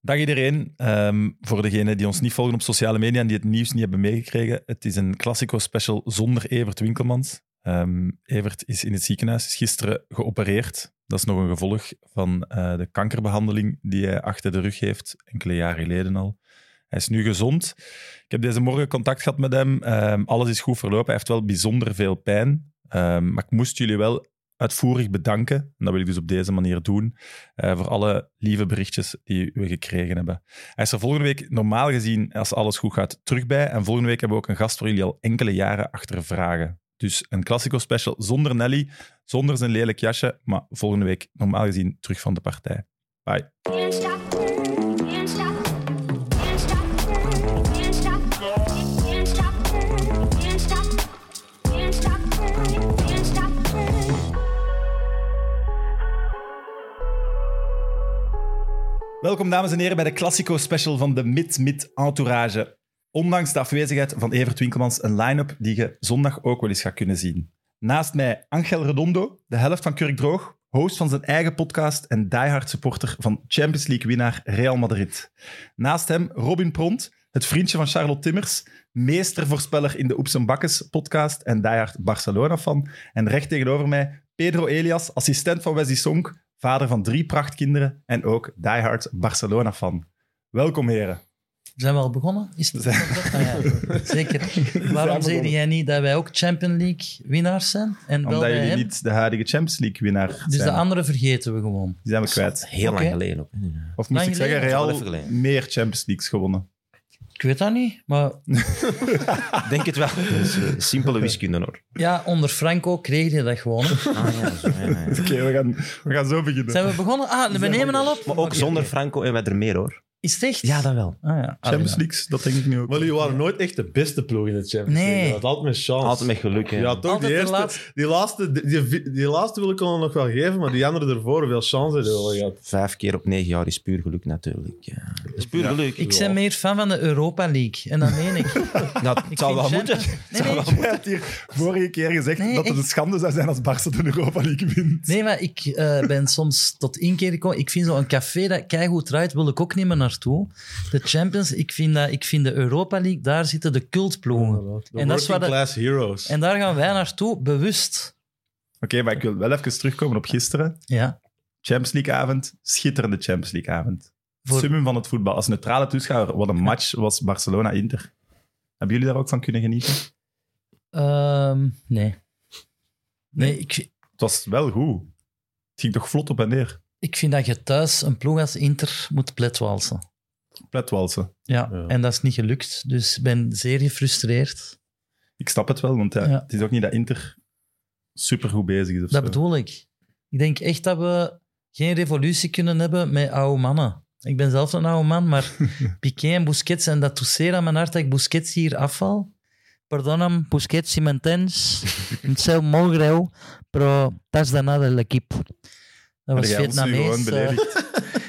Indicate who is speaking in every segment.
Speaker 1: Dag iedereen. Ehm, voor degenen die ons niet volgen op sociale media en die het nieuws niet hebben meegekregen, het is een Classico special zonder Evert Winkelmans. Ehm, Evert is in het ziekenhuis, is gisteren geopereerd. Dat is nog een gevolg van eh, de kankerbehandeling die hij achter de rug heeft, enkele jaren geleden al. Hij is nu gezond. Ik heb deze morgen contact gehad met hem. Ehm, alles is goed verlopen. Hij heeft wel bijzonder veel pijn. Ehm, maar ik moest jullie wel uitvoerig bedanken. En dat wil ik dus op deze manier doen. Eh, voor alle lieve berichtjes die we gekregen hebben. Hij is er volgende week normaal gezien, als alles goed gaat, terug bij. En volgende week hebben we ook een gast voor jullie al enkele jaren achter vragen. Dus een Classico special zonder Nelly, zonder zijn lelijk jasje, maar volgende week normaal gezien terug van de partij. Bye.
Speaker 2: Can't stop, can't stop, can't stop, can't stop, can't stop, can't stop, can't stop, can't stop.
Speaker 1: Welkom dames en heren bij de Classico special van de Mid-Mid Entourage. Ondanks de afwezigheid van Evert Winkelmans, een line-up die je zondag ook wel eens gaat kunnen zien. Naast mij Angel Redondo, de helft van Kurk Droog, host van zijn eigen podcast en diehard supporter van Champions League winnaar Real Madrid. Naast hem Robin Pront, het vriendje van Charlotte Timmers, meestervoorspeller in de Oeps en Bakkes podcast en diehard Barcelona fan. En recht tegenover mij Pedro Elias, assistent van Wesley Sonk, vader van drie prachtkinderen en ook diehard Barcelona fan. Welkom heren.
Speaker 3: Zijn we al begonnen? Is het... Ah, ja. Zeker. Waarom zei
Speaker 1: begonnen.
Speaker 3: jij niet dat wij ook Champion League winnaars zijn? En wel
Speaker 1: Omdat
Speaker 3: bij
Speaker 1: jullie
Speaker 3: hem?
Speaker 1: niet de huidige Champions League winnaar zijn.
Speaker 3: eh, Dus de andere vergeten we gewoon.
Speaker 1: Die zijn we kwijt.
Speaker 4: Heel
Speaker 3: Oké.
Speaker 4: lang geleden ook. hè.
Speaker 1: Of moest
Speaker 3: Lang
Speaker 1: ik zeggen,
Speaker 3: geleden.
Speaker 1: Real
Speaker 4: Wel even geleden.
Speaker 1: meer Champions Leagues gewonnen.
Speaker 3: Ik weet dat niet, maar
Speaker 4: Ik denk het wel. Dus, eh, simpele wiskunde hoor.
Speaker 3: ja, onder Franco kreeg je dat gewoon. hè.
Speaker 4: Ah, ja, zo, ja, ja.
Speaker 1: Oké, we, gaan, we gaan zo beginnen.
Speaker 3: Zijn we begonnen? Ah, we nemen al op.
Speaker 4: Maar ook
Speaker 3: Oké,
Speaker 4: zonder
Speaker 3: oké.
Speaker 4: Franco en wat er meer hoor.
Speaker 3: Is het echt?
Speaker 4: Ja, dat wel.
Speaker 3: Ah, ja. Ah,
Speaker 1: Champions
Speaker 3: ja.
Speaker 1: Leagues, dat denk ik nu ook.
Speaker 5: Maar jullie waren nooit echt de beste ploeg in de Champions
Speaker 3: Nee.
Speaker 5: League. Dat had altijd met chance.
Speaker 4: Altijd met geluk. Hè.
Speaker 5: Ja, toch?
Speaker 3: Altijd
Speaker 5: die,
Speaker 3: de
Speaker 5: eerste,
Speaker 3: laatste.
Speaker 5: Die, laatste, die, die- die laatste wil ik al nog wel geven, maar die andere ervoor veel chance hebben wel gehad.
Speaker 4: Vijf keer op negen jaar is puur geluk natuurlijk. Ja. Dat is puur
Speaker 1: Ja.
Speaker 4: geluk.
Speaker 3: Ik ben meer fan van de Europa League. En dat meen ik.
Speaker 4: Nou, het
Speaker 3: ik
Speaker 4: zal wel
Speaker 3: vind
Speaker 4: moeten.
Speaker 3: Champions- Nee, nee,
Speaker 1: Jij hebt hier vorige keer gezegd
Speaker 3: Nee,
Speaker 1: dat het
Speaker 3: echt.
Speaker 1: een schande zou zijn als Barca de Europa League wint.
Speaker 3: Nee, maar ik eh, ben soms tot inkeer gekomen. Ik vind zo'n café dat keigoed draait, wil ik ook niet meer naartoe. De Champions, ik vind, dat, ik vind de Europa League, daar zitten de cultploegen.
Speaker 5: De
Speaker 3: En dat is
Speaker 5: working
Speaker 3: waar de-
Speaker 5: class heroes.
Speaker 3: En daar gaan wij naartoe, bewust.
Speaker 1: Oké, maar ik wil wel even terugkomen op gisteren.
Speaker 3: Ja,
Speaker 1: Champions League-avond, schitterende Champions League-avond.
Speaker 3: Voor-
Speaker 1: Summum van het voetbal. Als neutrale toeschouwer, wat een match was Barcelona-Inter. Hebben jullie daar ook van kunnen genieten?
Speaker 3: Ehm, nee. Nee, ik,
Speaker 1: Het was wel goed. Het ging toch vlot op en neer.
Speaker 3: ik vind dat je thuis een ploeg als Inter moet pletwalsen.
Speaker 1: Pletwalsen.
Speaker 3: Ja,
Speaker 5: Ja.
Speaker 3: en dat is niet gelukt. Dus ik ben zeer gefrustreerd.
Speaker 1: Ik snap het wel, want ja,
Speaker 3: Ja.
Speaker 1: het is ook niet dat Inter supergoed bezig is. Of
Speaker 3: Dat
Speaker 1: zo.
Speaker 3: bedoel ik. Ik denk echt dat we geen revolutie kunnen hebben met oude mannen. Ik ben zelf een oude man, maar Piqué en Busquets, en dat toeseer aan mijn hart dat ik Busquets hier afval. Perdonam, Busquets y mantens. Het is heel greu, pero tas daarna del equipo. Dat was
Speaker 1: Jij ons nu
Speaker 3: Vietnamees.
Speaker 1: gewoon
Speaker 3: eh.
Speaker 1: beledigd.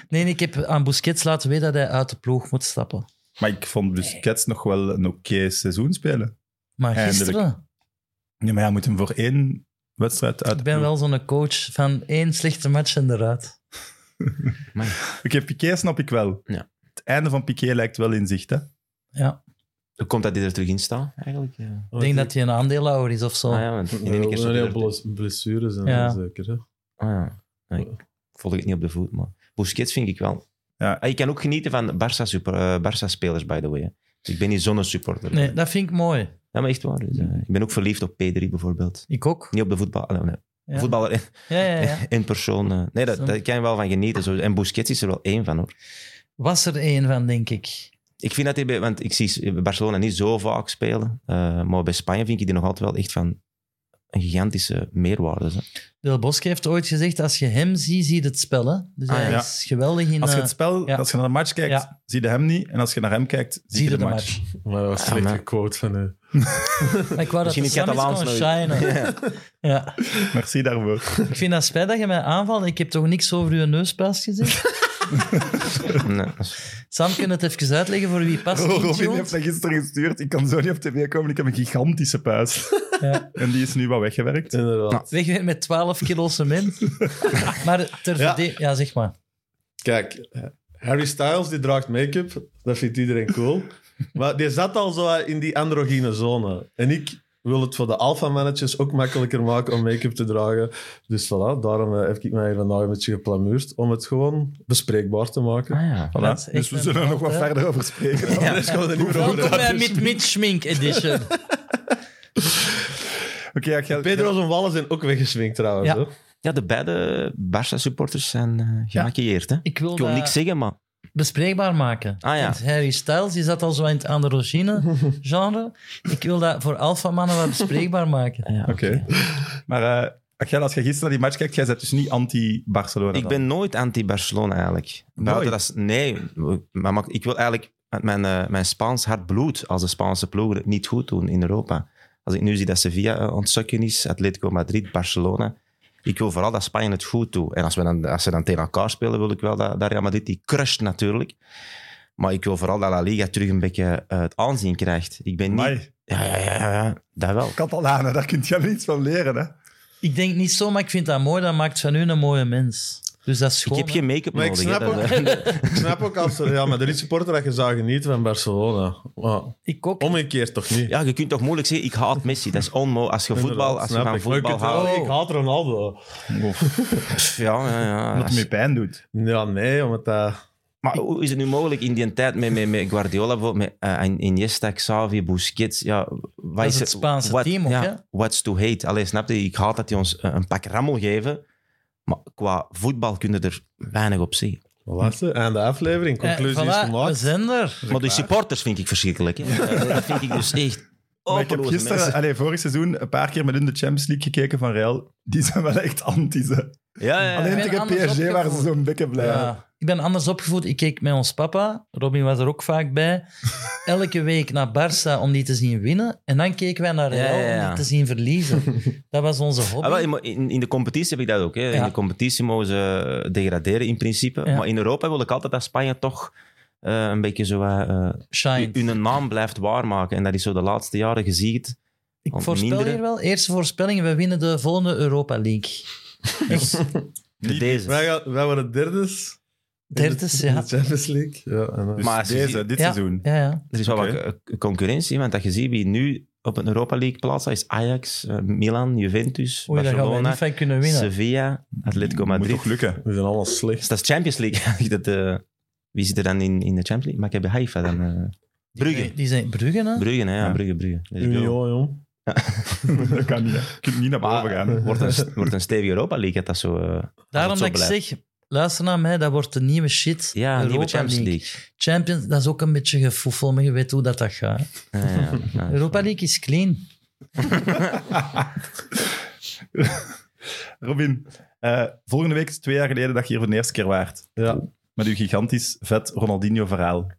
Speaker 3: Nee, nee, ik heb aan Busquets laten weten dat hij uit de ploeg moet stappen.
Speaker 1: Maar ik vond Busquets nog wel een oké seizoen spelen.
Speaker 3: Maar
Speaker 1: Eindelijk.
Speaker 3: gisteren,
Speaker 1: Ja, maar hij moet hem voor één wedstrijd uit de
Speaker 3: ik ben
Speaker 1: ploeg.
Speaker 3: wel zo'n coach van één slechte match en eruit.
Speaker 1: Oké, Piqué snap ik wel.
Speaker 4: Ja.
Speaker 1: Het einde van Piqué lijkt wel in zicht, hè?
Speaker 3: Ja,
Speaker 4: Hoe komt dat die er terug in staat eigenlijk? Ja.
Speaker 3: ik denk dat hij een aandeelhouder is of zo.
Speaker 4: Ah, ja, want in één keer
Speaker 5: een
Speaker 4: zat hij er-
Speaker 5: heleboel bless- blessures en
Speaker 3: Ja.
Speaker 5: zo zeker. Hè?
Speaker 4: Ah, ja. Nee, ik volg het niet op de voet, maar Busquets vind ik wel.
Speaker 1: Ja.
Speaker 4: Ah, je kan ook genieten van Barça super- eh, Barça-spelers, by the way. hè. Dus ik ben niet zo'n supporter.
Speaker 3: Nee, dat vind ik mooi.
Speaker 4: Ja, maar echt waar. Dus, eh, ik ben ook verliefd op P3 bijvoorbeeld.
Speaker 3: Ik ook.
Speaker 4: Niet op de voetbal. nee, nee.
Speaker 3: Ja.
Speaker 4: Voetballer in,
Speaker 3: Ja, ja, ja.
Speaker 4: in persoon. eh. Nee, dat,
Speaker 3: Zo.
Speaker 4: daar kan je wel van genieten. Zo. En Busquets is er wel één van hoor.
Speaker 3: Was er één van, denk ik.
Speaker 4: Ik vind dat hij bij, want ik zie Barcelona niet zo vaak spelen. eh, maar bij Spanje vind ik die nog altijd wel echt van een gigantische meerwaarde. Hè.
Speaker 3: Del Bosque heeft ooit gezegd, als je hem ziet, zie je het spel. Hè? Dus
Speaker 4: Ah,
Speaker 3: hij
Speaker 1: ja.
Speaker 3: is geweldig in...
Speaker 1: Als je
Speaker 3: eh,
Speaker 1: het spel,
Speaker 3: ja.
Speaker 1: als je naar de match kijkt,
Speaker 3: Ja.
Speaker 1: zie je hem niet. En als je naar hem kijkt, zie, je de, match.
Speaker 5: Maar dat was
Speaker 4: Ah,
Speaker 5: een slechte
Speaker 4: maar-
Speaker 5: quote van u.
Speaker 3: Maar ik wou dat
Speaker 4: Misschien
Speaker 3: de
Speaker 4: in het
Speaker 3: Sam eens kon
Speaker 4: Catalaans
Speaker 3: shinen. Ja.
Speaker 1: Merci daarvoor.
Speaker 3: Ik vind dat spijt dat je mij aanvalt. Ik heb toch niks over uw neuspaas gezegd?
Speaker 4: Nee, dat is-
Speaker 3: Sam, kun je het even uitleggen voor wie past?
Speaker 1: Oh, Robin
Speaker 3: intuned?
Speaker 1: heeft dat gisteren gestuurd. Ik kan zo niet op tv komen. Ik heb een gigantische puis.
Speaker 3: Ja.
Speaker 1: En die is nu wat weggewerkt.
Speaker 5: Inderdaad.
Speaker 3: Weg weer met 12 kilo cement. maar ter
Speaker 5: Ja.
Speaker 3: verde- Ja, zeg maar.
Speaker 5: Kijk, Harry Styles, die draagt make-up. Dat vindt iedereen cool. maar die zat al zo in die androgyne zone. En ik wil het voor de alpha-mannetjes ook makkelijker maken om make-up te dragen. Dus voilà, daarom eh, heb ik mij hier vandaag een beetje geplamuurd. Om het gewoon bespreekbaar te maken.
Speaker 4: Ah ja.
Speaker 6: Voilà.
Speaker 3: Dat is echt
Speaker 1: Dus we
Speaker 3: een
Speaker 1: zullen er nog wat
Speaker 3: fout, hè.
Speaker 1: verder over spreken.
Speaker 5: Dat is gewoon een uur
Speaker 3: Welkom
Speaker 5: over.
Speaker 3: bij
Speaker 1: dus-
Speaker 3: Mid Mid Schmink Edition.
Speaker 1: Oké, ja, Gel-
Speaker 5: Pedro's en Wallen zijn ook weggeswinkt trouwens.
Speaker 3: Ja.
Speaker 5: hè.
Speaker 4: Ja, de beide Barca-supporters zijn eh gemaquilleerd. Hè?
Speaker 3: Ik wil
Speaker 4: Ik wil
Speaker 3: dat
Speaker 4: niks zeggen, maar...
Speaker 3: bespreekbaar maken.
Speaker 4: Ah ja.
Speaker 3: Want Harry Styles die zat al zo in het androgyne genre. Ik wil dat voor alpha mannen wat bespreekbaar maken.
Speaker 4: Ah ja,
Speaker 6: Oké. Maar eh, Angel, als je gisteren naar die match kijkt, jij bent dus niet anti-Barcelona.
Speaker 4: Ik
Speaker 6: dan?
Speaker 4: ben nooit anti-Barcelona eigenlijk.
Speaker 6: Nooit?
Speaker 4: Buiten dat, is- nee, maar mag- ik wil eigenlijk met mijn, eh, mijn Spaans hart bloed als de Spaanse ploegen het niet goed doen in Europa. Als ik nu zie dat Sevilla eh, ontzakken is, Atletico Madrid, Barcelona. Ik wil vooral dat Spanje het goed doet. En als, we dan, als ze dan tegen elkaar spelen, wil ik wel dat, dat Real Madrid die crusht natuurlijk. Maar ik wil vooral dat La Liga terug een beetje eh, het aanzien krijgt. Ik ben niet...
Speaker 1: Amai,
Speaker 4: Ja, ja, ja, ja, ja, dat wel.
Speaker 1: Catalanen, daar kun je wel iets van leren. Hè?
Speaker 3: Ik denk niet zo, maar ik vind dat mooi. Dat maakt van u een mooie mens. Dus dat is
Speaker 4: Ik
Speaker 3: gewoon...
Speaker 4: heb geen make-up
Speaker 5: Maar ik
Speaker 4: nodig.
Speaker 5: snap
Speaker 4: hè. Dat-
Speaker 5: Ik snap ook als er, ja, Madrid supporter dat je zou genieten van Barcelona. Maar
Speaker 3: Ik ook.
Speaker 5: omgekeerd toch niet?
Speaker 4: Ja, je kunt toch moeilijk zeggen, ik haat Messi. Dat is onmogelijk. Als je voetbal, als je
Speaker 5: Inderdaad,
Speaker 4: van
Speaker 5: snap ik.
Speaker 4: voetbal
Speaker 5: Maar je kunt wel
Speaker 4: houdt...
Speaker 5: zeggen, Ik haat Ronaldo.
Speaker 4: Pff, Ja, ja, ja.
Speaker 1: Dat het me pijn doet.
Speaker 5: Ja, nee, omdat eh, dat...
Speaker 4: Maar hoe is het nu mogelijk in die tijd met, met, met Guardiola, bijvoorbeeld, met eh, In- Iniesta, Xavi, Busquets? Ja, wat
Speaker 3: is het Spaanse
Speaker 4: what-
Speaker 3: team ook,
Speaker 4: ja,
Speaker 3: hè?
Speaker 4: What's to hate? Allee, snap je? Ik haat dat die ons eh, een pak rammel geven. Maar qua voetbal kunnen er weinig op zien.
Speaker 5: Wat Aan de aflevering.
Speaker 3: Eh,
Speaker 5: Conclusie is
Speaker 3: voilà, we
Speaker 5: gemaakt.
Speaker 3: zijn er.
Speaker 4: Maar die supporters vind ik verschrikkelijk. Hè? Eh, dat vind ik dus echt
Speaker 1: Maar ik heb
Speaker 4: openloze
Speaker 1: gisteren,
Speaker 4: mensen.
Speaker 1: allez, vorig seizoen, een paar keer met in de Champions League gekeken van Real. Die zijn wel echt anti's. hè.
Speaker 4: Ja, ja, ja.
Speaker 1: Alleen
Speaker 3: ben
Speaker 1: tegen
Speaker 3: anders
Speaker 1: PSG waren ze
Speaker 3: opgevoed.
Speaker 1: zo'n beetje blij.
Speaker 3: Ja. Ik ben anders opgevoed. Ik keek met ons papa, Robin was er ook vaak bij, elke week naar Barça om die te zien winnen. En dan keken wij naar Real
Speaker 4: Ja, ja,
Speaker 3: om
Speaker 4: ja.
Speaker 3: die te zien verliezen. Dat was onze hobby.
Speaker 4: Ah, wel, in- in, in de competitie heb ik dat ook. Hè. In
Speaker 3: Ja.
Speaker 4: de competitie mogen ze degraderen in principe.
Speaker 3: Ja.
Speaker 4: Maar in Europa wil ik altijd dat Spanje toch eh, een beetje zo wat, eh,
Speaker 3: Shine.
Speaker 4: hun naam blijft waarmaken. En dat is zo de laatste jaren gezien.
Speaker 3: Ik
Speaker 4: Want
Speaker 3: voorspel
Speaker 4: mindere-
Speaker 3: hier wel. Eerste voorspelling, we winnen de volgende Europa League. Echt,
Speaker 4: Met deze.
Speaker 5: Wij, gaan, wij waren derdes. in de-
Speaker 3: derdes,
Speaker 5: in
Speaker 3: ja.
Speaker 5: de Champions League. Ja, en, eh,
Speaker 1: Dus
Speaker 4: Maar als je
Speaker 1: deze,
Speaker 4: ziet-
Speaker 1: dit
Speaker 3: Ja,
Speaker 1: seizoen.
Speaker 3: Ja, ja.
Speaker 4: Er is wel
Speaker 1: Oké.
Speaker 4: wat eh, concurrentie, want dat je ziet wie nu op een Europa League plaats staat, is Ajax, eh, Milan, Juventus,
Speaker 3: Oei, daar gaan we
Speaker 4: Barcelona,
Speaker 3: niet van kunnen winnen.
Speaker 4: Sevilla, Atletico
Speaker 1: Moet
Speaker 4: Madrid.
Speaker 1: toch lukken.
Speaker 5: we zijn allemaal slecht.
Speaker 4: Dus dat is Champions League. dat, eh, wie zit er dan in, in de Champions League? Maar ik heb Haifa dan. eh, Brugge.
Speaker 3: Nee, Die zijn Brugge, hè?
Speaker 4: Brugge, hè? Ja,
Speaker 1: Ja.
Speaker 4: Brugge, Brugge. Dus ik wil-
Speaker 5: Union, jong.
Speaker 1: dat kan niet. hè. Je kunt niet naar boven gaan.
Speaker 4: Maar wordt een, wordt een stevige Europa League, dat dat zo... eh,
Speaker 3: Daarom
Speaker 4: zo
Speaker 3: dat ik
Speaker 4: blijft.
Speaker 3: zeg, luister naar mij, dat wordt de nieuwe shit.
Speaker 4: Ja,
Speaker 3: Europa
Speaker 4: nieuwe Champions League.
Speaker 3: Champions, dat is ook een beetje gefoefel, maar je weet hoe dat, dat gaat.
Speaker 4: Ja, ja, ja.
Speaker 3: Europa League is clean.
Speaker 1: Robin, eh, volgende week is twee jaar geleden dat je hier voor de eerste keer waart.
Speaker 5: Ja.
Speaker 1: Met uw gigantisch vet Ronaldinho-verhaal.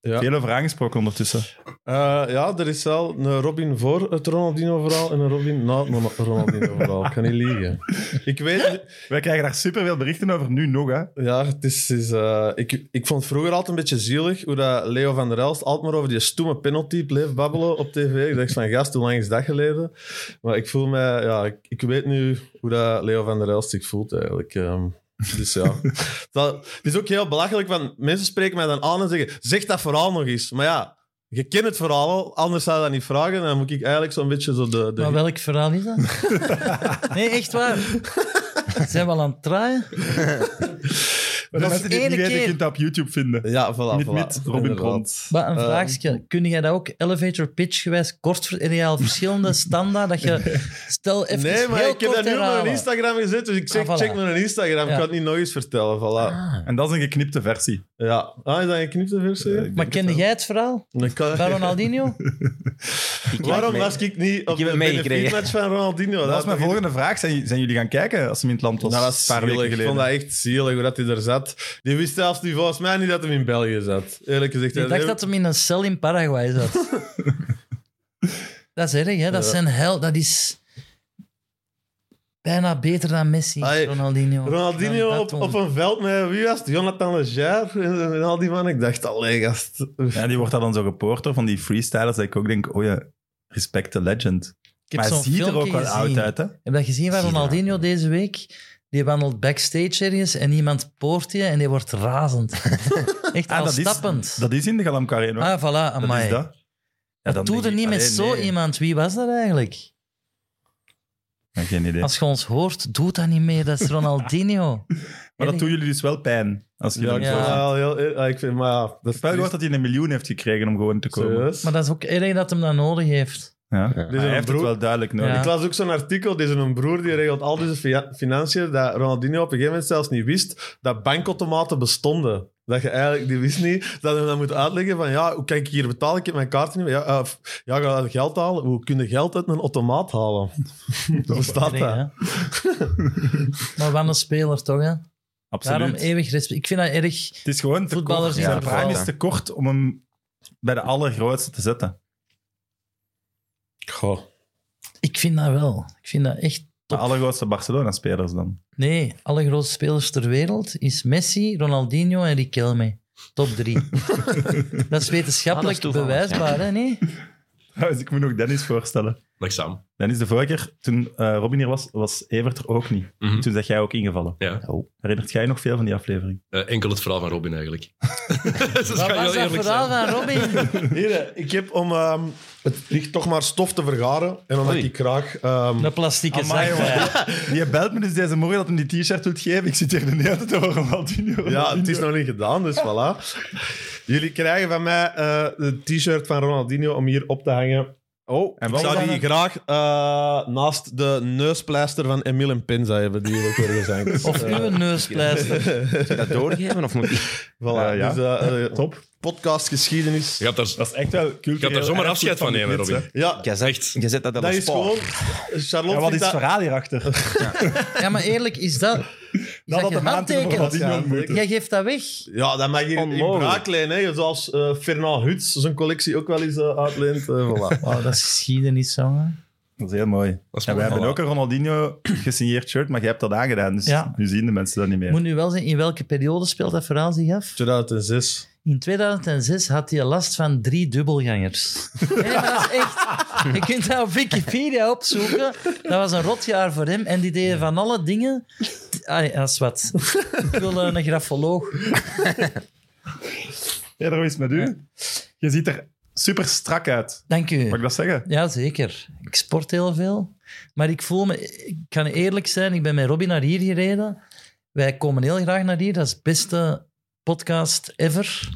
Speaker 5: Ja.
Speaker 1: Veel over aangesproken ondertussen.
Speaker 5: Eh, ja, er is wel een Robin voor het Ronaldinho-verhaal en een Robin na het Mon- Ronaldinho-verhaal. Ik kan niet liegen. Ik weet, nu-
Speaker 1: Wij krijgen daar superveel berichten over nu nog. Hè.
Speaker 5: Ja, het is, het is, eh, ik, ik vond het vroeger altijd een beetje zielig hoe dat Leo van der Elst altijd maar over die stoeme penalty bleef babbelen op tv. Ik dacht van, gast, hoe lang is dat geleden? Maar ik voel mij... Ja, ik, ik weet nu hoe dat Leo van der Elst zich voelt eigenlijk. ehm. dus ja. dat, het is ook heel belachelijk, want mensen spreken mij dan aan en zeggen zeg dat verhaal nog eens. Maar ja, je kent het verhaal al, anders zou je dat niet vragen. En dan moet ik eigenlijk zo'n beetje zo de... de
Speaker 3: Maar welk verhaal is dat? nee, echt waar. Zijn we al aan het draaien?
Speaker 1: Dat
Speaker 3: is
Speaker 1: mensen die het niet
Speaker 3: één
Speaker 1: weten,
Speaker 3: keer.
Speaker 1: je kunt dat op YouTube vinden.
Speaker 5: ja, voilà,
Speaker 1: Niet
Speaker 5: voilà.
Speaker 1: met Robin
Speaker 5: Inderdaad.
Speaker 1: Pront.
Speaker 3: Maar een
Speaker 5: Eh,
Speaker 3: vraagje. Kun jij dat ook elevator pitch gewijs kort ver- heb je al verschillende standaard dat je stel even
Speaker 5: Nee, maar
Speaker 3: heel
Speaker 5: ik heb
Speaker 3: kort
Speaker 5: dat nu op
Speaker 3: herhalen.
Speaker 5: mijn Instagram gezet, dus ik zeg,
Speaker 3: Ah, voilà.
Speaker 5: check mijn Instagram.
Speaker 3: Ja.
Speaker 5: Ik ga het niet nog eens vertellen, voilà.
Speaker 1: En dat is een geknipte versie.
Speaker 5: Ja. Ah, is dat een knipte versie?
Speaker 1: Eh, ik denk
Speaker 3: Maar kende jij het verhaal
Speaker 5: Dan kan-
Speaker 3: van Ronaldinho?
Speaker 4: Ik
Speaker 5: Waarom
Speaker 4: lag
Speaker 5: was ik niet op
Speaker 4: heb
Speaker 5: de
Speaker 4: het meegekregen.
Speaker 5: match van Ronaldinho?
Speaker 1: Dat Nou, was mijn volgende vraag. Zijn, zijn jullie gaan kijken als hem in het land was?
Speaker 5: Dat was
Speaker 1: een paar weken
Speaker 5: zielig. Ik
Speaker 1: geleden.
Speaker 5: vond dat echt zielig hoe dat hij er zat. Die wist zelfs niet, volgens mij niet dat hij in België zat. Eerlijk gezegd.
Speaker 3: Ik dacht dat hem in een cel in Paraguay zat. dat is erg, hè? Dat zijn hel. Dat is bijna beter dan Messi,
Speaker 5: Hey,
Speaker 3: Ronaldinho. Dan
Speaker 5: Ronaldinho
Speaker 3: dat
Speaker 5: op,
Speaker 3: doen.
Speaker 5: op een veld met, wie was het? Jonathan Leger en, en al die mannen. Ik dacht, allee gast.
Speaker 1: Ja, die wordt daar dan zo gepoord door van die freestylers dat ik ook denk, oh ja, respect the legend.
Speaker 3: Ik heb
Speaker 1: maar hij
Speaker 3: zo'n
Speaker 1: ziet er
Speaker 3: filmpje
Speaker 1: ook wel
Speaker 3: gezien.
Speaker 1: oud uit, hè?
Speaker 3: Heb je dat gezien van
Speaker 4: Zie je dat?
Speaker 3: Ronaldinho deze week? Die wandelt backstage ergens en iemand poort je en die wordt razend. Echt
Speaker 1: Ah,
Speaker 3: al
Speaker 1: dat is-
Speaker 3: stappend.
Speaker 1: Dat is in de Galamkaré. hoor.
Speaker 3: ah, voilà,
Speaker 1: dat
Speaker 3: amai.
Speaker 1: is dat. Ja, dan
Speaker 3: Doe
Speaker 1: denk
Speaker 3: er
Speaker 1: ik,
Speaker 3: niet met
Speaker 1: allee,
Speaker 3: zo
Speaker 1: nee.
Speaker 3: iemand. Wie was dat eigenlijk?
Speaker 1: Ja, geen idee.
Speaker 3: Als je ons hoort, doe dat niet meer. Dat is Ronaldinho.
Speaker 1: maar dat doen jullie dus wel pijn. Als je
Speaker 5: Ja, ik
Speaker 1: dan
Speaker 5: vond
Speaker 3: Ja.
Speaker 5: dat wel heel, eer- ja, ik vind, maar ja, dat is
Speaker 1: Ik heb wel gehoord dat hij een miljoen heeft gekregen om gewoon te komen.
Speaker 5: serieus.
Speaker 3: Maar dat is ook iedereen dat hem dat nodig heeft.
Speaker 1: Ja.
Speaker 5: Dit is
Speaker 1: Hij
Speaker 5: een
Speaker 1: heeft het
Speaker 5: broer-
Speaker 1: wel duidelijk nodig.
Speaker 3: Ja.
Speaker 5: Ik las ook zo'n artikel, deze een broer die regelt al deze fia- financiën, dat Ronaldinho op een gegeven moment zelfs niet wist dat bankautomaten bestonden. Dat je eigenlijk, die wist niet, dat hij dan moet uitleggen van ja, hoe kan ik hier betalen? Ik heb mijn kaart niet meer. Ja, eh, f- ja ga uit geld halen. Hoe kun je geld uit een automaat halen? Hoe staat
Speaker 3: Iedereen,
Speaker 5: dat?
Speaker 3: hè? maar wat een speler toch, hè?
Speaker 1: Absoluut.
Speaker 3: Daarom eeuwig respect. Ik vind dat erg...
Speaker 1: Het is gewoon te
Speaker 3: Voetballers
Speaker 1: kort.
Speaker 3: is
Speaker 1: Zijn
Speaker 4: dat
Speaker 1: prime
Speaker 4: wel.
Speaker 1: is te kort om hem bij de allergrootste te zetten.
Speaker 5: Goh.
Speaker 3: Ik vind dat wel. Ik vind dat echt...
Speaker 1: De allergrootste Barcelona-spelers dan.
Speaker 3: Nee, alle grote spelers ter wereld is Messi, Ronaldinho en Riquelme. Top drie. dat is wetenschappelijk
Speaker 4: Ah, dat is toevallig,
Speaker 3: bewijsbaar, hè? Nee?
Speaker 1: Dus ik moet nog Dennis voorstellen.
Speaker 7: Dag Sam.
Speaker 1: Dennis, de vorige keer, toen eh, Robin hier was, was Evert er ook niet.
Speaker 7: Mhm.
Speaker 1: Toen zat jij ook ingevallen.
Speaker 7: Ja.
Speaker 1: Oh. Herinnert jij je nog veel van die aflevering?
Speaker 7: Eh, enkel het verhaal van Robin eigenlijk. dus
Speaker 3: Wat was dat verhaal van Robin?
Speaker 5: Heren, ik heb om ehm, het licht toch maar stof te vergaren en omdat
Speaker 4: Oei.
Speaker 5: ik graag... ehm,
Speaker 3: De plastieke
Speaker 1: Amai,
Speaker 3: zak.
Speaker 1: jongen.
Speaker 3: hè.
Speaker 1: Je belt me dus deze morgen dat hem die t-shirt wilt geven. Ik zit hier de hele tijd over Ronaldinho.
Speaker 5: Ja, het is nog niet gedaan, dus voilà. Jullie krijgen van mij eh de t-shirt van Ronaldinho om hier op te hangen. Oh,
Speaker 1: En
Speaker 5: en
Speaker 1: wat
Speaker 5: ik zou
Speaker 1: zijn
Speaker 5: die
Speaker 1: het?
Speaker 5: graag eh, naast de neuspleister van Emile en Pinza hebben, die hier ook weer zijn.
Speaker 3: Of uw neuspleister.
Speaker 4: Moet ik dat doorgeven? Of moet ik...
Speaker 5: Voilà,
Speaker 1: Eh, ja.
Speaker 5: dus eh, eh,
Speaker 1: Top.
Speaker 5: podcastgeschiedenis.
Speaker 7: Je gaat daar,
Speaker 1: Dat is echt wel cultureel.
Speaker 7: je gaat daar zomaar
Speaker 1: erfgoed
Speaker 7: afscheid van
Speaker 1: die
Speaker 7: nemen,
Speaker 1: kids,
Speaker 7: Robin.
Speaker 1: hè.
Speaker 5: Ja,
Speaker 4: Je
Speaker 7: Echt.
Speaker 4: zet, je zet dat al
Speaker 5: dat is gewoon... Charlotte
Speaker 1: Ja, wat is
Speaker 5: vindt
Speaker 1: het
Speaker 5: dat-
Speaker 1: verhaal hierachter? Dat
Speaker 3: Ja, maar eerlijk, is dat... Is dat,
Speaker 1: had
Speaker 3: je
Speaker 1: hem aan te doen,
Speaker 3: handtekent?
Speaker 1: Ronaldinho
Speaker 5: Ja,
Speaker 1: moet.
Speaker 3: Jij geeft dat weg.
Speaker 5: Ja, dat mag hier in
Speaker 4: Onmogelijk.
Speaker 5: braaklijn, hè. Zoals eh Fernand Huts zijn collectie ook wel eens eh, uitleent. eh, voilà.
Speaker 3: Oh, dat is geschiedenis, jongen.
Speaker 1: Dat is heel mooi.
Speaker 7: dat is
Speaker 1: En wij
Speaker 7: mooi.
Speaker 1: hebben ook een Ronaldinho gesigneerd shirt, maar jij hebt dat aangedaan. Dus
Speaker 3: Ja.
Speaker 1: nu zien de mensen dat niet
Speaker 3: Ik
Speaker 1: meer.
Speaker 3: moet nu wel zien, in welke periode speelt dat verhaal zich af?
Speaker 5: 2006.
Speaker 3: In 2006 had hij last van drie dubbelgangers. Nee, maar dat is echt... Je kunt dat op Wikipedia opzoeken. Dat was een rotjaar voor hem. En die deden van alle dingen... Ah, dat is wat. Ik wil eh, een grafoloog.
Speaker 1: Ja, daar is het met u. Je ziet er super strak uit.
Speaker 3: Dank u.
Speaker 1: Mag ik dat zeggen?
Speaker 3: Ja, zeker. Ik sport heel veel. Maar ik voel me... Ik kan eerlijk zijn, ik ben met Robbie naar hier gereden. Wij komen heel graag naar hier. Dat is de beste podcast ever.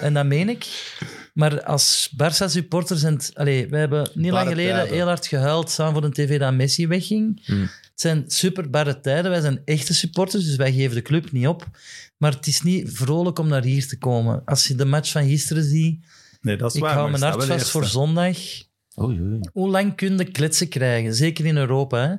Speaker 3: en dat meen ik. Maar als Barça-supporter zijn... het- Allee, wij hebben niet lang
Speaker 5: Barre
Speaker 3: geleden
Speaker 5: tijden.
Speaker 3: heel hard gehuild samen voor een tv dat Messi wegging.
Speaker 4: Hmm.
Speaker 3: Het zijn super barre tijden. Wij zijn echte supporters, dus wij geven de club niet op. Maar het is niet vrolijk om naar hier te komen. Als je de match van gisteren ziet...
Speaker 1: Nee, dat is
Speaker 3: Ik
Speaker 1: waar.
Speaker 3: hou
Speaker 1: maar
Speaker 3: mijn
Speaker 1: je
Speaker 3: hart
Speaker 1: staat wel
Speaker 3: vast voor
Speaker 1: eerste.
Speaker 3: zondag
Speaker 4: Oei, oei.
Speaker 3: hoe lang kun je kletsen krijgen? Zeker in Europa. Hè?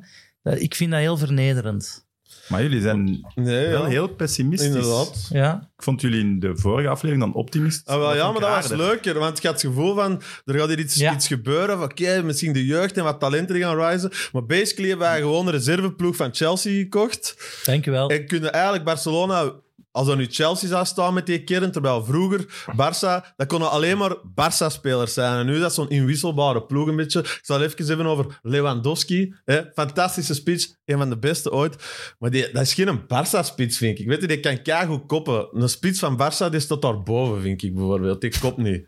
Speaker 3: Dat- Ik vind dat heel vernederend.
Speaker 1: Maar jullie zijn
Speaker 5: Nee, ja.
Speaker 1: wel heel pessimistisch.
Speaker 5: Inderdaad.
Speaker 3: Ja.
Speaker 1: Ik vond jullie in de vorige aflevering dan optimistisch.
Speaker 5: Ah, wel, ja, maar dat was
Speaker 1: raarder.
Speaker 5: leuker. Want je had het gevoel van, er gaat hier iets,
Speaker 3: Ja.
Speaker 5: iets gebeuren. Van, oké, misschien de jeugd en wat talenten die gaan risen. Maar basically hebben wij gewoon de reserveploeg van Chelsea gekocht.
Speaker 3: Dank u wel.
Speaker 5: En kunnen eigenlijk Barcelona... Als dat nu Chelsea zou staan met die kern, terwijl vroeger Barça, dat konden alleen maar Barça-spelers zijn. En nu is dat zo'n inwisselbare ploeg een beetje. Ik zal even hebben over Lewandowski. Hè? Fantastische speech, een van de beste ooit. Maar die, dat is geen Barça-spits, vind ik. Weet je, die kan keigoed koppen. Een spits van Barça, die staat daarboven, vind ik bijvoorbeeld. Die kopt niet.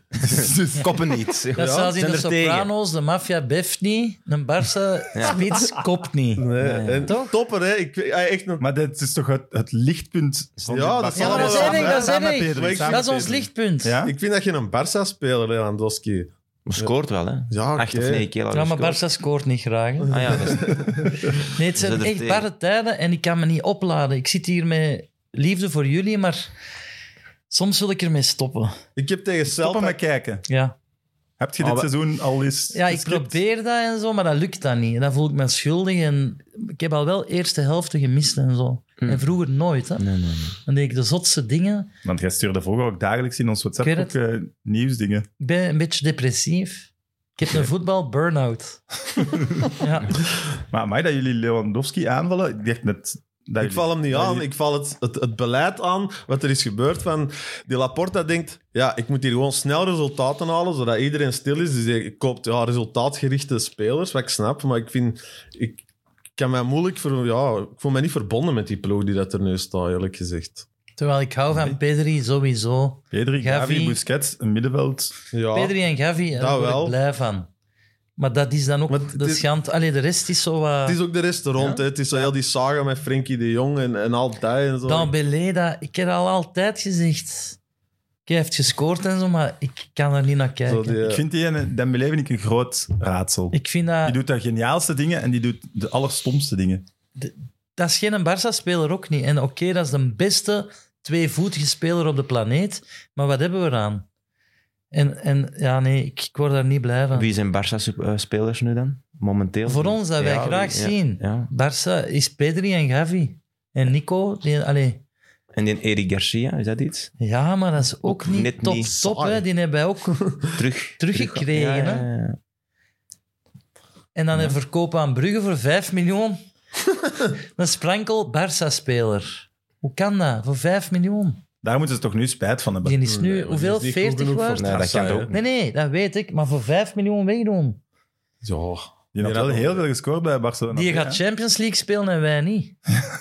Speaker 4: Koppen niet.
Speaker 3: Dat is
Speaker 4: Ja,
Speaker 3: zoals in
Speaker 4: zijn
Speaker 3: de
Speaker 4: er tegen.
Speaker 3: Sopranos, de maffia beft niet, een Barça spits kopt niet. Ja,
Speaker 5: Nee,
Speaker 3: ja.
Speaker 5: en
Speaker 3: Toch?
Speaker 5: Topper, hè. Ik, weet- hij echt een...
Speaker 1: Maar dit is toch het, het lichtpunt van
Speaker 5: Ja,
Speaker 1: dit
Speaker 5: dat
Speaker 1: Barcelona.
Speaker 5: zal wel Ja, dat is
Speaker 3: erg, dat is
Speaker 1: Samen,
Speaker 3: erg.
Speaker 1: Pedri,
Speaker 5: Maar ik-
Speaker 1: samen,
Speaker 3: Dat is ons
Speaker 1: Pedri.
Speaker 3: lichtpunt. Ja,
Speaker 1: Ja?
Speaker 5: Ik vind dat je een Barça-speler, Lewandowski.
Speaker 4: Maar scoort wel, hè?
Speaker 5: Ja,
Speaker 4: Acht of
Speaker 5: oké.
Speaker 4: negen keer al
Speaker 3: maar
Speaker 4: gescoord.
Speaker 3: Barça scoort niet graag. hè.
Speaker 4: Ah ja, dat is-
Speaker 3: Nee, het zijn
Speaker 4: Zet
Speaker 3: echt
Speaker 4: er tegen.
Speaker 3: barre tijden en ik kan me niet opladen. Ik zit hier met liefde voor jullie, maar soms wil ik ermee stoppen.
Speaker 5: Ik heb tegen Celta...
Speaker 1: Stoppen met kijken.
Speaker 3: Ja.
Speaker 1: Heb je
Speaker 4: Ah,
Speaker 1: dit
Speaker 4: we-
Speaker 1: seizoen al eens
Speaker 3: Ja, ik
Speaker 1: geskipt?
Speaker 3: probeer dat en zo, maar dat lukt dan niet. En dan voel ik me schuldig. En ik heb al wel eerste helften gemist en zo.
Speaker 4: Hmm.
Speaker 3: En vroeger nooit. Hè.
Speaker 4: Nee, nee, nee.
Speaker 3: Dan deed ik de zotste dingen.
Speaker 1: Want jij stuurde vroeger ook dagelijks in ons WhatsApp
Speaker 3: Ik
Speaker 1: ook
Speaker 3: weet
Speaker 1: eh, nieuwsdingen.
Speaker 3: Ik ben een beetje depressief. Ik heb een voetbal-burn-out. ja.
Speaker 1: Maar mij dat jullie Lewandowski aanvallen, ik dacht net... Dat
Speaker 5: Ik val hem niet
Speaker 1: Ja,
Speaker 5: aan,
Speaker 1: die-
Speaker 5: ik val het, het, het beleid aan, wat er is gebeurd. Van die Laporta denkt, ja, ik moet hier gewoon snel resultaten halen, zodat iedereen stil is. Dus hij koopt ja, resultaatgerichte spelers, wat ik snap. Maar ik vind, ik, kan mij moeilijk... Ver, ja, ik voel mij niet verbonden met die ploeg die dat er nu staat, eerlijk gezegd.
Speaker 3: Terwijl ik hou van Pedri sowieso.
Speaker 1: Pedri, Gavi,
Speaker 3: Gavi.
Speaker 1: Busquets, een middenveld.
Speaker 5: Ja,
Speaker 3: Pedri en Gavi, hè, daar
Speaker 5: Dat
Speaker 3: word
Speaker 5: wel.
Speaker 3: ik blij van. Maar dat is dan ook
Speaker 5: Maar het
Speaker 3: de
Speaker 5: is-
Speaker 3: schand. Allee, de rest is zo wat...
Speaker 5: het is ook de rest er rond. hè. Het is zo heel die saga met Frenkie de Jong en, en al die en zo.
Speaker 3: Dan Beleda, ik heb al altijd gezegd... Hij heeft gescoord en zo, maar ik kan er niet naar
Speaker 5: Zo
Speaker 3: kijken.
Speaker 5: die,
Speaker 1: Ik vind die ene- Dembele vind ik een groot raadsel.
Speaker 3: Ik vind dat...
Speaker 1: Die doet de geniaalste dingen en die doet de allerstomste dingen.
Speaker 3: Dat is geen Barça-speler ook niet. En oké, dat is de beste tweevoetige speler op de planeet. Maar wat hebben we eraan? En, en ja, nee, ik, ik word daar niet blij van.
Speaker 4: Wie zijn Barça-spelers nu dan? Momenteel?
Speaker 3: Voor ons, dat wij
Speaker 4: Ja,
Speaker 3: graag
Speaker 4: ja,
Speaker 3: zien.
Speaker 4: Ja.
Speaker 3: Barça is Pedri en Gavi. En Nico, die, allee,
Speaker 4: En die Eric Garcia, is dat iets?
Speaker 3: ja, maar dat is ook niet
Speaker 4: Net
Speaker 3: top,
Speaker 4: niet.
Speaker 3: top. Hè. Die hebben wij ook
Speaker 4: Terug.
Speaker 3: teruggekregen.
Speaker 4: Ja,
Speaker 3: Hè.
Speaker 4: ja, ja.
Speaker 3: En dan een verkoop aan Brugge voor 5 miljoen. een sprankel Barça-speler. Hoe kan dat? Voor 5 miljoen?
Speaker 1: Daar moeten ze toch nu spijt van hebben.
Speaker 3: Die is nu,
Speaker 5: Nee, want die
Speaker 3: hoeveel?
Speaker 5: is niet goed
Speaker 3: 40
Speaker 5: genoeg voor
Speaker 3: waard?
Speaker 4: Nee, dat kan ook niet.
Speaker 3: Nee, nee, dat weet ik. Maar voor 5 miljoen wegdoen.
Speaker 5: Ja,
Speaker 1: Die had
Speaker 5: Ja,
Speaker 1: wel
Speaker 5: dat-
Speaker 1: heel veel gescoord bij Barcelona.
Speaker 3: Die
Speaker 1: Ja.
Speaker 3: gaat Champions League spelen en wij niet.
Speaker 1: Ja,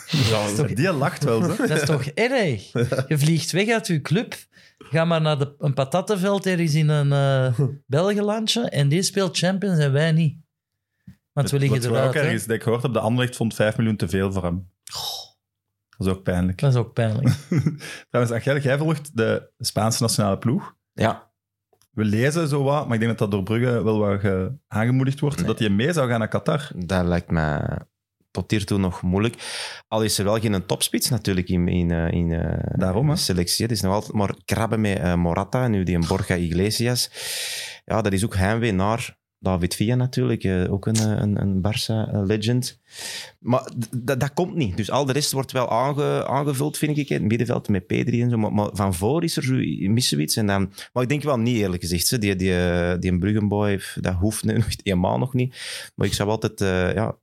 Speaker 1: Die lacht wel, zo.
Speaker 3: Dat is toch erg? Je vliegt weg uit je club. Ga maar naar de, een patattenveld ergens in een eh Belgenlandje. En die speelt Champions en wij niet. Want we liggen
Speaker 1: Wat we ook
Speaker 3: eruit. hè.
Speaker 1: ergens, dat ik gehoord heb, de Anderlecht vond 5 miljoen te veel voor hem. Dat is ook pijnlijk.
Speaker 3: Dat is ook pijnlijk.
Speaker 1: Trouwens, Angel, jij volgt de Spaanse nationale ploeg.
Speaker 4: Ja,
Speaker 1: We lezen zo wat, maar ik denk dat dat door Brugge wel wat ge- aangemoedigd wordt, dat hij mee zou gaan naar Qatar.
Speaker 4: dat lijkt me tot hiertoe nog moeilijk. Al is er wel geen topspits natuurlijk in, in, eh, in eh,
Speaker 1: Daarom, hè.
Speaker 4: de selectie. Het is nog altijd maar krabben met eh, Morata, nu die een Borja Iglesias. Ja, dat is ook heimwee naar David Villa natuurlijk, eh, ook een, eh, een, een Barça-legend. Maar d- dat- dat komt niet. Dus al de rest wordt wel aange- aangevuld, vind ik. Het middenveld met Pedri en zo. Maar, maar van voor is er zo, missen we iets. En dan, maar ik denk wel niet, eerlijk gezegd. hè. Die, die, eh, die Bruggenboy, dat hoeft nu nog helemaal nog niet. Maar ik zou altijd... eh, ja,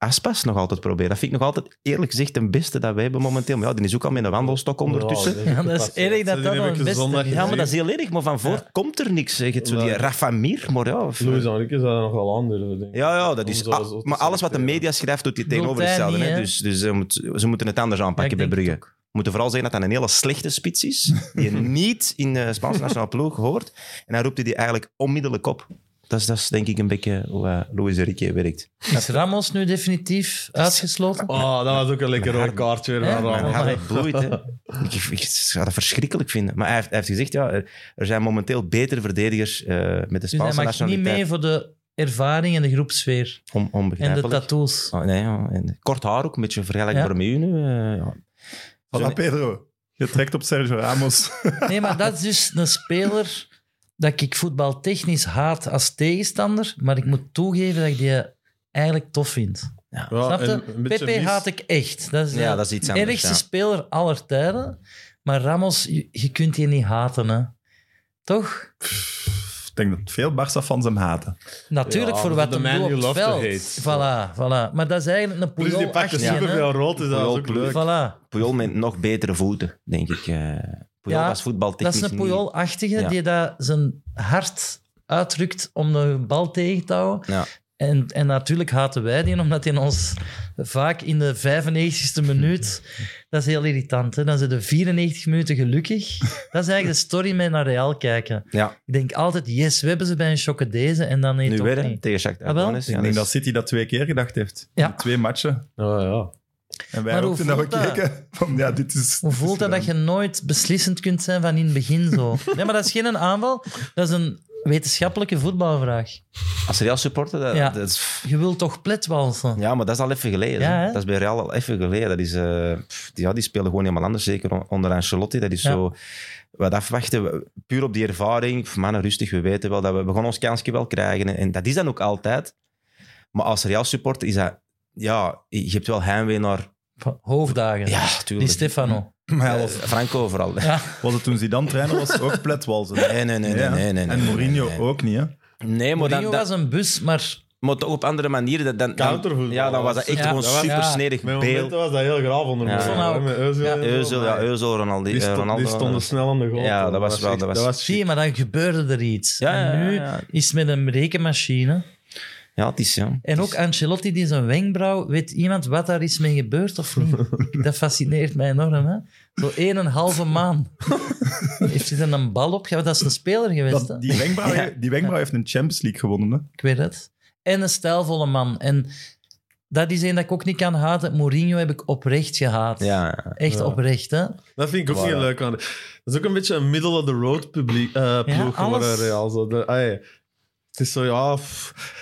Speaker 4: Aspas nog altijd proberen. Dat vind ik nog altijd, eerlijk gezegd, de beste dat wij hebben momenteel. Maar ja, die is ook al met een wandelstok ondertussen.
Speaker 3: Ja, dat is erg dat dat al het beste is.
Speaker 4: Ja, maar dat is heel erg. Maar van voor komt er niks. Zeg het zo, die
Speaker 5: Ja.
Speaker 4: Rafa Mir, maar ja. of-
Speaker 5: Louis eh, Enrique zou dat nog wel aandurven, denk ik.
Speaker 4: ja, ja, dat is.
Speaker 5: Om zo- zo
Speaker 4: ah,
Speaker 5: te
Speaker 4: maar alles wat de
Speaker 5: selecteren.
Speaker 4: media schrijft, doet hij
Speaker 3: eh, Doet
Speaker 4: tegenover
Speaker 3: hij
Speaker 4: hetzelfde.
Speaker 3: niet,
Speaker 4: hè.
Speaker 3: hè?
Speaker 4: Dus, dus ze, moet- ze moeten het anders aanpakken
Speaker 3: Ja,
Speaker 4: bij
Speaker 3: ik denk
Speaker 4: Brugge. We moeten vooral zeggen dat dat een hele slechte spits is, die niet in de Spaanse nationale ploeg hoort. En dan roept hij die eigenlijk onmiddellijk op. Dat is, dat is denk ik een beetje hoe eh, Luis Enrique werkt.
Speaker 3: Is Ramos nu definitief uitgesloten?
Speaker 5: Oh, dat was ook een lekker rood kaartje weer
Speaker 3: Hè?
Speaker 5: van
Speaker 4: Mijn
Speaker 5: Ramos.
Speaker 3: maar-
Speaker 4: hart bloeit, hè. Ik, ik zou dat verschrikkelijk vinden. Maar hij heeft, hij heeft gezegd, ja, eh, er, er zijn momenteel betere verdedigers eh, met de
Speaker 3: Dus hij
Speaker 4: Spaanse
Speaker 3: mag niet mee
Speaker 4: nationaliteit.
Speaker 3: voor de ervaring en de groepsfeer.
Speaker 4: On,
Speaker 3: En de
Speaker 4: onbegrijpelijk.
Speaker 3: tattoos.
Speaker 4: Oh, nee, ja. en kort haar ook, een beetje vergelijkbaar
Speaker 3: Ja.
Speaker 4: met u nu. eh, ja.
Speaker 1: Voilà, Pedro. Je trekt op Sergio Ramos.
Speaker 3: Nee, maar dat is dus een speler dat ik voetbaltechnisch haat als tegenstander, maar ik moet toegeven dat ik die eigenlijk tof vind.
Speaker 5: Ja,
Speaker 3: Snap
Speaker 5: en
Speaker 3: je?
Speaker 5: een beetje
Speaker 3: Pepe
Speaker 5: mis.
Speaker 3: haat ik echt. Dat is de
Speaker 4: Ja, dat is iets anders,
Speaker 3: ergste
Speaker 4: ja.
Speaker 3: speler aller tijden. Maar Ramos, je, je kunt die niet haten, hè. Toch?
Speaker 1: ik denk dat veel Barça-fans hem haten.
Speaker 3: Natuurlijk,
Speaker 5: Ja,
Speaker 3: voor
Speaker 5: dat
Speaker 3: wat
Speaker 5: is
Speaker 3: hem
Speaker 5: de
Speaker 3: doet
Speaker 5: man
Speaker 3: op
Speaker 5: you
Speaker 3: het
Speaker 5: love to
Speaker 3: veld.
Speaker 5: hate.
Speaker 3: Voilà, voilà. Maar dat is eigenlijk een
Speaker 5: Plus die
Speaker 3: Puyol
Speaker 5: pakte
Speaker 3: 18, hè.
Speaker 5: superveel rood, dus dat was
Speaker 4: Puyol
Speaker 5: ook
Speaker 4: kleur.
Speaker 5: leuk.
Speaker 3: Voilà.
Speaker 4: Puyol met nog betere voeten, denk ik. eh Puyol
Speaker 3: Ja,
Speaker 4: was
Speaker 3: Dat
Speaker 4: voetbaltechnisch
Speaker 3: is een
Speaker 4: niet-
Speaker 3: Puyol-achtige
Speaker 4: Ja.
Speaker 3: die dat zijn hart uitdrukt om de bal tegen te houden.
Speaker 4: Ja.
Speaker 3: En, en natuurlijk haten wij die, omdat die ons vaak in de 95e minuut... Dat is heel irritant, hè? Dan zijn de 94 minuten gelukkig. Dat is eigenlijk de story met naar Real kijken.
Speaker 4: Ja,
Speaker 3: Ik denk altijd, yes, we hebben ze bij een chokke deze en dan nee,
Speaker 4: nu
Speaker 3: toch
Speaker 4: weer hè,
Speaker 3: niet.
Speaker 4: tegen Shakhtar
Speaker 3: Ah, wel?
Speaker 4: Donetsk.
Speaker 1: Ik
Speaker 4: Ja,
Speaker 1: denk dat
Speaker 4: dat is-
Speaker 1: City dat twee keer gedacht heeft.
Speaker 3: Ja.
Speaker 1: In twee matchen.
Speaker 5: Ja, ja.
Speaker 1: En wij
Speaker 3: Maar
Speaker 1: ook
Speaker 3: hoe
Speaker 1: toen dat we
Speaker 3: voelt dat?
Speaker 1: keken. Van, ja, dit is,
Speaker 3: Hoe voelt dat dat je nooit beslissend kunt zijn van in het begin zo? Nee, maar dat is geen aanval. Dat is een wetenschappelijke voetbalvraag.
Speaker 4: Als Real supporter, dat,
Speaker 3: Ja.
Speaker 4: dat is...
Speaker 3: Je wilt toch pletwalsen?
Speaker 4: Ja, maar dat is al even geleden.
Speaker 3: Ja,
Speaker 4: hè.
Speaker 3: hè?
Speaker 4: dat is bij Real al even geleden. Dat is, eh, pff, die, ja, die spelen gewoon helemaal anders. Zeker on- onder Ancelotti. Dat is
Speaker 3: Ja.
Speaker 4: zo... Wat afwachten. we- Puur op die ervaring. Pff, Mannen, rustig. We weten wel dat we, we gaan ons kansje wel krijgen. En, en dat is dan ook altijd. Maar als Real supporter is dat... Ja, je hebt wel heimwee naar...
Speaker 3: Van Hoofddagen.
Speaker 4: Ja,
Speaker 3: Die
Speaker 4: tuurlijk.
Speaker 3: Stefano.
Speaker 4: Eh, Franco vooral.
Speaker 1: Was het toen Zidane trainer was, ook pletwalzen.
Speaker 4: Nee, nee, nee, nee,
Speaker 1: Ja.
Speaker 4: nee, nee, nee,
Speaker 1: En Mourinho
Speaker 4: nee, nee.
Speaker 1: ook niet, hè?
Speaker 4: Nee, maar, dan,
Speaker 3: Mourinho
Speaker 4: dat,
Speaker 3: was een bus, maar
Speaker 4: maar toch op andere manieren. Dan, dan,
Speaker 5: Countervoetbal.
Speaker 4: Ja, dan was dat echt
Speaker 3: Ja,
Speaker 4: gewoon
Speaker 3: dat
Speaker 5: was-
Speaker 4: super
Speaker 3: ja.
Speaker 4: snerig
Speaker 5: Met
Speaker 4: beeld.
Speaker 5: momenten was dat heel graaf onder
Speaker 4: Ja.
Speaker 5: me.
Speaker 3: Van ook.
Speaker 5: Met Özil.
Speaker 3: Ja.
Speaker 5: en zo,
Speaker 4: Euzel,
Speaker 5: maar
Speaker 4: ja, Euzel, Ronaldo.
Speaker 5: Die,
Speaker 4: eh,
Speaker 5: sto-
Speaker 4: Ronaldo,
Speaker 5: die stonden snel aan de goal.
Speaker 4: Ja, dat was wel-
Speaker 5: echt-
Speaker 4: dat was-
Speaker 5: Dat was
Speaker 3: zie je, maar dan gebeurde er iets.
Speaker 4: Ja,
Speaker 3: en
Speaker 4: ja,
Speaker 3: nu
Speaker 4: ja, ja.
Speaker 3: is het met een rekenmachine.
Speaker 4: Ja, het is... Ja.
Speaker 3: En ook Ancelotti die zijn wenkbrauw, weet iemand wat daar is mee gebeurd of niet? Dat fascineert mij enorm. Hè? Zo een en halve maan. Heeft hij dan een bal opgehaald? Dat is een speler geweest. hè?
Speaker 1: Dat, die wenkbrauw, die wenkbrauw heeft een Champions League gewonnen. Hè?
Speaker 3: Ik weet het. En een stijlvolle man. En dat is één dat ik ook niet kan haten. Mourinho heb ik oprecht gehaat.
Speaker 4: Ja, ja.
Speaker 3: Echt
Speaker 5: Ja.
Speaker 3: oprecht, hè?
Speaker 5: Dat vind ik ook niet leuk aan. Dat is ook een beetje een middle-of-the-road publiek, eh, ploeg geworden,
Speaker 3: alles.
Speaker 5: Real. Zo, de, ah, ja. het is zo, ja... pff.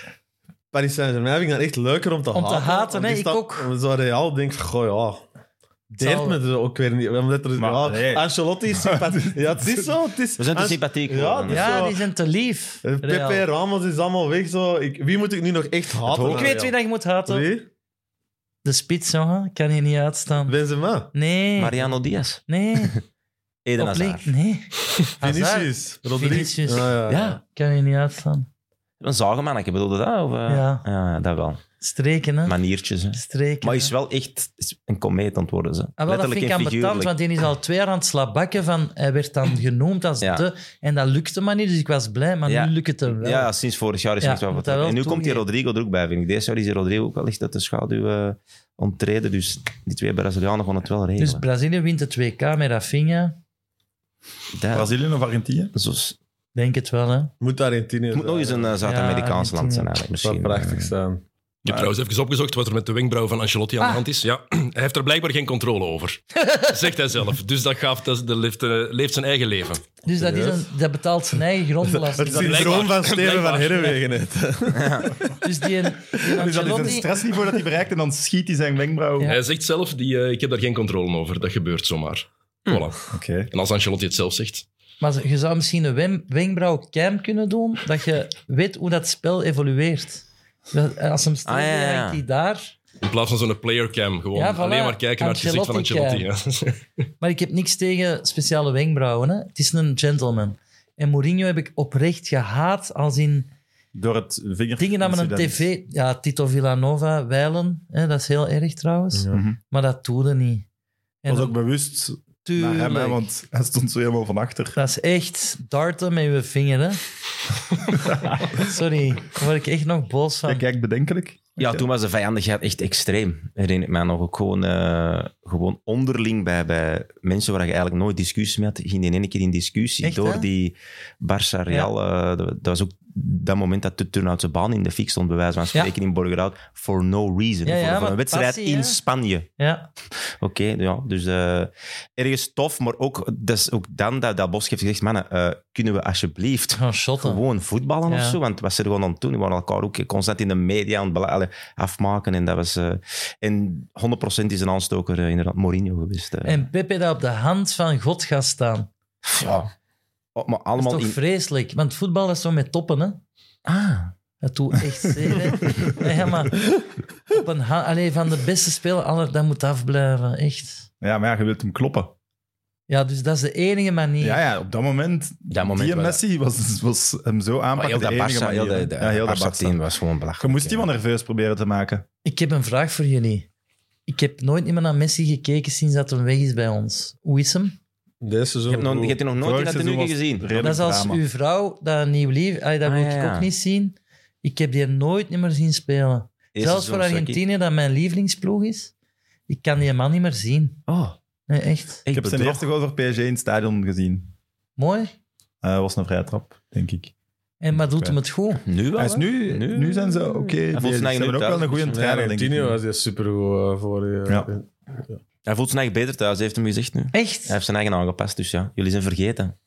Speaker 5: Paris Saint-Germain vind ik dan echt leuker om te
Speaker 3: Om te
Speaker 5: haten.
Speaker 3: haten, hè,
Speaker 5: Want is
Speaker 3: ik
Speaker 5: dat-
Speaker 3: ook.
Speaker 5: Zo Real denk ik, goh, ja... Deert
Speaker 3: Zal-
Speaker 5: me er ook weer niet. Omdat er,
Speaker 1: Maar,
Speaker 5: ja,
Speaker 1: nee.
Speaker 5: Ancelotti is sympathiek. Ja, het is zo. Het is,
Speaker 4: We zijn te
Speaker 5: Ange-
Speaker 4: sympathiek
Speaker 5: Ja,
Speaker 4: geworden,
Speaker 5: het is
Speaker 4: hè.
Speaker 5: zo-
Speaker 3: Ja, die zijn te lief.
Speaker 5: eh,
Speaker 3: Real.
Speaker 5: Pepe Ramos is allemaal weg. Zo. Ik, wie moet ik nu nog echt haten?
Speaker 3: Ik weet wie dat je moet haten.
Speaker 5: Wie?
Speaker 3: De spits, jongen. Kan hier niet uitstaan.
Speaker 5: Benzema.
Speaker 3: Nee.
Speaker 4: Mariano Diaz.
Speaker 3: Nee.
Speaker 4: Eden
Speaker 3: Op link-
Speaker 4: Hazard.
Speaker 3: Nee. Hazard.
Speaker 5: Vinicius. Rodriguez.
Speaker 3: Vinicius.
Speaker 5: ja.
Speaker 4: Ja.
Speaker 3: Kan je niet uitstaan.
Speaker 4: Een zagenmannetje, bedoelde dat? Of, eh?
Speaker 3: Ja.
Speaker 4: ja, dat wel.
Speaker 3: Streken, hè?
Speaker 4: Maniertjes. Hè.
Speaker 3: Streken.
Speaker 4: Maar
Speaker 3: hè.
Speaker 4: is wel echt is een komeet aan het worden. Ze.
Speaker 3: Ah, wel, dat vind
Speaker 4: Letterlijk
Speaker 3: ik
Speaker 4: en
Speaker 3: aanbetaald,
Speaker 4: figuurlijk.
Speaker 3: want die is al twee jaar aan het slabakken van hij werd dan genoemd als
Speaker 4: Ja.
Speaker 3: de... En dat lukte maar niet, dus ik was blij, maar
Speaker 4: Ja.
Speaker 3: nu lukt het hem wel.
Speaker 4: Ja, sinds vorig jaar is
Speaker 3: Ja,
Speaker 4: niks wat
Speaker 3: moet
Speaker 4: verteld.
Speaker 3: dat
Speaker 4: En
Speaker 3: wel
Speaker 4: nu komt die
Speaker 3: toegeven.
Speaker 4: Rodrigo er ook bij, vind ik. Deze jaar is die Rodrigo ook wel echt uit de schaduw eh ontreden. Dus die twee Brazilianen gaan het wel regelen.
Speaker 3: dus Brazilië wint het WK met Rafinha.
Speaker 4: Dat-
Speaker 1: Brazilië of Argentinië?
Speaker 4: zo is-
Speaker 3: Denk het wel, hè.
Speaker 5: Moet Argentinië
Speaker 4: het moet nog eens een eh, Zuid-Amerikaans
Speaker 3: Ja,
Speaker 4: land
Speaker 3: Argentinië.
Speaker 4: zijn, eigenlijk.
Speaker 5: Dat zou
Speaker 4: Misschien. eh.
Speaker 5: prachtig zijn.
Speaker 7: Ik heb trouwens even opgezocht wat er met de wenkbrauw van Ancelotti aan
Speaker 3: Ah.
Speaker 7: de hand is. Ja, hij heeft er blijkbaar geen controle over. Zegt hij zelf. Dus dat, gaf, dat dat leeft, eh, leeft zijn eigen leven.
Speaker 3: Dus dat, is een, dat betaalt zijn eigen grondbelasting.
Speaker 7: is-
Speaker 3: Dat-
Speaker 5: Syndroom van Steven van
Speaker 7: Blijkbaar.
Speaker 5: Herrewegen. het.
Speaker 3: dus
Speaker 1: Dus
Speaker 3: die, die
Speaker 1: dat is een
Speaker 3: Ancelotti...
Speaker 1: stressniveau dat hij bereikt en dan schiet hij zijn wenkbrauw.
Speaker 3: Ja.
Speaker 7: Hij zegt zelf, die, eh, ik heb daar geen controle over. Dat gebeurt zomaar.
Speaker 3: Hm.
Speaker 7: Voilà.
Speaker 1: Oké.
Speaker 7: En als Ancelotti het zelf zegt.
Speaker 3: Maar je zou misschien een wem- wenkbrauw kiem kunnen doen, dat je weet hoe dat spel evolueert. Dat- als hem stil
Speaker 4: Ah, ja, ja, ja.
Speaker 3: hangt hij daar...
Speaker 7: In plaats van zo'n playercam, gewoon
Speaker 3: Ja, voilà.
Speaker 7: alleen maar kijken naar het gezicht van Ancelotti.
Speaker 3: Ancelotti-cam. Maar ik heb niks tegen speciale wenkbrauwen. Hè. Het is een gentleman. En Mourinho heb ik oprecht gehaat als in
Speaker 1: Door het vinger.
Speaker 3: dingen dat men een
Speaker 1: incident.
Speaker 3: tv... Ja, Tito Villanova, wijlen. Hè, dat is heel erg trouwens.
Speaker 1: Mhm.
Speaker 3: Maar dat doelde niet. En
Speaker 1: was ook bewust naar
Speaker 3: natuurlijk.
Speaker 1: hem, hè, want hij stond zo helemaal van achter.
Speaker 3: Dat is echt darten met je vinger, hè. Sorry, daar word ik echt nog boos van.
Speaker 1: Jij kijkt bedenkelijk.
Speaker 4: Ja, toen was de vijandigheid echt extreem. Herinner ik mij nog ook gewoon, eh, gewoon onderling bij, bij mensen waar je eigenlijk nooit discussie mee had. Ging die in één keer in discussie
Speaker 3: Echt,
Speaker 4: door
Speaker 3: hè?
Speaker 4: die Barça Real. eh, dat, dat was ook dat moment dat de turnout zijn baan in de fik stond, bij wijze van spreken, in Borgerhout. For no reason.
Speaker 3: Ja,
Speaker 4: voor,
Speaker 3: ja,
Speaker 4: voor
Speaker 3: maar
Speaker 4: een wedstrijd
Speaker 3: passie, hè?
Speaker 4: in Spanje.
Speaker 3: Ja,
Speaker 4: Oké, ja, dus eh, ergens tof, maar ook, dat is ook dan dat, dat Bosch heeft gezegd, mannen, eh, kunnen we alsjeblieft
Speaker 3: gaan shotten.
Speaker 4: gewoon voetballen
Speaker 3: Ja.
Speaker 4: of zo. Want wat ze er gewoon aan het doen, die waren elkaar ook constant in de media aan het bela- allee, afmaken. En dat was... eh, en 100% is een aanstoker eh, inderdaad Mourinho geweest. eh.
Speaker 3: En Pepe daar op de hand van God gaat staan.
Speaker 4: ja. Oh, maar
Speaker 3: Dat is
Speaker 4: allemaal
Speaker 3: toch
Speaker 4: in...
Speaker 3: vreselijk? Want voetbal is zo met toppen, hè.
Speaker 4: Ah,
Speaker 3: Dat doet echt zeer, hè. Nee, Ja, maar op een ha- Allee, van de beste speler aller, dat moet afblijven, echt.
Speaker 1: Ja, maar ja, je wilt hem kloppen.
Speaker 3: Ja, dus dat is de enige manier.
Speaker 1: Ja, ja op dat moment.
Speaker 4: Dat moment
Speaker 1: die
Speaker 4: wel,
Speaker 1: Messi was, was hem zo
Speaker 4: maar
Speaker 1: aanpakken.
Speaker 4: heel dat
Speaker 1: de enige
Speaker 4: Barca,
Speaker 1: manier,
Speaker 4: heel de,
Speaker 1: hè.
Speaker 4: de,
Speaker 1: ja, heel dat
Speaker 4: Barca
Speaker 1: Barca.
Speaker 4: team was gewoon belachelijk.
Speaker 1: Je moest
Speaker 4: ja.
Speaker 1: iemand nerveus proberen te maken.
Speaker 3: Ik heb een vraag voor jullie. Ik heb nooit meer naar Messi gekeken sinds dat hem weg is bij ons. Hoe is hem?
Speaker 5: Deze seizoen.
Speaker 4: Je hebt, nog, je hebt die nog nooit in
Speaker 1: Vorig
Speaker 4: dat
Speaker 1: seizoen
Speaker 4: tenue
Speaker 1: was
Speaker 4: gezien.
Speaker 1: redelijk
Speaker 3: Dat is als
Speaker 1: drama.
Speaker 3: uw vrouw, dat een nieuw lief, Allee, dat
Speaker 4: Ah,
Speaker 3: wil
Speaker 4: ja,
Speaker 3: ik
Speaker 4: ja.
Speaker 3: ook niet zien. Ik heb die nooit meer zien spelen.
Speaker 4: Eerste
Speaker 3: Zelfs voor
Speaker 4: seizoen, Saki.
Speaker 3: Argentinië, dat mijn lievelingsploeg is. Ik kan die man niet meer zien.
Speaker 4: Oh,
Speaker 3: Nee, echt.
Speaker 4: ik
Speaker 1: Ik heb zijn eerste goal voor PSG in het stadion gezien.
Speaker 3: Mooi.
Speaker 1: Eh was een vrije trap, denk ik.
Speaker 3: En maar doet hem het goed?
Speaker 4: Nu wel,
Speaker 1: Hij is
Speaker 4: hè?
Speaker 1: nu,
Speaker 4: Nu-
Speaker 1: nu zijn ze oké.
Speaker 4: voelt
Speaker 1: bezig.
Speaker 4: zich
Speaker 1: ze hebben ook
Speaker 4: eigenlijk
Speaker 1: wel een goede
Speaker 5: Ja,
Speaker 1: trainer, denk ik.
Speaker 5: Argentinië was die supergoed eh, voor je.
Speaker 1: Ja.
Speaker 4: Hij voelt zich eigenlijk beter thuis, heeft hem gezegd nu. Hij
Speaker 3: Echt?
Speaker 4: heeft zijn eigen aangepast, dus ja. Jullie zijn vergeten.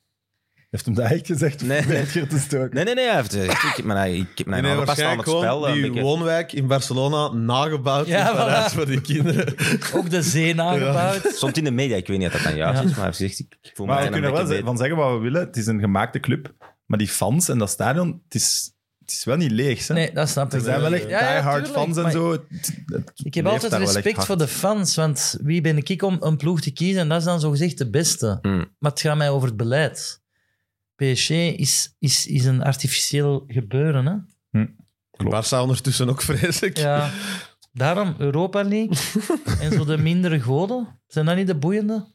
Speaker 1: Heeft hem dat echt gezegd?
Speaker 4: Nee.
Speaker 1: Nee. Om te stoken.
Speaker 4: Nee, nee, nee. Hij heeft gezegd, ik heb mijn eigen, ik heb mijn
Speaker 5: Nee,
Speaker 4: eigen aangepast aan het
Speaker 5: waarschijnlijk gewoon
Speaker 4: spel. eh, een
Speaker 5: die
Speaker 4: beetje-
Speaker 5: woonwijk in Barcelona nagebouwd
Speaker 3: Ja,
Speaker 5: in Parijs
Speaker 3: voilà.
Speaker 5: voor die kinderen.
Speaker 3: Ook de zee aangebouwd.
Speaker 4: Stond in de media, ik weet niet of dat dan juist is, maar hij heeft gezegd, ik voel
Speaker 1: Maar we
Speaker 4: me
Speaker 1: kunnen er wel ze- van zeggen wat we willen. Het is een gemaakte club. Maar die fans en dat stadion, het is, het is wel niet leeg. Hè?
Speaker 3: Nee, dat snap ik.
Speaker 1: er zijn wel echt
Speaker 3: Ja, ja,
Speaker 1: diehard
Speaker 3: tuurlijk,
Speaker 1: fans en
Speaker 3: maar
Speaker 1: zo. Het- het
Speaker 3: Ik heb
Speaker 1: leeft daar
Speaker 3: altijd
Speaker 1: wel echt
Speaker 3: respect
Speaker 1: hard.
Speaker 3: voor de fans, want wie ben ik om een ploeg te kiezen? En dat is dan zogezegd de beste.
Speaker 1: Hmm.
Speaker 4: Mm.
Speaker 3: Maar het gaat mij over het beleid. PSG is, is, is een artificieel gebeuren. Hè?
Speaker 5: Barça ondertussen ook vreselijk.
Speaker 3: Ja. Daarom Europa League en zo de mindere goden. Zijn dat niet de boeiende?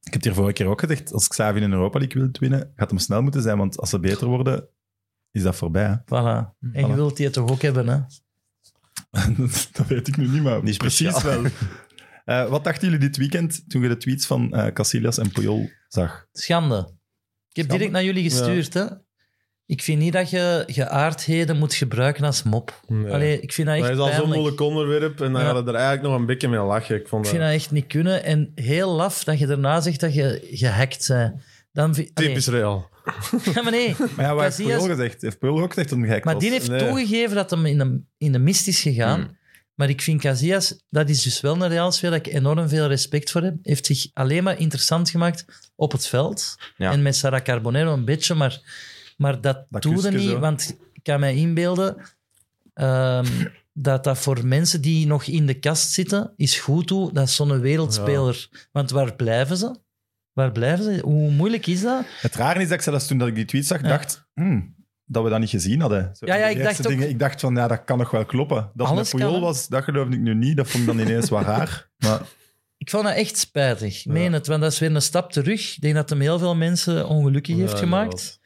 Speaker 1: Ik heb het hier vorige keer ook gezegd. Als Xavi in Europa League wil winnen, gaat hem snel moeten zijn. Want als ze beter worden, is dat voorbij. Hè?
Speaker 3: Voilà. En je wilt die toch ook hebben, hè?
Speaker 1: dat, dat weet ik nu niet, maar
Speaker 4: Niet
Speaker 1: precies wel. Eh, wat dachten jullie dit weekend toen je de tweets van eh Casillas en Puyol zag?
Speaker 3: Schande. Ik heb direct naar jullie gestuurd, hè? Ik vind niet dat je geaardheden moet gebruiken als mop.
Speaker 5: Nee.
Speaker 3: Allee, ik vind dat echt
Speaker 5: dat is al zo'n
Speaker 3: pijnlijk.
Speaker 5: moeilijk onderwerp en dan
Speaker 3: Ja.
Speaker 5: gaat het er eigenlijk nog een beetje mee lachen. Ik vond
Speaker 3: Ik
Speaker 5: dat-
Speaker 3: vind dat echt niet kunnen. En heel laf dat je daarna zegt dat je gehackt bent. Dan vind... Allee.
Speaker 5: typisch real.
Speaker 3: Ja, maar nee.
Speaker 1: Maar ja, wat heeft
Speaker 3: Casillas-
Speaker 1: Puyol gezegd? Heeft Puyol ook gezegd dat hij gek
Speaker 3: Maar
Speaker 1: was? Hmm.
Speaker 3: die heeft
Speaker 5: nee.
Speaker 3: toegegeven dat hem in de, in de mist is gegaan. Maar ik vind Casillas, dat is dus wel een Real speler dat ik enorm veel respect voor heb. Heeft zich alleen maar interessant gemaakt op het veld.
Speaker 4: Ja.
Speaker 3: En met Sara Carbonero een beetje, maar, maar dat,
Speaker 1: Dat
Speaker 3: doe je
Speaker 1: kusje
Speaker 3: niet.
Speaker 1: zo.
Speaker 3: Want ik kan mij inbeelden ehm, dat dat voor mensen die nog in de kast zitten, is goed toe dat zo'n wereldspeler... Want waar blijven ze? Waar blijven ze? Hoe moeilijk is dat?
Speaker 1: Het rare is dat ik zelfs toen dat ik die tweet zag,
Speaker 3: Ja.
Speaker 1: dacht hmm, dat we dat niet gezien hadden. Zo,
Speaker 3: Ja, ja,
Speaker 1: de
Speaker 3: ik
Speaker 1: eerste
Speaker 3: dacht ook-
Speaker 1: dingen, ik dacht van, ja, dat kan nog wel kloppen. Dat het
Speaker 3: Alles
Speaker 1: met
Speaker 3: kan,
Speaker 1: Puyol
Speaker 3: hè?
Speaker 1: was, dat geloofde ik nu niet. Dat vond ik dan ineens wel raar. Maar
Speaker 3: Ik vond dat echt spijtig. Ik meen het, want dat is weer een stap terug. Ik denk dat hem heel veel mensen ongelukkig heeft
Speaker 5: Ja,
Speaker 3: gemaakt.
Speaker 5: inderdaad.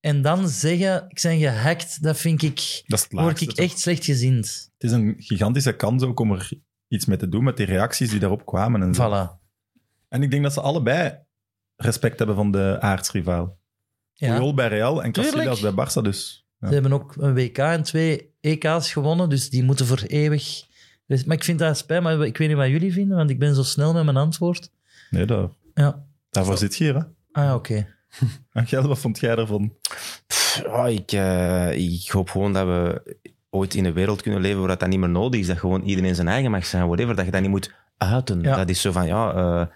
Speaker 3: En dan zeggen, ik ben gehackt, dat vind ik...
Speaker 1: dat is het
Speaker 3: Word
Speaker 1: laagste,
Speaker 3: ik
Speaker 1: toch?
Speaker 3: echt slecht gezind.
Speaker 1: Het is een gigantische kans ook om er iets mee te doen met die reacties die daarop kwamen. En, zo.
Speaker 3: Voilà.
Speaker 1: en ik denk dat ze allebei respect hebben van de aardsrivaal.
Speaker 3: Ja.
Speaker 1: Puyol bij Real en
Speaker 3: Tuurlijk.
Speaker 1: Casillas bij Barça dus. Ja.
Speaker 3: Ze hebben ook een WK en twee EK's gewonnen, dus die moeten voor eeuwig... Dus, maar ik vind dat spijt, maar ik weet niet wat jullie vinden, want ik ben zo snel met mijn antwoord.
Speaker 1: Nee, daar,
Speaker 3: Ja.
Speaker 1: daarvoor zit je hier. Hè?
Speaker 3: Ah, oké.
Speaker 1: Angel, wat vond jij ervan?
Speaker 4: Ja, Ah, ik, eh, ik hoop gewoon dat we ooit in een wereld kunnen leven waar dat, dat niet meer nodig is. Dat gewoon iedereen zijn eigen mag zijn, whatever. Dat je dat niet moet uiten.
Speaker 3: Ja.
Speaker 4: Dat is zo van, ja, eh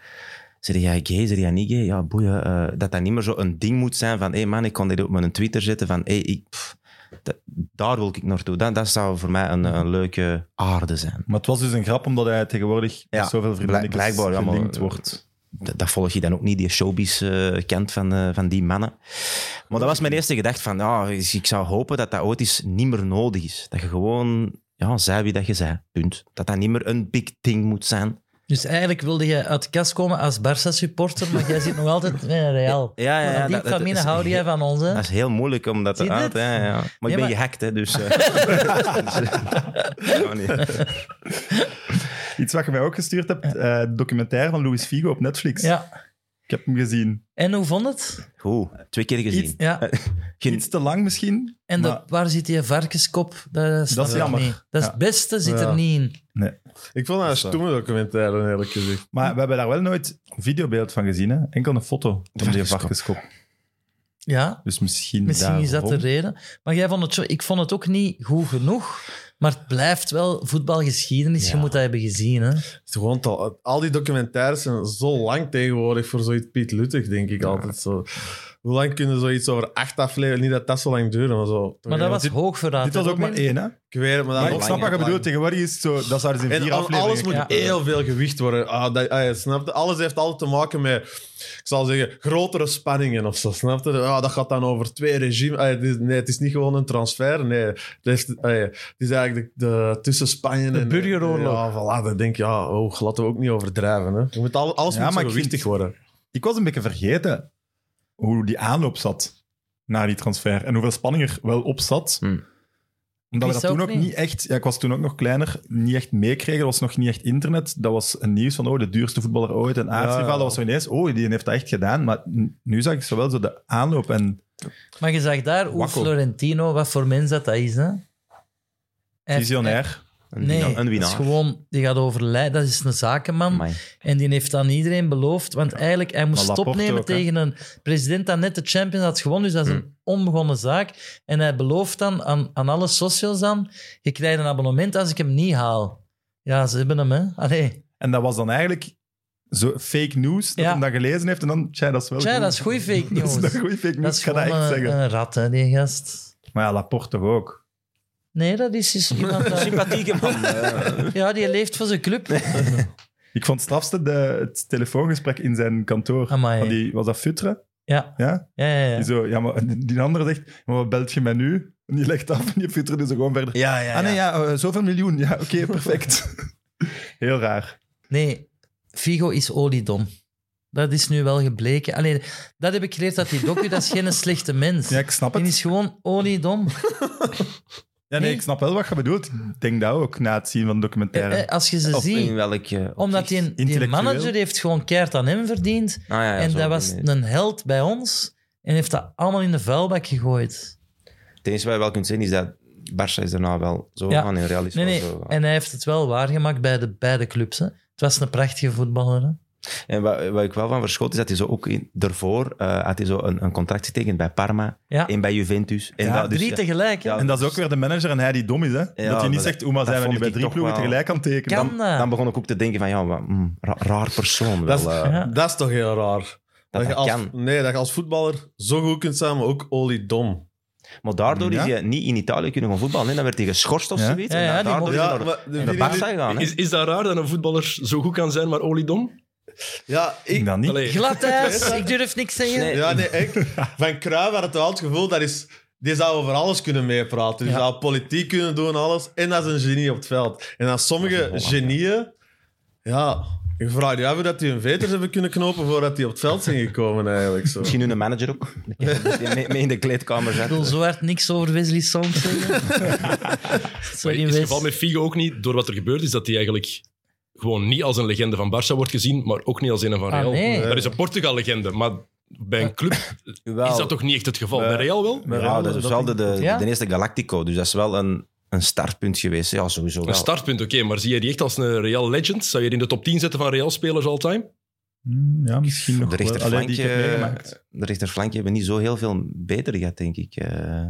Speaker 4: zeg jij gay, zeg jij niet gay? Ja, boeien. eh, dat dat niet meer zo een ding moet zijn van, hé hey man, ik kon dit op mijn Twitter zetten van, hé, hey, ik... pff, dat- daar wil ik naartoe. Dat, dat zou voor mij een, een leuke aarde zijn.
Speaker 1: Maar het was dus een grap omdat hij tegenwoordig met
Speaker 4: Ja,
Speaker 1: zoveel vrienden
Speaker 4: blijk- blijkbaar, ja, maar- eh,
Speaker 1: gelinkt wordt.
Speaker 4: Dat, dat volg je dan ook niet, die showbiz eh, kent van, eh, van die mannen. Maar dat was mijn eerste gedachte van, ja, ik zou hopen dat dat ooit eens niet meer nodig is. Dat je gewoon, ja, zij wie dat je zei, punt. Dat dat niet meer een big thing moet zijn.
Speaker 3: Dus eigenlijk wilde jij uit de kast komen als Barça-supporter, maar jij zit nog altijd met een Real.
Speaker 4: Ja, ja, ja,
Speaker 3: Van die
Speaker 4: dat- dat
Speaker 3: famine
Speaker 4: is-
Speaker 3: houden jij van ons, hè?
Speaker 4: Dat is heel moeilijk om dat
Speaker 3: Zie
Speaker 4: te
Speaker 3: je
Speaker 4: uit,
Speaker 3: dit?
Speaker 4: ja, ja. Maar
Speaker 3: Ja,
Speaker 4: ik ben
Speaker 3: maar-
Speaker 4: gehackt, hè, dus... eh. Dus, eh, ja, nee.
Speaker 1: Iets wat je mij ook gestuurd hebt, eh, documentaire van Luis Figo op Netflix.
Speaker 3: Ja.
Speaker 1: Ik heb hem gezien.
Speaker 3: En hoe vond het?
Speaker 4: Goed, twee keer gezien.
Speaker 1: Iets-
Speaker 3: Ja.
Speaker 4: Geen-
Speaker 1: Iets te lang misschien.
Speaker 3: En de-
Speaker 1: Eh, Maar-
Speaker 3: waar zit die varkenskop? Dat, snap ik
Speaker 1: jammer.
Speaker 3: Niet. Dat is
Speaker 1: Ja.
Speaker 3: het beste zit
Speaker 5: Ja.
Speaker 3: er niet in.
Speaker 5: Ik vond dat een stoeme documentaire, eerlijk gezegd.
Speaker 1: Maar we hebben daar wel nooit videobeeld van gezien. Hè? Enkel een foto van die
Speaker 4: Varkenskop.
Speaker 1: varkenskop.
Speaker 3: Ja,
Speaker 1: Dus misschien
Speaker 3: misschien is dat de
Speaker 1: daarom.
Speaker 3: reden. Maar jij vond het, zo- ik vond het ook niet goed genoeg. Maar het blijft wel voetbalgeschiedenis. Je moet dat hebben gezien. Hè?
Speaker 5: Het is gewoon al, al die documentaires zijn zo lang tegenwoordig voor zoiets Piet Luttig, denk ik altijd zo. Hoe lang kunnen zoiets over acht afleveringen? Niet dat dat zo lang duurde, maar zo.
Speaker 3: Maar dat was
Speaker 1: dit-
Speaker 3: hoogverraad.
Speaker 1: Dit was
Speaker 3: hè,
Speaker 1: ook maar
Speaker 3: Robin?
Speaker 1: één, hè?
Speaker 5: Ik weet het, maar dat
Speaker 1: Maar
Speaker 5: nog
Speaker 1: ik snap
Speaker 5: langer.
Speaker 1: wat je bedoelt. Tegenwoordig is het zo... Dat zouden ze in
Speaker 5: En
Speaker 1: vier
Speaker 5: al-
Speaker 1: afleveringen
Speaker 5: alles moet
Speaker 3: ja.
Speaker 5: heel veel gewicht worden. Ah, dat, ah, ja, snap je? Alles heeft altijd te maken met, ik zal zeggen, grotere spanningen of zo. Snap je? Ah, dat gaat dan over twee regimes. Ah, ja, dit- nee, het is niet gewoon een transfer. Nee, het is, ah, ja, het is eigenlijk de, de tussen Spanje en...
Speaker 3: burgeroorlog.
Speaker 5: Ja, voilà, dan denk je, ja, oh, laten we ook niet overdrijven. Hè. Je moet al, alles
Speaker 1: Ja,
Speaker 5: moet zo
Speaker 1: maar ik
Speaker 5: gewichtig
Speaker 1: vind-
Speaker 5: worden.
Speaker 1: Ik was een beetje vergeten hoe die aanloop zat naar die transfer en hoeveel spanning er wel op zat.
Speaker 4: Hmm.
Speaker 1: Omdat we
Speaker 3: Wist
Speaker 1: dat
Speaker 3: ook
Speaker 1: toen ook
Speaker 3: niet.
Speaker 1: niet, echt... Ja, ik was toen ook nog kleiner, niet echt meekregen. Er was nog niet echt internet. Dat was een nieuws van, oh, de duurste voetballer ooit, een aardsrivaal.
Speaker 5: Ja.
Speaker 1: Dat was zo ineens, oh, die heeft dat echt gedaan. Maar n- nu zag ik zowel zo de aanloop en...
Speaker 3: Maar je zag daar hoe
Speaker 1: Wakkel.
Speaker 3: Florentino, wat voor mens dat, dat is. Hè? Hij-
Speaker 1: Visionair.
Speaker 4: Een
Speaker 3: Nee,
Speaker 4: winnaar. Een winnaar.
Speaker 3: Dat is gewoon, die gaat overlijden. Dat is een zakenman.
Speaker 4: Amai.
Speaker 3: En die heeft aan iedereen beloofd. Want eigenlijk, hij moest
Speaker 1: Maar Laporte
Speaker 3: opnemen
Speaker 1: ook, hè? Hmm.
Speaker 3: tegen een president dat net de Champions had gewonnen. Dus dat is een onbegonnen zaak. En hij belooft dan aan, aan alle socials dan... Je krijgt een abonnement als ik hem niet haal. Ja, ze hebben hem, hè. Allee.
Speaker 1: En dat was dan eigenlijk zo fake news, dat
Speaker 3: Ja.
Speaker 1: hij dat gelezen heeft. En dan, tja, dat is wel
Speaker 3: Tja,
Speaker 1: goed.
Speaker 3: dat is goeie fake news.
Speaker 1: Dat is een goeie fake
Speaker 3: Dat
Speaker 1: news,
Speaker 3: is
Speaker 1: ik ga dat
Speaker 3: gewoon eh,
Speaker 1: echt
Speaker 3: een,
Speaker 1: zeggen.
Speaker 3: een rat, hè, die gast.
Speaker 1: Maar ja, Laporte toch ook.
Speaker 3: Nee, dat is dus iemand... dat-
Speaker 4: Sympathieke man.
Speaker 3: ja, die leeft voor zijn club.
Speaker 1: Ik vond het strafste de, het telefoongesprek in zijn kantoor.
Speaker 3: Amai.
Speaker 1: Van die, was dat Futre?
Speaker 3: Ja,
Speaker 1: Ja?
Speaker 3: ja, ja. ja.
Speaker 1: Die, zo, ja, maar, die- die andere zegt, maar wat belt je mij nu? En die legt af en die Futre dus gewoon verder.
Speaker 4: Ja, ja,
Speaker 1: ah nee, ja, eh, zoveel miljoen. Ja, oké, perfect. Heel raar.
Speaker 3: Nee, Figo is oliedom. Dat is nu wel gebleken. Alleen dat heb ik geleerd dat die docu, dat is geen slechte mens.
Speaker 1: Ja, ik snap
Speaker 3: die
Speaker 1: het.
Speaker 3: is gewoon oliedom.
Speaker 1: Ja, nee, ik snap wel wat je bedoelt. Ik denk dat ook, na het zien van de documentaire.
Speaker 3: Eh, Als je ze
Speaker 4: Of in
Speaker 3: ziet.
Speaker 4: welke... eh,
Speaker 3: Omdat
Speaker 4: opzicht?
Speaker 3: die, die
Speaker 1: intellectueel.
Speaker 3: manager heeft gewoon keihard aan hem verdiend.
Speaker 4: Ah, ja, ja,
Speaker 3: en dat
Speaker 4: zo op die
Speaker 3: was
Speaker 4: manier.
Speaker 3: een held bij ons. En heeft dat allemaal in de vuilbak gegooid.
Speaker 4: Het enige wat je wel kunt zien is dat Barça is daarna wel zo
Speaker 3: Ja.
Speaker 4: aan en Real is
Speaker 3: Nee,
Speaker 4: wel
Speaker 3: nee.
Speaker 4: zo. aan.
Speaker 3: En hij heeft het wel waargemaakt bij de beide clubs. Hè. Het was een prachtige voetballer. Hè.
Speaker 4: En wat, wat ik wel van verschot is dat hij zo ook in, daarvoor eh, had hij zo een, een contract getekend bij Parma
Speaker 3: Ja.
Speaker 4: en bij Juventus. En
Speaker 1: Ja,
Speaker 4: dat, dus,
Speaker 3: Drie
Speaker 4: ja.
Speaker 3: tegelijk. hè.
Speaker 4: Ja,
Speaker 1: En dat is ook weer de manager en hij die dom is, hè. dat hij
Speaker 4: maar
Speaker 1: niet
Speaker 4: dat-
Speaker 1: zegt, Oema,
Speaker 4: dat
Speaker 1: zijn we nu
Speaker 4: vond
Speaker 1: bij
Speaker 4: ik
Speaker 1: drie
Speaker 4: toch
Speaker 1: ploegen
Speaker 4: wel-
Speaker 1: tegelijk aan het tekenen?
Speaker 3: kan dat?
Speaker 4: Dan begon ik ook te denken van, ja, wat, mm, ra- raar persoon wel.
Speaker 5: Dat is,
Speaker 4: eh,
Speaker 3: ja.
Speaker 5: dat is toch heel raar. Dat,
Speaker 4: dat
Speaker 5: je als,
Speaker 4: kan.
Speaker 5: Nee, dat je als voetballer zo goed kunt zijn, maar ook oliedom.
Speaker 4: Maar daardoor
Speaker 1: Ja.
Speaker 4: is hij niet in Italië kunnen gaan voetballen. hè. Dan werd hij geschorst of
Speaker 1: Ja.
Speaker 4: zoiets.
Speaker 3: Ja, ja,
Speaker 4: en dan
Speaker 3: die
Speaker 4: daardoor
Speaker 3: mocht-
Speaker 4: is hij
Speaker 5: Ja,
Speaker 4: naar-
Speaker 5: maar de
Speaker 4: naar
Speaker 5: video-
Speaker 4: Barça gegaan. hè.
Speaker 7: Is, is dat raar dat een voetballer zo goed kan zijn, maar oliedom?
Speaker 5: ja,
Speaker 1: Ik
Speaker 5: ik,
Speaker 1: denk dat niet.
Speaker 7: Allee.
Speaker 3: Gladhuis, ik durf niks zeggen.
Speaker 4: Nee.
Speaker 5: ja, nee, ik. Van Cruijff had het wel het gevoel, dat is, die zou over alles kunnen meepraten. Die
Speaker 3: Ja.
Speaker 5: zou politiek kunnen doen, alles. En dat is een genie op het veld. En dan sommige genieën, ja, ik vraag je af hoe dat die hun veters hebben kunnen knopen voordat die op het veld zijn gekomen eigenlijk. Zo.
Speaker 4: Misschien hun manager ook. Die mee, mee in de kleedkamer
Speaker 3: Ik wil
Speaker 4: zetten.
Speaker 3: zo hard niks over Wesley Song zeggen.
Speaker 7: Maar
Speaker 3: Sorry,
Speaker 7: in het
Speaker 3: Wes.
Speaker 7: geval met Figo ook niet, door wat er gebeurd is, dat hij eigenlijk gewoon niet als een legende van Barça wordt gezien, maar ook niet als een van
Speaker 3: Ah,
Speaker 7: Real.
Speaker 3: nee.
Speaker 7: Dat is een Portugal-legende, maar bij een club is dat toch niet echt het geval? Bij Real wel?
Speaker 4: Ja, dat is wel de, de,
Speaker 3: Ja?
Speaker 4: de eerste Galactico. Dus dat is wel een, een startpunt geweest. Ja, sowieso wel.
Speaker 7: Een startpunt, oké, maar zie je die echt als een Real legend? Zou je die in de top 10 zetten van Real-spelers all-time?
Speaker 1: Hmm, Ja, misschien nog
Speaker 4: de eh,
Speaker 1: wel. Allee, die ik heb
Speaker 4: rechterflankje,
Speaker 1: meegemaakt.
Speaker 4: de rechterflankje hebben niet zo heel veel beter gehad, denk ik. Eh,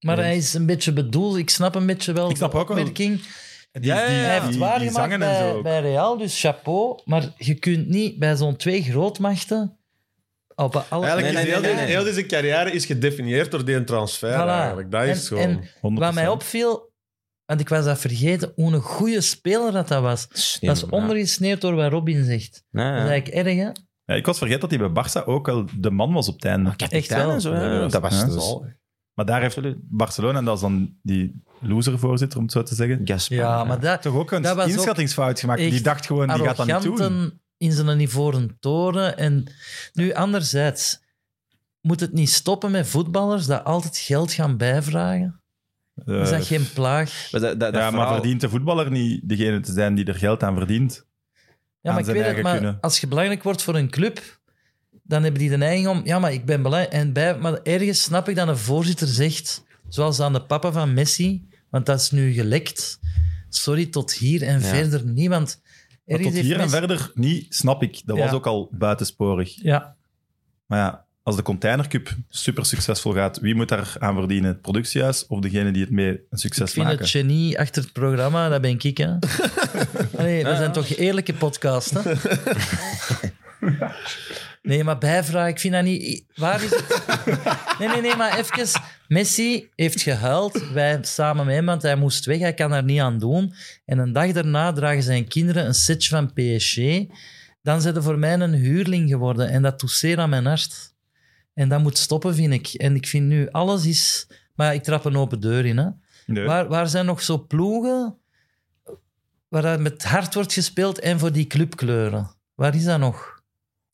Speaker 3: Maar hij is een beetje bedoeld. Ik snap een beetje wel
Speaker 1: Ik snap
Speaker 3: de
Speaker 1: ook wel.
Speaker 3: opmerking.
Speaker 1: Die,
Speaker 7: Ja, ja, ja.
Speaker 3: Hij Dus heeft
Speaker 1: die- die
Speaker 3: waargemaakt
Speaker 1: zangen en zo
Speaker 3: bij,
Speaker 1: ook.
Speaker 3: bij Real, dus chapeau. Maar je kunt niet bij zo'n twee grootmachten op alle...
Speaker 5: Eigenlijk
Speaker 4: Nee,
Speaker 5: is
Speaker 4: nee,
Speaker 5: heel,
Speaker 4: nee,
Speaker 5: die-
Speaker 4: nee.
Speaker 5: heel deze carrière is gedefinieerd door die transfer
Speaker 3: Voilà.
Speaker 5: eigenlijk. Dat is
Speaker 3: En-
Speaker 5: gewoon...
Speaker 3: en wat mij
Speaker 1: 100%.
Speaker 3: opviel, want ik was dat vergeten, hoe een goede speler dat dat was.
Speaker 4: slim,
Speaker 3: Dat is ondergesneeuwd door wat Robin zegt.
Speaker 4: Ja, ja.
Speaker 3: Dat is eigenlijk erg, hè?
Speaker 1: Ja, ik was vergeten dat hij bij Barça ook wel de man was op het einde.
Speaker 3: Echt
Speaker 4: Ja,
Speaker 3: wel.
Speaker 4: zo, ja.
Speaker 1: Ja,
Speaker 4: Dat was
Speaker 1: ja.
Speaker 4: dus
Speaker 1: Maar daar heeft Barcelona, en dat is dan die loser-voorzitter, om het zo te zeggen,
Speaker 4: Gaspar.
Speaker 3: Ja, Ah, maar dat,
Speaker 1: toch ook een
Speaker 3: Dat was ook
Speaker 1: inschattingsfout gemaakt. Die
Speaker 3: echt
Speaker 1: dacht gewoon, die gaat dat niet doen.
Speaker 3: arroganten in zijn ivoren toren. En nu, anderzijds, moet het niet stoppen met voetballers dat altijd geld gaan bijvragen?
Speaker 1: Eh,
Speaker 3: Is dat geen plaag?
Speaker 4: Maar dat- dat-
Speaker 1: ja,
Speaker 4: dat
Speaker 1: maar
Speaker 4: verhaal-
Speaker 1: verdient de voetballer niet degene te zijn die er geld aan verdient?
Speaker 3: Ja, maar
Speaker 1: aan
Speaker 3: ik
Speaker 1: zijn
Speaker 3: weet het,
Speaker 1: eigen
Speaker 3: maar
Speaker 1: kunnen.
Speaker 3: als je belangrijk wordt voor een club, dan hebben die de neiging om... Ja, maar ik ben belangrijk. En bij, maar ergens snap ik dat een voorzitter zegt, zoals aan de papa van Messi, want dat is nu gelekt. Sorry, tot hier en verder niet, want...
Speaker 1: Maar
Speaker 3: ergens
Speaker 1: tot
Speaker 3: heeft
Speaker 1: hier en
Speaker 3: Messi-
Speaker 1: verder niet, snap ik. Dat
Speaker 3: Ja.
Speaker 1: was ook al buitensporig.
Speaker 3: Ja,
Speaker 1: Maar ja, als de containercup super succesvol gaat, wie moet daar aan verdienen? Het productiehuis of degene die het mee een
Speaker 3: Ik
Speaker 1: succes
Speaker 3: vind
Speaker 1: maken?
Speaker 3: het genie achter het programma, dat ben ik, hè. Nee, dat zijn toch eerlijke podcasts, hè? Nee, maar bijvraag, ik vind dat niet... Waar is het? Nee, nee, nee, maar even... Messi heeft gehuild, wij samen met hem, want hij moest weg, hij kan daar niet aan doen. En een dag daarna dragen zijn kinderen een setje van PSG. Dan zijn ze voor mij een huurling geworden en dat toeseert aan mijn hart. En dat moet stoppen, vind ik. En ik vind nu, alles is... Maar ik trap een open deur in, hè.
Speaker 1: Nee.
Speaker 3: Waar, waar zijn nog zo ploegen waar dat met hart wordt gespeeld en voor die clubkleuren? Waar is dat nog?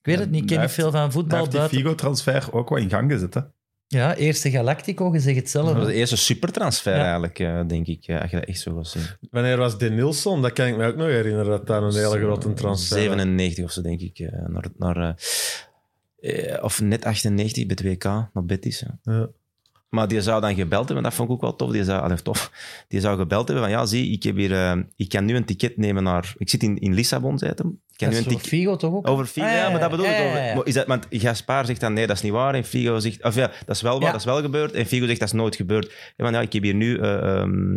Speaker 3: Ik weet
Speaker 1: Ja,
Speaker 3: het niet, ik ken
Speaker 1: daar
Speaker 3: niet veel van
Speaker 1: Hij
Speaker 3: voetbal
Speaker 1: heeft die
Speaker 3: buiten.
Speaker 1: Figo-transfer ook wel in gang gezet. Hè?
Speaker 3: Ja, eerste Galactico, je zegt het
Speaker 4: Dat was
Speaker 3: zelf.
Speaker 4: de eerste supertransfer
Speaker 3: Ja.
Speaker 4: eigenlijk, eh, denk ik. eh, Als je dat echt zo was zien.
Speaker 5: Wanneer was Denilson? Dat kan ik me ook nog herinneren, dat dat een hele grote transfer was.
Speaker 4: 97 of zo, denk ik. eh, Naar, naar, eh, eh, of net 98 bij 2K, naar Betis. ja.
Speaker 5: Ja.
Speaker 4: Maar die zou dan gebeld hebben, dat vond ik ook wel tof. Die zou, allee, tof. Die zou gebeld hebben van, ja, zie, ik, heb hier, eh, ik kan nu een ticket nemen naar... Ik zit in, in Lissabon, zei het hem. Ik
Speaker 3: Dat
Speaker 4: kan nu
Speaker 3: is
Speaker 4: een
Speaker 3: voor
Speaker 4: ticket...
Speaker 3: Figo toch ook?
Speaker 4: Over Figo,
Speaker 3: Ah,
Speaker 4: ja, maar dat bedoel
Speaker 3: ja,
Speaker 4: ik.
Speaker 3: ja,
Speaker 4: Over,
Speaker 3: ja.
Speaker 4: Maar is dat, want Gaspar zegt dan, nee, dat is niet waar. En Figo zegt, of ja, dat is wel waar,
Speaker 3: Ja.
Speaker 4: dat is wel gebeurd. En Figo zegt, dat is nooit gebeurd. Ja, maar ja, ik heb hier nu... eh, ehm,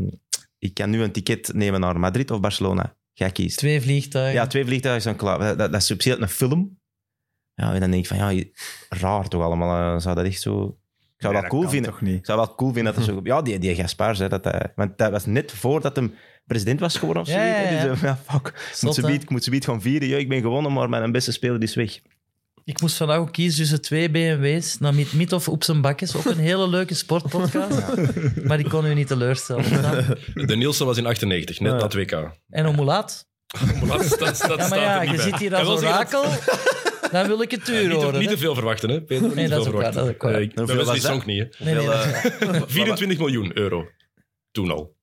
Speaker 4: ik kan nu een ticket nemen naar Madrid of Barcelona. Jij kiest.
Speaker 3: Twee vliegtuigen.
Speaker 4: Ja, twee vliegtuigen zijn klaar. Dat, dat, dat is subsidieert een film. Ja, en dan denk ik van, ja, je- raar toch allemaal. eh, Zou dat echt zo... Ik zou
Speaker 1: Nee,
Speaker 4: dat
Speaker 1: dat
Speaker 4: cool
Speaker 1: kan
Speaker 4: vinden.
Speaker 1: toch niet?
Speaker 4: Ik zou wel cool vinden dat dat zo... Ja, die, die Gaspar, zei dat hij... Want dat was net voordat hem president was geworden of
Speaker 3: Ja,
Speaker 4: zoiets.
Speaker 3: ja,
Speaker 4: hè.
Speaker 3: ja.
Speaker 4: Dus, eh, ja, fuck. Ik moet
Speaker 3: Zot,
Speaker 4: ze
Speaker 3: hè?
Speaker 4: beat, ik moet ze beat gaan vieren. Ja, ik ben gewonnen, maar mijn beste speler is weg.
Speaker 3: Ik moest vandaag ook kiezen tussen twee BMW's, Namit Mit of Op zijn Bakkes. Ook een hele leuke sportpodcast, maar ik kon u niet teleurstellen. snap?
Speaker 7: De Nielsen was in 98, net na 2K.
Speaker 3: En om hoe laat?
Speaker 7: Maar Dat, dat, dat
Speaker 3: Ja,
Speaker 7: staat
Speaker 3: maar ja,
Speaker 7: er niet
Speaker 3: je
Speaker 7: bij.
Speaker 3: zit hier
Speaker 7: Hij
Speaker 3: als
Speaker 7: wil zeggen dat-
Speaker 3: orakel. Dan wil ik het uur
Speaker 7: Niet, te,
Speaker 3: horen.
Speaker 7: niet
Speaker 3: hè.
Speaker 7: te veel verwachten, hè? Peter,
Speaker 3: Nee,
Speaker 7: niet
Speaker 3: dat
Speaker 7: te veel
Speaker 3: is ook waar,
Speaker 7: verwachten.
Speaker 3: dat is ook waar.
Speaker 7: Eh, ik- dat
Speaker 4: Hoeveel
Speaker 7: was die
Speaker 4: was
Speaker 7: song niet, hè?
Speaker 3: Nee, nee,
Speaker 4: Hoeveel,
Speaker 3: dat is waar.
Speaker 7: 24 miljoen euro. Toen al.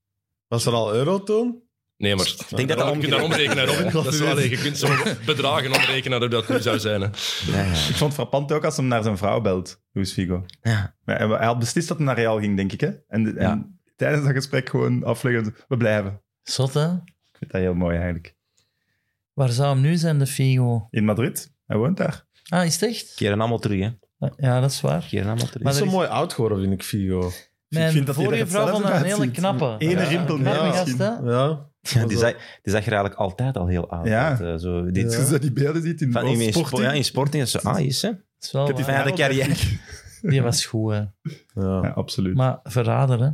Speaker 5: Was er al Eurotoon?
Speaker 7: Nee, maar
Speaker 4: Ik denk dat
Speaker 7: je
Speaker 4: dat
Speaker 7: kunt dat omrekenen, Robin. Dat is wel, je kunt sommige bedragen omrekenen dat dat nu zou zijn. Hè.
Speaker 4: Ja, ja.
Speaker 1: Ik vond het frappant ook als hem naar zijn vrouw belt, Luis Figo.
Speaker 4: Ja.
Speaker 1: Maar hij hij had beslist dat hij naar Real ging, denk ik. Hè? En, en
Speaker 4: Ja.
Speaker 1: tijdens dat gesprek gewoon afleggen, we blijven.
Speaker 3: Zot, hè?
Speaker 1: Ik vind dat heel mooi eigenlijk.
Speaker 3: Waar zou hem nu zijn, de Figo?
Speaker 1: In Madrid, hij woont daar.
Speaker 3: Ah, is het echt? Ah,
Speaker 4: Keren allemaal terug, hè.
Speaker 3: Ja, dat is waar.
Speaker 4: Keren allemaal terug.
Speaker 5: Dat
Speaker 3: Maar
Speaker 5: is
Speaker 3: er
Speaker 5: zo
Speaker 3: is-
Speaker 5: mooi oud geworden, vind ik, Figo.
Speaker 3: Mijn
Speaker 1: vind dat hij er
Speaker 3: vorige vrouw
Speaker 1: hetzelfde
Speaker 3: vond dat een hele
Speaker 1: uitziet.
Speaker 3: knappe.
Speaker 1: Ene
Speaker 3: Ja,
Speaker 1: rimpel
Speaker 3: een
Speaker 1: meer
Speaker 3: knappe gast,
Speaker 1: misschien.
Speaker 3: hè?
Speaker 5: Ja.
Speaker 4: Ja, die, zag, die zag er eigenlijk altijd al heel oud
Speaker 1: Ja.
Speaker 4: uit. eh, zo, dit,
Speaker 1: Dus dat die beelden ziet in,
Speaker 4: Van, in, in,
Speaker 1: sporting.
Speaker 4: sport, ja, in sporting is zo ah, is, hè.
Speaker 3: Dat is wel
Speaker 1: Ik heb die
Speaker 3: waar.
Speaker 4: Fijne
Speaker 1: Ja,
Speaker 4: carrière.
Speaker 3: Die was goed, hè.
Speaker 5: Ja.
Speaker 1: Ja, absoluut.
Speaker 3: Maar verrader, hè?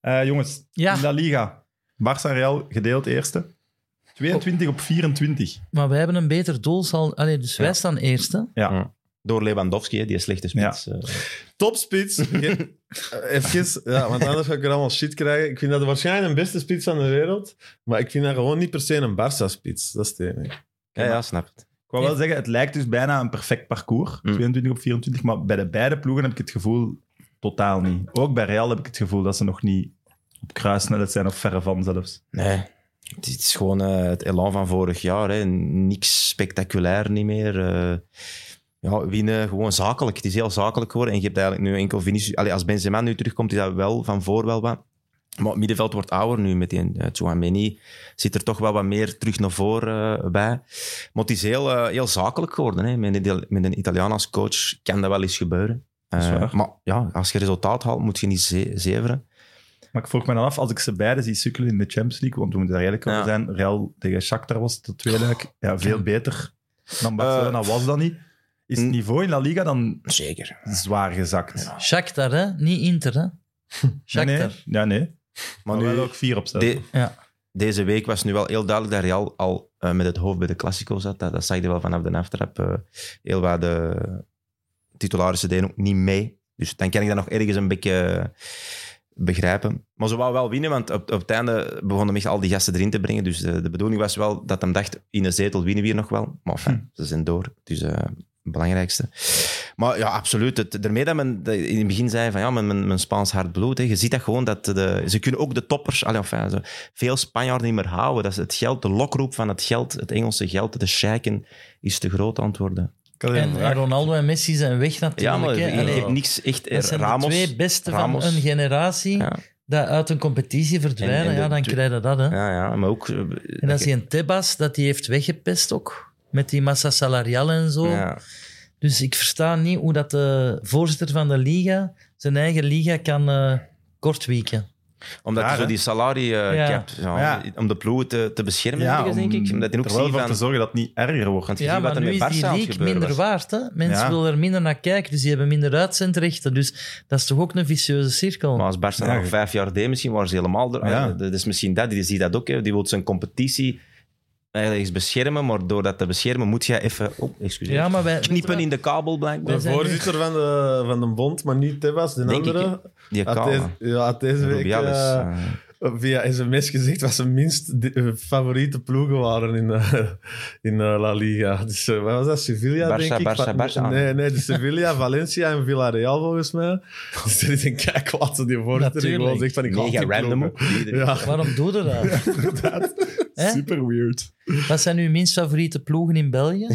Speaker 1: Eh, jongens,
Speaker 3: Ja.
Speaker 1: in La Liga. Barça Real gedeeld eerste. 22 op 24.
Speaker 3: Maar wij hebben een beter doelsaldo. Allee, dus wij staan eerst, hè?
Speaker 4: Door Lewandowski, hè, die slechte spits. eh.
Speaker 5: Topspits. Ge- Even, ja, want anders ga ik er allemaal shit krijgen. Ik vind dat waarschijnlijk de beste spits van de wereld. Maar ik vind dat gewoon niet per se een Barça-spits. Dat is het enige.
Speaker 4: ja, ja, snap het.
Speaker 1: Ik wou wel zeggen, het lijkt dus bijna een perfect parcours.
Speaker 4: Mm.
Speaker 1: 22 op 24. Maar bij de beide ploegen heb ik het gevoel totaal niet. Ook bij Real heb ik het gevoel dat ze nog niet op kruissnelheid zijn of verre van zelfs.
Speaker 4: Nee. Het is gewoon eh, het elan van vorig jaar. Hè. Niks spectaculair niet meer. eh. ja, winnen gewoon zakelijk. Het is heel zakelijk geworden. En je hebt eigenlijk nu enkel Vinicius... Allee, als Benzema nu terugkomt, is dat wel van voor wel wat. Maar het middenveld wordt ouder nu met die eh, Tchouameni. Zit er toch wel wat meer terug naar voren eh, bij. Maar het is heel, eh, heel zakelijk geworden. Hè. Met, een, Ital- met een Italiaan als coach kan dat wel eens gebeuren.
Speaker 1: is
Speaker 4: Eh,
Speaker 1: waar.
Speaker 4: maar ja, als je resultaat haalt, moet je niet ze- zeveren.
Speaker 1: Maar ik vroeg me dan af, als ik ze beide zie sukkelen in de Champions League, want we moeten daar eerlijk over
Speaker 4: Ja.
Speaker 1: zijn, Real tegen Shakhtar was de tweede eigenlijk ja, veel beter dan Barcelona was dat niet. Is het
Speaker 4: Eh, Mm.
Speaker 1: niveau in La Liga dan
Speaker 4: Zeker.
Speaker 1: zwaar gezakt? Ja,
Speaker 3: Shakhtar, hè? Niet Inter, hè? Shakhtar.
Speaker 1: nee. Ja, nee. Maar,
Speaker 4: Maar
Speaker 1: nu
Speaker 4: nu,
Speaker 1: ook vier op zelf.
Speaker 4: De-
Speaker 3: Ja.
Speaker 4: Deze week was nu wel heel duidelijk dat Real al eh, met het hoofd bij de Classico zat. Dat, dat zag je wel vanaf de aftrap. eh, heel wat de titularissen deden ook niet mee. Dus dan kan ik dat nog ergens een beetje eh, begrijpen. Maar ze wou wel winnen, want op, op het einde begonnen echt al die gasten erin te brengen. Dus de, de bedoeling was wel dat hem dacht, in een zetel winnen we hier nog wel. Maar enfin, ze zijn door. Dus eh, het belangrijkste. Maar ja, absoluut. Het, daarmee dat men de- in het begin zei van ja, mijn, mijn, mijn Spaans hard bloed. Hè. Je ziet dat gewoon dat de, ze kunnen ook de toppers, allee, enfin, zo, veel Spanjaarden niet meer houden. Dat is het geld, de lokroep van het geld, het Engelse geld, de scheiken, is te groot aan het worden.
Speaker 5: Ik had hier een
Speaker 3: En, en
Speaker 5: vraag.
Speaker 3: Ronaldo en Messi zijn weg natuurlijk.
Speaker 4: Ja, maar
Speaker 3: hè.
Speaker 4: je
Speaker 3: Allee,
Speaker 4: hebt niks echt. eh,
Speaker 3: dat zijn
Speaker 4: Ramos.
Speaker 3: de twee beste
Speaker 4: Ramos.
Speaker 3: van een generatie
Speaker 4: Ja.
Speaker 3: dat uit een competitie verdwijnen.
Speaker 4: En- en de
Speaker 3: ja, dan
Speaker 4: twee-
Speaker 3: krijg je dat, hè?
Speaker 4: Ja, ja, maar ook. eh,
Speaker 3: En
Speaker 4: dat
Speaker 3: dat is
Speaker 4: je-
Speaker 3: die een Tebas, dat die heeft weggepest ook. Met die massa salariale en zo.
Speaker 4: Ja.
Speaker 3: Dus ik versta niet hoe dat de voorzitter van de liga zijn eigen liga kan eh kortwieken.
Speaker 4: Omdat
Speaker 1: Raar,
Speaker 4: je zo
Speaker 1: hè?
Speaker 4: die salarie eh,
Speaker 3: Ja.
Speaker 4: cap, ja,
Speaker 1: Ja.
Speaker 4: om de ploeg te, te beschermen,
Speaker 1: Ja,
Speaker 4: ergens, denk ik. Omdat je
Speaker 1: er
Speaker 4: ook
Speaker 1: wel
Speaker 4: ziet
Speaker 1: voor
Speaker 4: van...
Speaker 1: te zorgen dat het niet erger wordt.
Speaker 4: Want je
Speaker 3: Ja,
Speaker 4: ziet wat
Speaker 3: maar
Speaker 4: er
Speaker 3: nu
Speaker 4: met
Speaker 3: is die
Speaker 4: Barca aan het
Speaker 3: league
Speaker 4: gebeuren
Speaker 3: minder
Speaker 4: was.
Speaker 3: waard. Hè? Mensen
Speaker 1: Ja.
Speaker 3: willen er minder naar kijken, dus die hebben minder uitzendrechten. Dus dat is toch ook een vicieuze cirkel.
Speaker 4: Maar als Barca
Speaker 1: Ja.
Speaker 4: nog vijf jaar deed, misschien waren ze helemaal... Er,
Speaker 1: Ja.
Speaker 4: Ah, Dat is misschien dat. Die ziet dat ook. Hè. Die wil zijn competitie eigenlijk eens beschermen, maar door dat te beschermen moet je even... Oh, excuseer.
Speaker 3: ja, maar wij,
Speaker 4: Kniepen in de kabel, blijkbaar.
Speaker 5: De
Speaker 3: zijn nu-
Speaker 5: voorzitter van de, van de bond, maar niet Tebas, de
Speaker 4: Denk
Speaker 5: andere,
Speaker 4: Die
Speaker 5: had
Speaker 4: kabel.
Speaker 5: deze, ja, had deze week
Speaker 4: Rubiales.
Speaker 5: eh,
Speaker 4: eh.
Speaker 5: via sms gezegd wat zijn minst di- eh, favoriete ploegen waren in, eh, in eh, La Liga. Dus eh, wat was dat? Sevilla,
Speaker 4: Barça,
Speaker 5: denk ik?
Speaker 4: Barça,
Speaker 5: Va-
Speaker 4: Barça.
Speaker 5: Nee, nee, de Sevilla, Valencia en Villarreal volgens mij. Dus er is een kijkwater die voorzitter die gewoon
Speaker 3: Natuurlijk.
Speaker 5: zegt van ik haat
Speaker 4: Mega
Speaker 5: die
Speaker 4: random
Speaker 5: ploegen.
Speaker 4: ook. Die-
Speaker 5: Ja.
Speaker 3: Waarom doe je dat? Hè?
Speaker 1: Super weird.
Speaker 3: Wat zijn uw minst favoriete ploegen in België?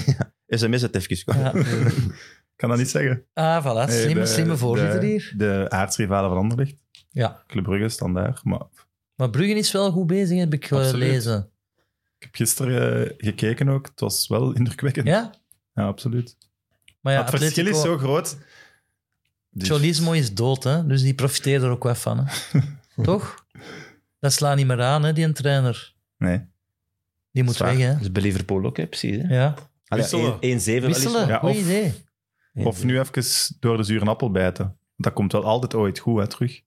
Speaker 4: SMS het even.
Speaker 3: Ja.
Speaker 1: Ik kan dat niet zeggen.
Speaker 3: Ah, voilà,
Speaker 1: Nee,
Speaker 3: slimme,
Speaker 1: de-
Speaker 3: slimme voorzitter
Speaker 1: de,
Speaker 3: hier.
Speaker 1: De aardsrivalen van Anderlecht.
Speaker 3: Ja.
Speaker 1: Club Brugge staan daar. Maar
Speaker 3: Maar Bruggen is wel goed bezig, heb ik
Speaker 1: Absoluut.
Speaker 3: gelezen.
Speaker 1: ik heb gisteren eh, gekeken ook. Het was wel indrukwekkend.
Speaker 3: Ja?
Speaker 1: Ja, absoluut.
Speaker 3: Maar ja,
Speaker 1: Maar het verschil is zo
Speaker 3: Atletico-
Speaker 1: groot. Dus-
Speaker 3: Cholismo is dood, hè? dus die profiteert er ook wel van. Hè? Toch? Dat slaat niet meer aan, hè, die trainer.
Speaker 1: Nee.
Speaker 3: Die moet
Speaker 1: Zwaar.
Speaker 3: weg, hè?
Speaker 4: Dat is bij Liverpool ook, hè, precies. Hè?
Speaker 3: Ja.
Speaker 4: Allee,
Speaker 5: Wisselen.
Speaker 4: één- één zeven wel eens.
Speaker 3: Wisselen,
Speaker 1: Ja,
Speaker 3: goed
Speaker 1: of-
Speaker 3: idee.
Speaker 4: Eén
Speaker 1: Of
Speaker 4: zeven.
Speaker 1: nu even door de zure appel bijten. Dat komt wel altijd ooit goed, hè, terug.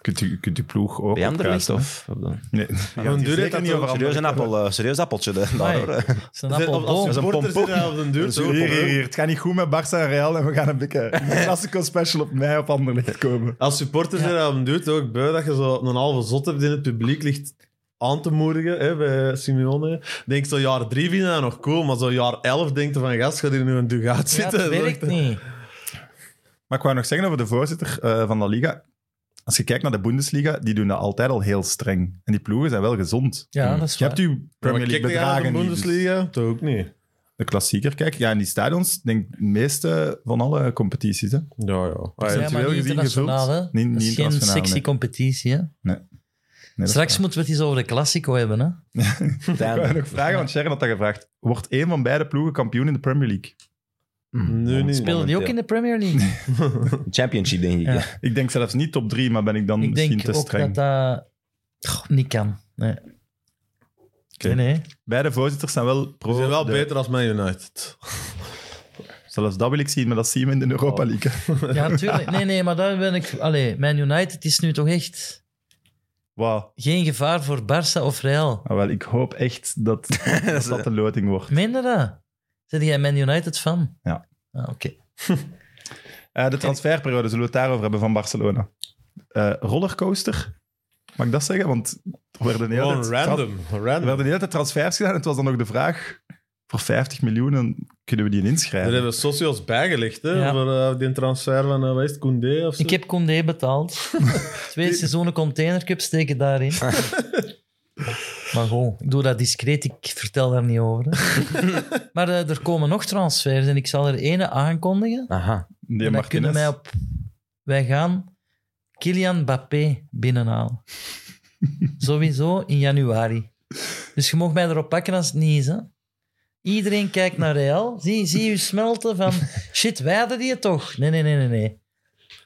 Speaker 1: Kunt u, kunt u ploeg ook
Speaker 4: Bij Anderlecht
Speaker 1: opkruisen, hè.
Speaker 4: of... of dan?
Speaker 1: Nee. Ja,
Speaker 5: duur
Speaker 1: zeker
Speaker 5: heeft dat
Speaker 1: niet
Speaker 5: toch
Speaker 1: over
Speaker 4: Serieus een,
Speaker 1: Anderlecht.
Speaker 4: appel, eh, serieus appeltje. De,
Speaker 3: Amai.
Speaker 4: daar, hoor.
Speaker 3: Dat is een
Speaker 5: Als- als-
Speaker 3: appelboom.
Speaker 5: Als
Speaker 1: een
Speaker 5: supporters
Speaker 1: pompoen.
Speaker 5: zijn dat op den duur.
Speaker 1: Hier,
Speaker 5: zo
Speaker 1: hier,
Speaker 5: pompoen.
Speaker 1: hier. Het gaat niet goed met Barça en Real en we gaan een beetje een classical special op mij op Anderlecht komen.
Speaker 5: Als supporters
Speaker 3: Ja.
Speaker 5: zijn dat op den duur toch ook beu dat je zo een halve zot hebt in het publiek ligt aan te moedigen hè, bij Simeone. Denk zo jaar drie vind je dat nog cool, maar zo jaar elf denkt je van gast, gaat hier nu een dugout
Speaker 3: Ja,
Speaker 5: zitten.
Speaker 3: dat
Speaker 5: Zo
Speaker 3: werkt
Speaker 5: echt-
Speaker 3: niet.
Speaker 1: Maar ik wou nog zeggen over de voorzitter eh, van La Liga. Als je kijkt naar de Bundesliga, die doen dat altijd al heel streng. En die ploegen zijn wel gezond.
Speaker 3: Ja, dat is
Speaker 1: Hmm. Je hebt
Speaker 3: waar.
Speaker 1: uw Premier League
Speaker 5: Maar kijk jij naar
Speaker 1: bedragen
Speaker 5: de
Speaker 1: niet, dus
Speaker 5: Bundesliga? Toch ook niet.
Speaker 1: de klassieker, kijk. Ja, in die stadions, denk ik, de meeste van alle competities. Hè.
Speaker 5: Ja, ja.
Speaker 3: Ja,
Speaker 5: Ah, ja.
Speaker 3: maar
Speaker 1: Individueel
Speaker 3: niet
Speaker 1: gezien
Speaker 3: internationaal, hè.
Speaker 1: gevuld. Niet-
Speaker 3: dat
Speaker 1: niet
Speaker 3: is geen
Speaker 1: internationaal,
Speaker 3: sexy
Speaker 1: nee.
Speaker 3: competitie, hè.
Speaker 1: Nee, dat is
Speaker 3: Straks moeten we het eens over de Classico hebben, hè.
Speaker 1: waar. Ik wou nog vragen, want Sharon had dat gevraagd. Wordt één van beide ploegen kampioen in de Premier League?
Speaker 3: Hmm.
Speaker 5: Nu niet.
Speaker 3: Speelde die ook in de Premier League?
Speaker 4: Championship, denk ik.
Speaker 3: Ja.
Speaker 4: Ja.
Speaker 1: Ik denk zelfs niet top drie, maar ben ik dan
Speaker 3: Ik
Speaker 1: misschien
Speaker 3: denk
Speaker 1: te
Speaker 3: ook dat
Speaker 1: streng.
Speaker 3: dat Goh, niet kan. Nee.
Speaker 1: Oké.
Speaker 3: Nee, nee.
Speaker 1: Beide voorzitters zijn wel pro.
Speaker 5: Ze zijn wel
Speaker 1: de-
Speaker 5: beter als Man United.
Speaker 1: Zelfs dat wil ik zien, maar dat zien we in de Europa League. hè.
Speaker 3: Ja, natuurlijk. Nee, nee, maar daar ben ik... Allee, Man United is nu toch echt
Speaker 1: Wauw.
Speaker 3: geen gevaar voor Barça of Real.
Speaker 1: Ah, wel, ik hoop echt dat dat, eh, dat de loting wordt.
Speaker 3: Meen je dat? Zijn jij Man United fan?
Speaker 1: Ja.
Speaker 3: Ah, Oké.
Speaker 1: Eh, de transferperiode, zullen we het daarover hebben van Barcelona? Eh, rollercoaster? Mag ik dat zeggen? Want er werden heel
Speaker 5: Gewoon random.
Speaker 1: Er
Speaker 5: random.
Speaker 1: werden de hele tijd transfers gedaan. en Het was dan nog de vraag: voor 50 miljoen kunnen we die
Speaker 5: Daar
Speaker 1: inschrijven?
Speaker 5: hebben socio's bijgelegd, hè,
Speaker 3: Ja.
Speaker 5: voor eh, die transfer van eh, wat is het, Koundé of zo.
Speaker 3: Ik heb Condé betaald. Twee seizoenen containercup steken daarin. maar gewoon, ik doe dat discreet. Ik vertel daar niet over. hè. maar eh, er komen nog transfers en ik zal er ene aankondigen.
Speaker 4: Aha.
Speaker 1: die
Speaker 3: en dan kunnen wij op... Wij gaan Kylian Mbappé binnenhalen. Sowieso in januari. Dus je mag mij erop pakken als het niet is. Hè? Iedereen kijkt naar Real. Zie, zie je smelten van... Shit, wij hadden die het toch? Nee, nee, nee, nee, nee.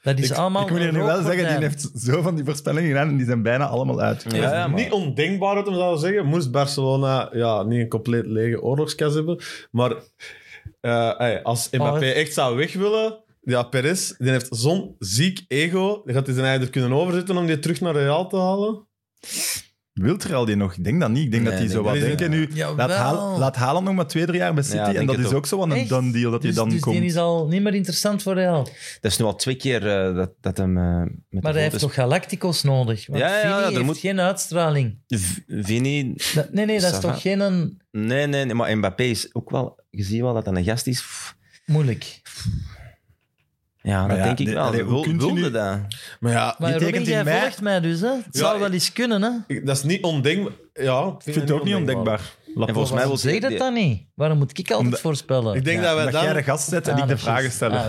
Speaker 3: Dat is allemaal...
Speaker 1: Ik moet hier nu
Speaker 3: een
Speaker 1: wel zeggen: die
Speaker 3: rookgordijn.
Speaker 1: heeft zo van die voorspellingen gedaan en die zijn bijna allemaal uit.
Speaker 5: Ja, ja, maar- Dus Niet ondenkbaar wat we zouden zeggen. Moest Barcelona ja, niet een compleet lege oorlogskas hebben. Maar eh, hey, als Mbappé
Speaker 3: het-
Speaker 5: echt zou weg willen... Ja, Perez, die heeft zo'n ziek ego. Die gaat hij zijn eider kunnen overzetten om die terug naar Real te halen.
Speaker 1: Wilt er al die nog? Ik denk dat niet. Ik denk
Speaker 4: Nee,
Speaker 1: dat die
Speaker 4: ik
Speaker 1: zo wat
Speaker 5: denk dat
Speaker 1: denken nu.
Speaker 3: Jawel.
Speaker 1: Laat, Haal, laat Haaland nog maar twee, drie jaar bij City.
Speaker 4: Ja,
Speaker 1: en
Speaker 4: denk
Speaker 1: dat
Speaker 4: het
Speaker 1: is
Speaker 4: ook.
Speaker 1: ook zo wat een
Speaker 3: Echt?
Speaker 1: done deal dat hij
Speaker 3: dus,
Speaker 1: dan
Speaker 3: dus
Speaker 1: komt.
Speaker 3: die is al niet meer interessant voor Real.
Speaker 4: Dat is nu al twee keer eh, dat, dat hem eh, met
Speaker 3: Maar
Speaker 4: de
Speaker 3: hij heeft
Speaker 4: foto's-
Speaker 3: toch Galacticos nodig? Want
Speaker 4: Ja, ja, ja,
Speaker 3: Fini
Speaker 4: er
Speaker 3: heeft
Speaker 4: moet-
Speaker 3: geen uitstraling.
Speaker 4: V- Vini...
Speaker 3: Dat- nee, nee, dat is
Speaker 4: Ça
Speaker 3: toch
Speaker 4: va.
Speaker 3: geen... Een,
Speaker 4: Nee, nee, nee, maar Mbappé is ook wel... Je ziet wel dat hij een gast is. Pff,
Speaker 3: moeilijk.
Speaker 4: Ja, dat
Speaker 1: ja,
Speaker 4: denk ik
Speaker 1: de-
Speaker 4: wel.
Speaker 1: allee, hoe
Speaker 4: Wil-
Speaker 1: kunt je
Speaker 4: wilde
Speaker 1: nu-
Speaker 4: dat?
Speaker 5: Maar ja,
Speaker 3: Maar
Speaker 1: tekent
Speaker 3: Robin,
Speaker 1: in
Speaker 3: jij
Speaker 1: mei-
Speaker 3: volgt mij dus, hè? Het zou
Speaker 5: ik-
Speaker 3: wel eens kunnen, hè?
Speaker 5: ik- dat is niet ondenkbaar. Ja, ik
Speaker 1: Ik
Speaker 5: vind
Speaker 1: vind het ook niet ondenkbaar.
Speaker 4: En volgens mij
Speaker 3: Waarom
Speaker 4: wil
Speaker 3: zeg je dat
Speaker 4: die-
Speaker 3: dan niet? Waarom moet ik altijd
Speaker 1: Omdat-
Speaker 3: voorspellen?
Speaker 5: Ik denk dat wij
Speaker 1: dat jij de
Speaker 5: dan...
Speaker 1: gast zet en
Speaker 3: Ah,
Speaker 1: ik de
Speaker 3: dat is
Speaker 1: vragen
Speaker 3: juist.
Speaker 1: stellen.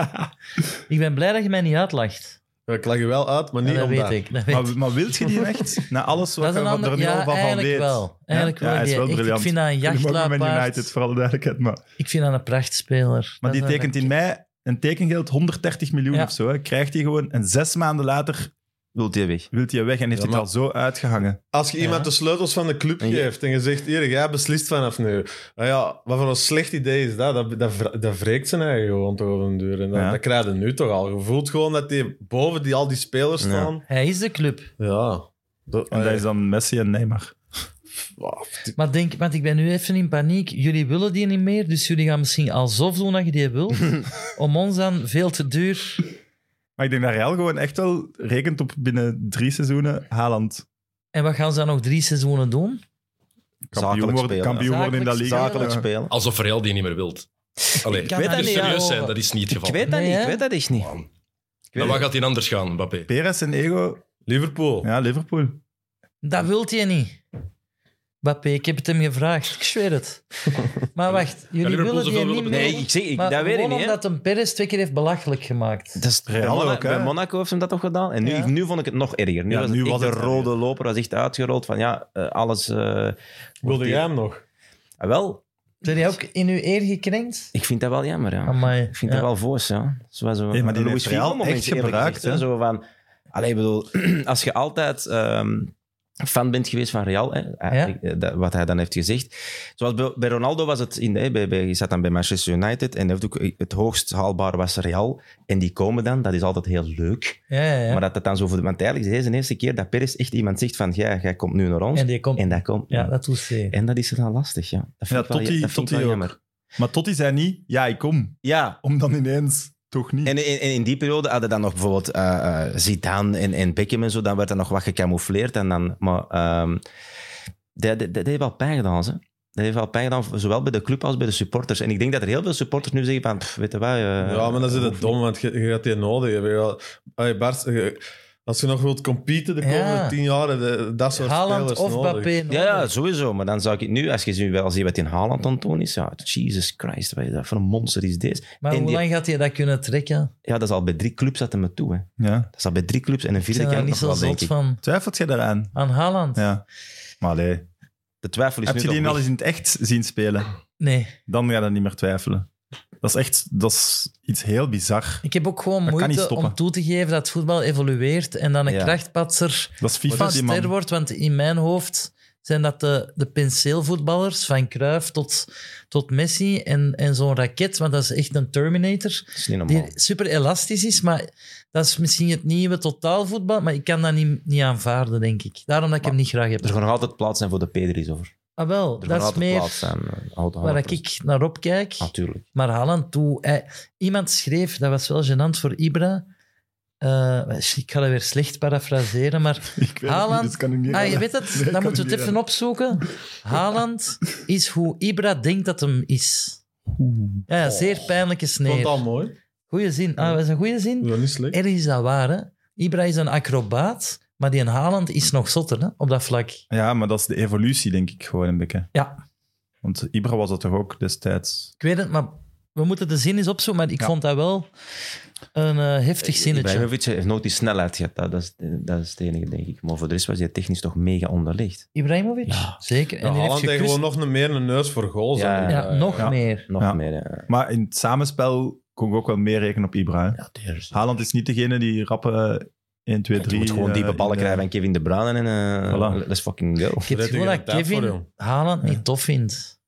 Speaker 3: Ah, oké. ik ben blij dat je mij niet uitlacht.
Speaker 5: Ik lag je wel uit, maar
Speaker 3: Ja,
Speaker 5: niet
Speaker 3: dat
Speaker 5: omdat...
Speaker 3: weet ik. Dat, weet ik.
Speaker 1: Maar, maar wilt je die echt? Na alles
Speaker 3: dat
Speaker 1: wat
Speaker 3: is
Speaker 1: je
Speaker 3: een
Speaker 1: wat er
Speaker 3: ander...
Speaker 1: nu al van,
Speaker 3: Ja,
Speaker 1: van
Speaker 3: eigenlijk
Speaker 1: weet.
Speaker 3: wel. Eigenlijk
Speaker 1: ja,
Speaker 3: wel.
Speaker 1: hij is
Speaker 3: die-
Speaker 1: wel
Speaker 3: echt,
Speaker 1: briljant.
Speaker 3: Ik vind dat een
Speaker 1: Jullie mogen met
Speaker 3: jachtluipaard.
Speaker 1: United, voor alle duidelijkheid. Maar,
Speaker 3: Ik vind dat een prachtspeler.
Speaker 1: maar
Speaker 3: Dat
Speaker 1: die
Speaker 3: is een-
Speaker 1: tekent in mei een tekengeld 130 miljoen
Speaker 3: Ja.
Speaker 1: of zo. Hè. Krijgt hij gewoon. En zes maanden later
Speaker 4: Wil die weg?
Speaker 1: wilt hij weg en heeft
Speaker 5: Ja,
Speaker 1: hij
Speaker 5: maar-
Speaker 1: het al zo uitgehangen.
Speaker 5: Als je iemand de sleutels van de club
Speaker 4: En je-
Speaker 5: geeft en je zegt, hier, jij beslist vanaf nu. Nou ja, wat voor een slecht idee is dat? Dat, dat, vre- dat wreekt zijn eigen gewoon toch op een duur. En dat,
Speaker 1: Ja.
Speaker 5: dat krijg je nu toch al. Je voelt gewoon dat die boven die, al die spelers
Speaker 4: Ja.
Speaker 5: staan.
Speaker 3: Hij is de club.
Speaker 5: Ja. Dat,
Speaker 4: Oh,
Speaker 1: En dat is dan Messi en Neymar.
Speaker 5: Wauw.
Speaker 3: Maar denk, want ik ben nu even in paniek. Jullie willen die niet meer, dus jullie gaan misschien alsof doen dat je die wilt. om ons dan veel te duur.
Speaker 1: Maar ik denk dat Real gewoon echt wel rekent op binnen drie seizoenen Haaland
Speaker 3: En wat gaan ze dan nog drie seizoenen doen?
Speaker 1: kampioen
Speaker 4: Zakelijk
Speaker 1: worden,
Speaker 4: spelen,
Speaker 1: kampioen
Speaker 3: ja.
Speaker 1: worden in dat
Speaker 3: Zakelijk
Speaker 1: liga.
Speaker 4: Zakelijk
Speaker 1: Ja.
Speaker 4: spelen.
Speaker 7: Alsof Real die niet meer wilt. Allee,
Speaker 3: kan
Speaker 7: laten
Speaker 3: dat
Speaker 7: we
Speaker 3: niet,
Speaker 7: serieus
Speaker 3: ja.
Speaker 7: zijn, dat is niet het geval.
Speaker 4: Ik weet dat
Speaker 3: Nee,
Speaker 4: niet,
Speaker 3: hè?
Speaker 4: ik weet dat echt niet.
Speaker 7: en waar gaat hij anders gaan, Mbappé?
Speaker 1: Perez en Ego.
Speaker 5: Liverpool.
Speaker 1: Ja, Liverpool.
Speaker 3: Dat wilt je niet. Bappé, ik heb het hem gevraagd. Ik zweer het. Maar wacht, jullie
Speaker 7: Liverpool
Speaker 3: willen die
Speaker 7: zoveel
Speaker 3: niet meer.
Speaker 7: willen
Speaker 4: Nee, ik zeg, ik,
Speaker 3: maar
Speaker 4: dat weet ik
Speaker 3: gewoon
Speaker 4: niet. hè.
Speaker 3: omdat een Perez twee keer heeft belachelijk gemaakt.
Speaker 4: Dat is bij,
Speaker 1: Real
Speaker 4: Monaco,
Speaker 1: ook, hè?
Speaker 4: bij Monaco heeft hem dat toch gedaan? En nu,
Speaker 3: Ja.
Speaker 4: nu vond ik het nog erger. Nu
Speaker 1: Ja,
Speaker 4: was, het
Speaker 1: nu
Speaker 4: echt
Speaker 1: was het
Speaker 4: de
Speaker 1: erger.
Speaker 4: rode loper was echt uitgerold van ja, eh, alles... eh,
Speaker 5: Wilde jij hem nog?
Speaker 4: ah, wel,
Speaker 3: Ben jij ook in uw eer gekrenkt?
Speaker 4: ik vind dat wel jammer. Ja.
Speaker 3: Amai.
Speaker 4: Ik vind
Speaker 3: ja.
Speaker 4: dat wel voos, ja. Zoals zo
Speaker 1: Ah, Nee, maar die
Speaker 4: een
Speaker 1: heeft
Speaker 4: Louis Figo
Speaker 1: Real
Speaker 4: momentje,
Speaker 1: echt
Speaker 4: eerlijk
Speaker 1: gebruikt,
Speaker 4: gezegd, hè.
Speaker 1: hè.
Speaker 4: Zo van... Allee, ik bedoel, als je altijd ehm, fan bent geweest van Real, hè, eigenlijk, eh, dat- wat hij dan heeft gezegd. Zoals bij, bij Ronaldo was het... In de, hè, bij, bij, je zat dan bij Manchester United en heeft ook, het hoogst haalbaar was Real. En die komen dan, dat is altijd heel leuk.
Speaker 3: Ja, ja, ja.
Speaker 4: Maar dat dat dan zo... voor de- Want eigenlijk is deze de eerste keer dat Perez echt iemand zegt van... Ja, jij komt nu naar ons.
Speaker 3: En
Speaker 4: En,
Speaker 3: die komt.
Speaker 4: dat komt...
Speaker 3: ja, dat doet ze.
Speaker 4: En dat is dan lastig, ja. Dat vind
Speaker 1: Ja,
Speaker 4: ik wel,
Speaker 1: tot
Speaker 4: ja-
Speaker 1: die-
Speaker 4: dat vind
Speaker 1: tot
Speaker 4: ik wel
Speaker 1: die ook.
Speaker 4: jammer.
Speaker 1: Maar Totti zei niet, ja, ik kom.
Speaker 4: Ja,
Speaker 1: Om dan ineens Toch niet.
Speaker 4: En in, in- in die periode hadden dan nog bijvoorbeeld eh, eh, Zidane en, en Beckham en zo, dan werd er nog wat gecamoufleerd. En dan, maar ehm, dat, dat, dat heeft wel pijn gedaan, ze. Dat heeft wel pijn gedaan, zowel bij de club als bij de supporters. En ik denk dat er heel veel supporters nu zeggen van, pff, weet je wat... eh,
Speaker 5: Ja, maar dan zit het dom, want je, je gaat die nodig hebben. Ja. Allee, Bart, je- als je nog wilt competen de komende
Speaker 3: Ja.
Speaker 5: tien jaar, de- dat soort
Speaker 3: Haaland
Speaker 5: spelers
Speaker 3: of
Speaker 5: nodig.
Speaker 3: Mbappé. nodig.
Speaker 4: Ja, ja, sowieso. Maar dan zou ik nu, als je nu wel ziet wat in Haaland aan het doen is, ja, Jesus Christ, wat is dat voor een monster is deze?
Speaker 3: Maar
Speaker 4: En
Speaker 3: hoe
Speaker 4: die-
Speaker 3: lang gaat hij dat kunnen trekken?
Speaker 4: Ja, dat is al bij drie clubs dat hij me toe, hè.
Speaker 1: Ja.
Speaker 4: Dat is al bij drie clubs en een
Speaker 3: Ik
Speaker 4: vierde
Speaker 3: ben daar
Speaker 4: kan ik
Speaker 3: niet
Speaker 4: nog
Speaker 3: zo
Speaker 4: wel, denk
Speaker 3: zot
Speaker 4: ik.
Speaker 3: van.
Speaker 1: Twijfelt jij daaraan?
Speaker 3: Aan Haaland?
Speaker 1: Ja. Maar allee.
Speaker 4: De twijfel is
Speaker 1: Heb
Speaker 4: nu
Speaker 1: je die
Speaker 4: nog
Speaker 1: al eens in het echt zien spelen?
Speaker 3: Nee.
Speaker 1: Dan ga je niet meer twijfelen. Dat is echt dat is iets heel bizar.
Speaker 3: Ik heb ook gewoon
Speaker 1: Dat kan niet
Speaker 3: moeite
Speaker 1: stoppen.
Speaker 3: om toe te geven dat voetbal evolueert en dan een
Speaker 4: Ja.
Speaker 3: krachtpatser
Speaker 1: Dat is FIFA,
Speaker 3: van
Speaker 1: die
Speaker 3: ster
Speaker 1: man.
Speaker 3: wordt. Want in mijn hoofd zijn dat de, de penseelvoetballers, van Cruyff tot, tot Messi en, en zo'n raket, want dat is echt een Terminator.
Speaker 4: Dat is niet normaal.
Speaker 3: Die super elastisch is, maar dat is misschien het nieuwe totaalvoetbal, maar ik kan dat niet, niet aanvaarden, denk ik. Daarom dat ik hem niet graag
Speaker 4: Er
Speaker 3: heb.
Speaker 4: gaat nog altijd plaats zijn voor de Pedri's over.
Speaker 3: Ah wel,
Speaker 4: Er gaat
Speaker 3: dat is
Speaker 4: altijd
Speaker 3: meer
Speaker 4: plaats zijn. eh, houdt-
Speaker 3: waar
Speaker 4: houdt-
Speaker 3: ik naar opkijk.
Speaker 4: Natuurlijk.
Speaker 3: Maar Haaland, toe, hij- iemand schreef, dat was wel gênant voor Ibra. eh, ik ga dat weer slecht parafraseren, maar
Speaker 1: Ik weet het
Speaker 3: Haaland-
Speaker 1: niet, dus kan ik niet
Speaker 3: ah, je
Speaker 1: raden.
Speaker 3: weet het,
Speaker 1: Nee, ik
Speaker 3: dan
Speaker 1: kan
Speaker 3: moeten we
Speaker 1: niet
Speaker 3: het even
Speaker 1: raden.
Speaker 3: opzoeken. Haaland is hoe Ibra denkt dat hem is. Ja, ja, zeer pijnlijke
Speaker 5: Ik vond het al
Speaker 3: sneer.
Speaker 5: mooi.
Speaker 3: Goeie zin. Ah, dat is een goede zin.
Speaker 5: Ja, niet slecht.
Speaker 3: Ergens is dat waar, hè. Ibra is een acrobaat, maar die in Haaland is nog zotter, hè, op dat vlak.
Speaker 1: Ja, maar dat is de evolutie, denk ik, gewoon een beetje.
Speaker 3: Ja.
Speaker 1: Want Ibra was dat toch ook destijds?
Speaker 3: Ik weet het, maar we moeten de zin eens opzoeken, maar ik vond dat wel een eh, heftig zinnetje.
Speaker 4: Ibrahimovic heeft nooit die snelheid gehad. Dat, dat, is, dat is het enige, denk ik. Maar voor de rest was hij technisch toch mega onderlegd.
Speaker 3: Ibrahimovic? Zeker.
Speaker 5: Ja,
Speaker 3: die heeft
Speaker 5: Haaland heeft
Speaker 3: gekust-
Speaker 5: gewoon nog een- meer een neus voor goals.
Speaker 4: Ja,
Speaker 5: hè.
Speaker 3: Ja, nog
Speaker 1: ja.
Speaker 3: meer.
Speaker 4: Nog
Speaker 1: Ja.
Speaker 4: meer. eh,
Speaker 1: Maar in het samenspel kon ik ook wel meer rekenen op Ibra. hè.
Speaker 4: Ja, die
Speaker 1: Haaland is niet degene die rappen eh, 1, 2, 3...
Speaker 4: Je moet gewoon
Speaker 1: eh,
Speaker 4: diepe ballen
Speaker 1: in de-
Speaker 4: krijgen van Kevin De Bruyne en eh,
Speaker 1: Voilà.
Speaker 4: let's fucking go.
Speaker 3: Ik heb het
Speaker 5: Red
Speaker 3: gevoel
Speaker 5: je
Speaker 3: dat
Speaker 5: geen tijd voor,
Speaker 3: Kevin
Speaker 5: jong.
Speaker 3: Haaland niet tof vindt.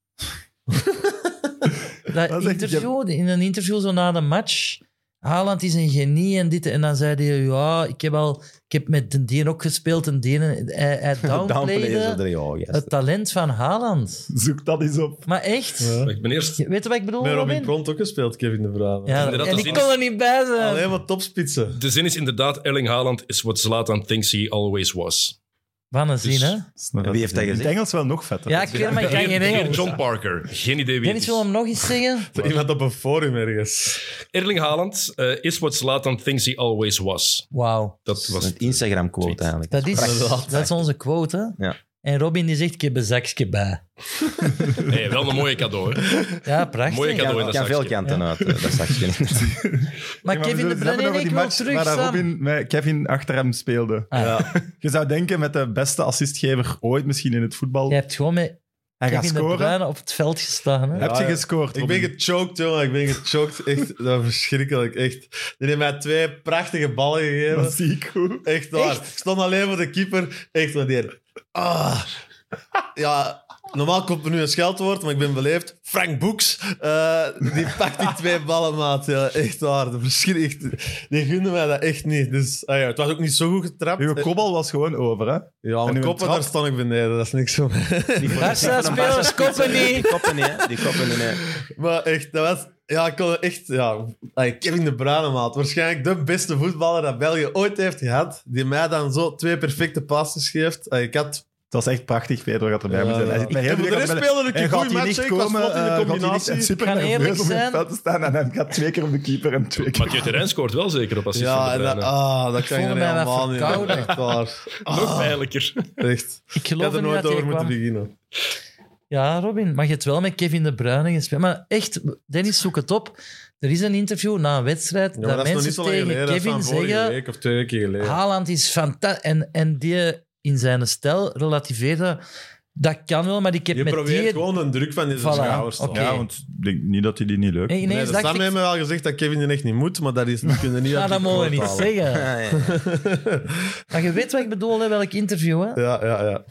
Speaker 3: dat
Speaker 1: Dat is echt-
Speaker 3: interview, in een interview zo na de match. Haaland is een genie en dit. En dan zei hij, ja, ik heb, al, ik heb met een deen ook gespeeld. En deen, hij, hij
Speaker 4: Downplayen zo
Speaker 3: downplayde
Speaker 4: er, oh, ja, gast.
Speaker 3: het talent van Haaland.
Speaker 1: Zoek dat eens op.
Speaker 3: Maar echt.
Speaker 5: Ja.
Speaker 7: Ik ben eerst...
Speaker 3: Je- Weet je wat ik bedoel,
Speaker 5: Met Robin
Speaker 3: Robin?
Speaker 5: Pront ook gespeeld, Kevin De Bruyne.
Speaker 3: Ja,
Speaker 7: Inderdaad,
Speaker 3: en
Speaker 7: dat
Speaker 3: ik
Speaker 7: is-
Speaker 3: kon er niet bij zijn.
Speaker 5: Alleen maar topspitsen.
Speaker 7: De zin is inderdaad, Erling Haaland is what Zlatan thinks he always was.
Speaker 3: Van een zin, hè?
Speaker 4: Wie heeft dat
Speaker 1: In het
Speaker 4: gezegd?
Speaker 1: Engels wel nog vetter. Dus
Speaker 3: Ja, ik weet het, maar ik kan geen
Speaker 7: Geen
Speaker 3: Engels.
Speaker 7: John Parker. Geen idee wie het
Speaker 3: Dennis wil
Speaker 7: is.
Speaker 3: hem nog eens zingen.
Speaker 5: Iemand op een forum ergens.
Speaker 7: Erling Haaland eh, is what Zlatan thinks he always was.
Speaker 3: Wauw.
Speaker 7: Dat was
Speaker 4: Een Instagram-quote eigenlijk.
Speaker 3: Dat is,
Speaker 5: Prachtig.
Speaker 3: dat is onze quote. hè?
Speaker 4: Ja.
Speaker 3: En Robin die zegt, ik heb een zakje bij.
Speaker 7: Hey, wel een mooie cadeau. Hè.
Speaker 3: Ja, prachtig.
Speaker 7: Mooie
Speaker 4: Ik
Speaker 7: cadeau in
Speaker 4: kan,
Speaker 7: dat
Speaker 4: kan veel
Speaker 7: zakje.
Speaker 4: kanten uit, eh, dat zakje.
Speaker 3: Maar Kevin De Bruyne, nee, ik wil terug,
Speaker 1: Maar
Speaker 3: Sam.
Speaker 1: Robin met Kevin achter hem speelde.
Speaker 3: Ah.
Speaker 1: Ja. Je zou denken met de beste assistgever ooit misschien in het voetbal.
Speaker 3: Je hebt gewoon met
Speaker 1: Hij gaat
Speaker 3: Kevin De
Speaker 1: scoren.
Speaker 3: Bruyne op het veld gestaan. Hè?
Speaker 1: Heb je
Speaker 5: Ja, ja.
Speaker 1: gescoord?
Speaker 5: Ik ben
Speaker 1: Robin?
Speaker 5: gechoked, jongen. Ik ben gechoked. Echt, dat is verschrikkelijk. Echt. Die heeft mij twee prachtige ballen gegeven.
Speaker 1: Dat zie ik goed.
Speaker 5: Echt waar. Ik stond alleen voor de keeper. Echt wat hier. Ah. Ja, normaal komt er nu een scheldwoord, maar ik ben beleefd. Frank Boeks, eh, die pakt die twee ballen, maat. Ja, echt waar. De verschil, echt, die gunde mij dat echt niet. Dus, ah ja, het was ook niet zo goed getrapt.
Speaker 1: Uw kopbal was gewoon over, hè?
Speaker 5: ja,
Speaker 1: en
Speaker 5: mijn
Speaker 1: uw
Speaker 5: koppen,
Speaker 1: trap?
Speaker 5: daar stond ik beneden. Dat is niks voor mij.
Speaker 3: Barca-spelers koppen
Speaker 4: Die
Speaker 3: niet.
Speaker 4: koppen niet, Ah, hè. Die koppen niet, hè.
Speaker 5: Maar echt, dat was... Ja, ik kon echt... Ja, ay, Kevin De Bruyne, maat. Waarschijnlijk de beste voetballer dat België ooit heeft gehad. Die mij dan zo twee perfecte passes geeft. Ay, ik had...
Speaker 1: Het was echt prachtig. Pedro gaat erbij
Speaker 5: Ja,
Speaker 1: moeten zijn. Hij
Speaker 5: ja.
Speaker 1: zit met
Speaker 5: Ik
Speaker 1: heel veel
Speaker 5: heb voor de rest
Speaker 1: kabellen.
Speaker 5: speelde ik
Speaker 1: En
Speaker 5: een
Speaker 1: gaat
Speaker 5: goede
Speaker 1: hij
Speaker 5: match,
Speaker 1: niet
Speaker 5: ik was
Speaker 1: komen,
Speaker 5: vlot in de
Speaker 1: eh, gaat hij niet-
Speaker 5: combinatie.
Speaker 1: en super
Speaker 3: Kan
Speaker 1: nerveus
Speaker 3: eerlijk
Speaker 1: om in het
Speaker 3: zijn.
Speaker 1: veld te staan en hij gaat twee keer op de keeper en twee keer...
Speaker 7: Mathieu Terrein scoort wel zeker op assist
Speaker 5: Ja,
Speaker 7: van
Speaker 5: en
Speaker 7: de
Speaker 5: dat,
Speaker 7: Bruyne.
Speaker 5: ah, dat
Speaker 3: Ik
Speaker 5: kan je
Speaker 3: voelde mij wat
Speaker 5: helemaal niet.
Speaker 3: verkouden.
Speaker 5: Echt waar. Ah,
Speaker 7: Nog pijnlijker.
Speaker 5: Echt.
Speaker 3: Ik
Speaker 5: Ik
Speaker 3: geloof
Speaker 5: had
Speaker 3: er
Speaker 5: er
Speaker 3: niet
Speaker 5: nooit
Speaker 3: dat hij
Speaker 5: over moeten
Speaker 3: kwam.
Speaker 5: beginnen.
Speaker 3: Ja, Robin, maar je hebt wel met Kevin De Bruyne gespeeld. Maar echt, Dennis, zoek het op. Er is een interview na een wedstrijd
Speaker 5: Ja,
Speaker 3: dat,
Speaker 5: maar dat is nog niet
Speaker 3: mensen
Speaker 5: zo lang
Speaker 3: tegen
Speaker 5: geleden. Dat is
Speaker 3: Kevin
Speaker 5: van vorige
Speaker 3: zeggen... Ah,
Speaker 5: week of twee weken geleden.
Speaker 3: Haaland is fantastisch. En, en die in zijn stijl relativeerde... Dat kan wel, maar ik heb
Speaker 5: je
Speaker 3: met
Speaker 5: probeert
Speaker 3: die...
Speaker 5: gewoon de druk van deze
Speaker 3: Voilà,
Speaker 5: schouders te
Speaker 3: oké.
Speaker 5: halen.
Speaker 1: Ja, want ik denk niet dat hij die niet leuk
Speaker 3: Nee,
Speaker 5: Nee,
Speaker 3: ineens
Speaker 5: de Sam
Speaker 3: dacht
Speaker 5: heeft
Speaker 3: ik...
Speaker 5: me wel gezegd dat Kevin er echt niet moet, maar dat is we kunnen niet
Speaker 3: Ja,
Speaker 5: uit
Speaker 3: dat
Speaker 5: die
Speaker 3: mogen we
Speaker 5: quote
Speaker 3: niet
Speaker 5: halen.
Speaker 3: zeggen.
Speaker 4: Ja, ja, ja.
Speaker 3: Maar je weet wat ik bedoel, hè, welk interview. Hè?
Speaker 5: Ja, ja, ja.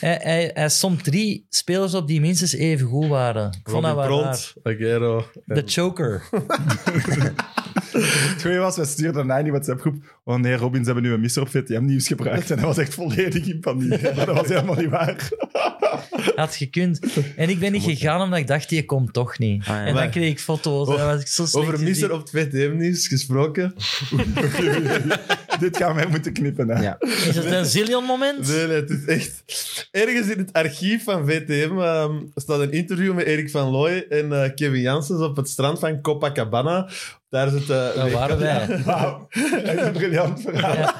Speaker 3: Hij, hij, hij somt drie spelers op die minstens even goed waren. Ik vond dat
Speaker 5: Robin
Speaker 3: wel raar.
Speaker 5: Pront, Aguero.
Speaker 3: De choker.
Speaker 1: Het goede was, we stuurden daarna in die WhatsApp-groep. Oh nee, Robin, ze hebben nu een misser op VTM-nieuws gebruikt. En hij was echt volledig in paniek. Maar dat was helemaal niet waar.
Speaker 3: Had gekund. En ik ben niet gegaan omdat ik dacht, die komt toch
Speaker 5: Ah,
Speaker 3: niet.
Speaker 4: ja.
Speaker 3: En dan kreeg ik foto's. en dan was ik zo slecht
Speaker 5: Oh, Over
Speaker 3: in die-
Speaker 5: misser op het VTM-nieuws gesproken.
Speaker 1: Dit gaan wij moeten knippen. Hè.
Speaker 4: Ja.
Speaker 3: Is het een zillion moment?
Speaker 5: Nee, nee, het is echt... Ergens in het archief van VTM ehm, staat een interview met Erik van Looy en eh, Kevin Janssens op het strand van Copacabana. Daar is het... eh,
Speaker 3: Daar
Speaker 5: WK.
Speaker 3: waren wij.
Speaker 1: Wauw, dat is een briljant verhaal.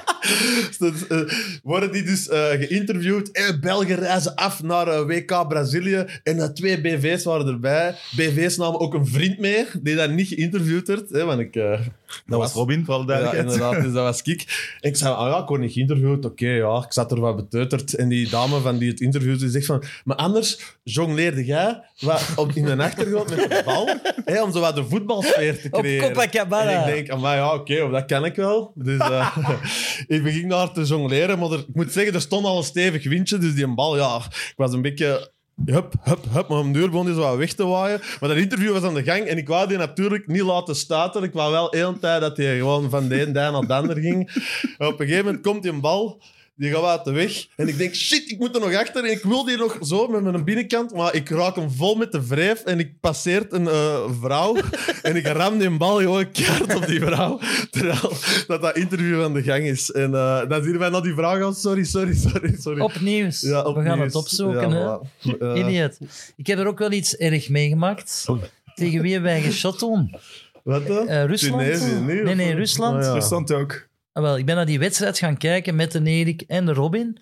Speaker 5: Dus, eh, worden die dus eh, geïnterviewd. Eh, Belgen reizen af naar eh, WK Brazilië. En eh, twee BV's waren erbij. BV's namen ook een vriend mee, die daar niet geïnterviewd werd. Hè, want ik, eh,
Speaker 1: Dat was Robin, vooral
Speaker 5: ja,
Speaker 1: duidelijkheid.
Speaker 5: inderdaad, dus dat was ik. En ik zei, ah ja, ik word niet geïnterviewd. Oké, ja, ik zat er wat beteuterd. En die dame van die het interviewde, die zegt van... Maar anders jongleerde jij wat op, in de achtergrond met de bal, hè, om zo wat de voetbalsfeer te
Speaker 3: Op
Speaker 5: creëren.
Speaker 3: Copacabana.
Speaker 5: En ik denk, maar ja, oké, dat ken ik wel. Dus eh, ik begin daar te jongleren. Maar er, ik moet zeggen, er stond al een stevig windje. Dus die bal, ja, ik was een beetje... Hup, hup, hup. Maar om de uur begon die zo wat weg te waaien. Maar dat interview was aan de gang. En ik wou die natuurlijk niet laten stuiten. Ik wou wel de hele tijd dat hij gewoon van de ene dij naar de ander ging. En op een gegeven moment komt die een bal... Die gaat uit de weg. En ik denk, shit, ik moet er nog achter. En ik wil die nog zo met mijn binnenkant. Maar ik raak hem vol met de wreef. En ik passeert een eh, vrouw. en ik ram die bal gewoon keihard op die vrouw. Terwijl dat, dat interview aan de gang is. En eh, dan zien wij naar die vrouw gaan. Sorry, sorry, sorry, sorry.
Speaker 3: Opnieuw.
Speaker 5: Ja,
Speaker 3: We gaan
Speaker 5: opnieuw.
Speaker 3: het opzoeken.
Speaker 5: Ja,
Speaker 3: hè.
Speaker 5: voilà. Oh. Eh,
Speaker 3: Idiot. Ik heb er ook wel iets erg meegemaakt. Tegen wie hebben wij geshot om?
Speaker 5: wat dan?
Speaker 3: Eh, Rusland?
Speaker 5: Tunesië, nee?
Speaker 3: nee, nee,
Speaker 5: Of-
Speaker 3: Rusland.
Speaker 5: Ah, ja.
Speaker 1: Rusland ook.
Speaker 3: Ah, wel, ik ben naar die wedstrijd gaan kijken met de Erik en de Robin.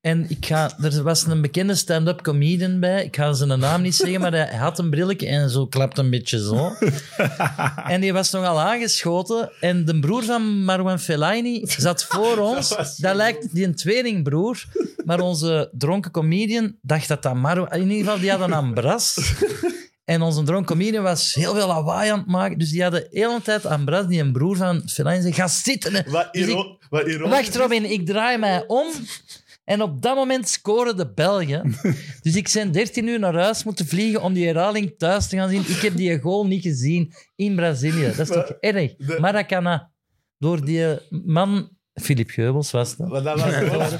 Speaker 3: En ik ga, er was een bekende stand-up comedian bij. Ik ga zijn naam niet zeggen, maar hij had een brilletje en zo klapte een beetje zo. En die was nogal aangeschoten. En de broer van Marwan Fellaini zat voor ons. Dat, lijkt die een tweelingbroer. Maar onze dronken comedian dacht dat dat Marwan... In ieder geval, die hadden een bras. En onze dronken comedian was heel veel lawaai aan het maken. Dus die hadden de hele tijd aan bras die een broer van Fellaini zei... Ga zitten. hè."
Speaker 5: Wat
Speaker 3: Dus ik-
Speaker 5: iro- wat ironisch.
Speaker 3: Wacht, Robin, ik draai mij om. En op dat moment scoren de Belgen. Dus ik ben 13 uur naar huis moeten vliegen om die herhaling thuis te gaan zien. Ik heb die goal niet gezien in Brazilië. Dat is toch erg?
Speaker 5: de-
Speaker 3: Maracana. Door die eh, man, Filip Geubels was dat.
Speaker 5: Maar dat was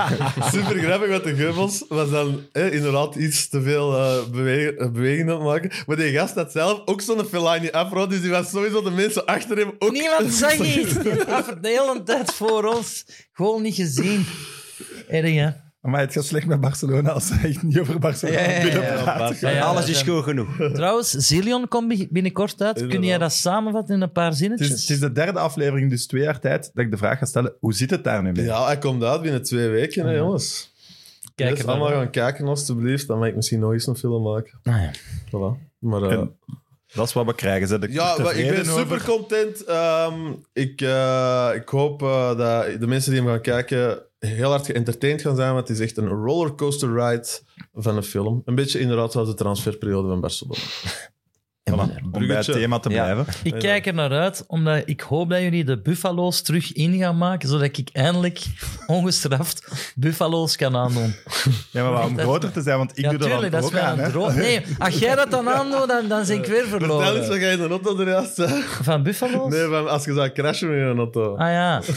Speaker 5: super grappig, want de Geubels was dan hè, inderdaad iets te veel eh, bewe- eh, beweging aan het maken. Maar die gast had zelf ook zo'n Fellaini afro, dus die was sowieso de mensen achter hem ook...
Speaker 3: Niemand zag iets. De hele tijd voor ons. Gewoon niet gezien. Erg, hè?
Speaker 1: Maar het gaat slecht met Barcelona als ze echt niet over Barcelona
Speaker 4: Ja, ja, ja,
Speaker 1: willen
Speaker 4: ja, ja,
Speaker 1: praten.
Speaker 3: Ja, ja,
Speaker 4: Alles
Speaker 3: dat
Speaker 4: is
Speaker 3: zijn-
Speaker 4: goed genoeg.
Speaker 3: Trouwens, Zillion komt bi- binnenkort uit. Kun jij dat samenvatten in een paar
Speaker 1: Het, is,
Speaker 3: zinnetjes?
Speaker 1: het is de derde aflevering, dus twee jaar tijd, dat ik de vraag ga stellen, hoe zit het daar nu mee?
Speaker 5: Ja, hij komt uit binnen twee weken, hè, jongens.
Speaker 3: Kijk
Speaker 5: dus
Speaker 3: er
Speaker 5: allemaal
Speaker 3: maar
Speaker 5: gaan kijken, alstublieft. Dan mag ik misschien nog eens een film maken.
Speaker 3: Ah,
Speaker 4: Nou ja.
Speaker 5: Voilà. Maar, eh,
Speaker 1: En dat is wat we krijgen. Zijn de-
Speaker 5: Ja, maar ik ben
Speaker 1: tevreden over?
Speaker 5: super content. Ehm, ik, eh, ik hoop eh, dat de mensen die hem gaan kijken heel hard geëntertaind gaan zijn, want het is echt een rollercoaster ride van een film. Een beetje inderdaad zoals de transferperiode van Barcelona.
Speaker 1: Om bij het
Speaker 5: Bruggetje.
Speaker 1: thema te
Speaker 4: Ja.
Speaker 1: blijven.
Speaker 3: Ik kijk er naar uit, omdat ik hoop dat jullie de buffalo's terug in gaan maken, zodat ik eindelijk ongestraft buffalo's kan aandoen.
Speaker 1: Ja, maar om
Speaker 3: Dat-
Speaker 1: groter te zijn, want ik
Speaker 3: ja,
Speaker 1: doe dat
Speaker 3: tuurlijk,
Speaker 1: dan
Speaker 3: dat is
Speaker 1: ook
Speaker 3: wel
Speaker 1: aan.
Speaker 3: een
Speaker 1: hè.
Speaker 3: droom. Nee, als jij dat dan aandoet, dan, dan ben ik weer
Speaker 5: Vertel eens
Speaker 3: verloren.
Speaker 5: wat jij in de auto eruit zei.
Speaker 3: Van buffalo's?
Speaker 5: Nee, eh, van als je zou crashen met je auto.
Speaker 3: Ah ja.
Speaker 5: Zo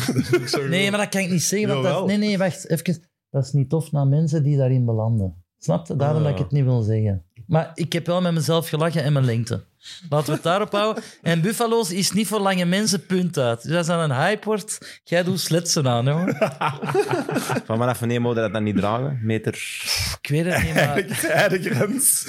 Speaker 5: goed.
Speaker 3: Nee, maar dat kan ik niet zeggen. Want dat,
Speaker 5: Jawel.
Speaker 3: nee, nee, wacht. Even. Dat is niet tof naar mensen die daarin belanden. Snap je? Daarom
Speaker 5: Ah.
Speaker 3: dat ik het niet wil zeggen. Maar ik heb wel met mezelf gelachen en mijn lengte. Laten we het daarop houden. En Buffalo's is niet voor lange mensen, punt uit. Dus als dat een hype wordt, jij doet sletsen aan, hoor.
Speaker 4: Van vanaf wanneer mogen we dat dan niet dragen? Meter...
Speaker 3: Ik weet het niet, maar...
Speaker 1: Ik zei de grens.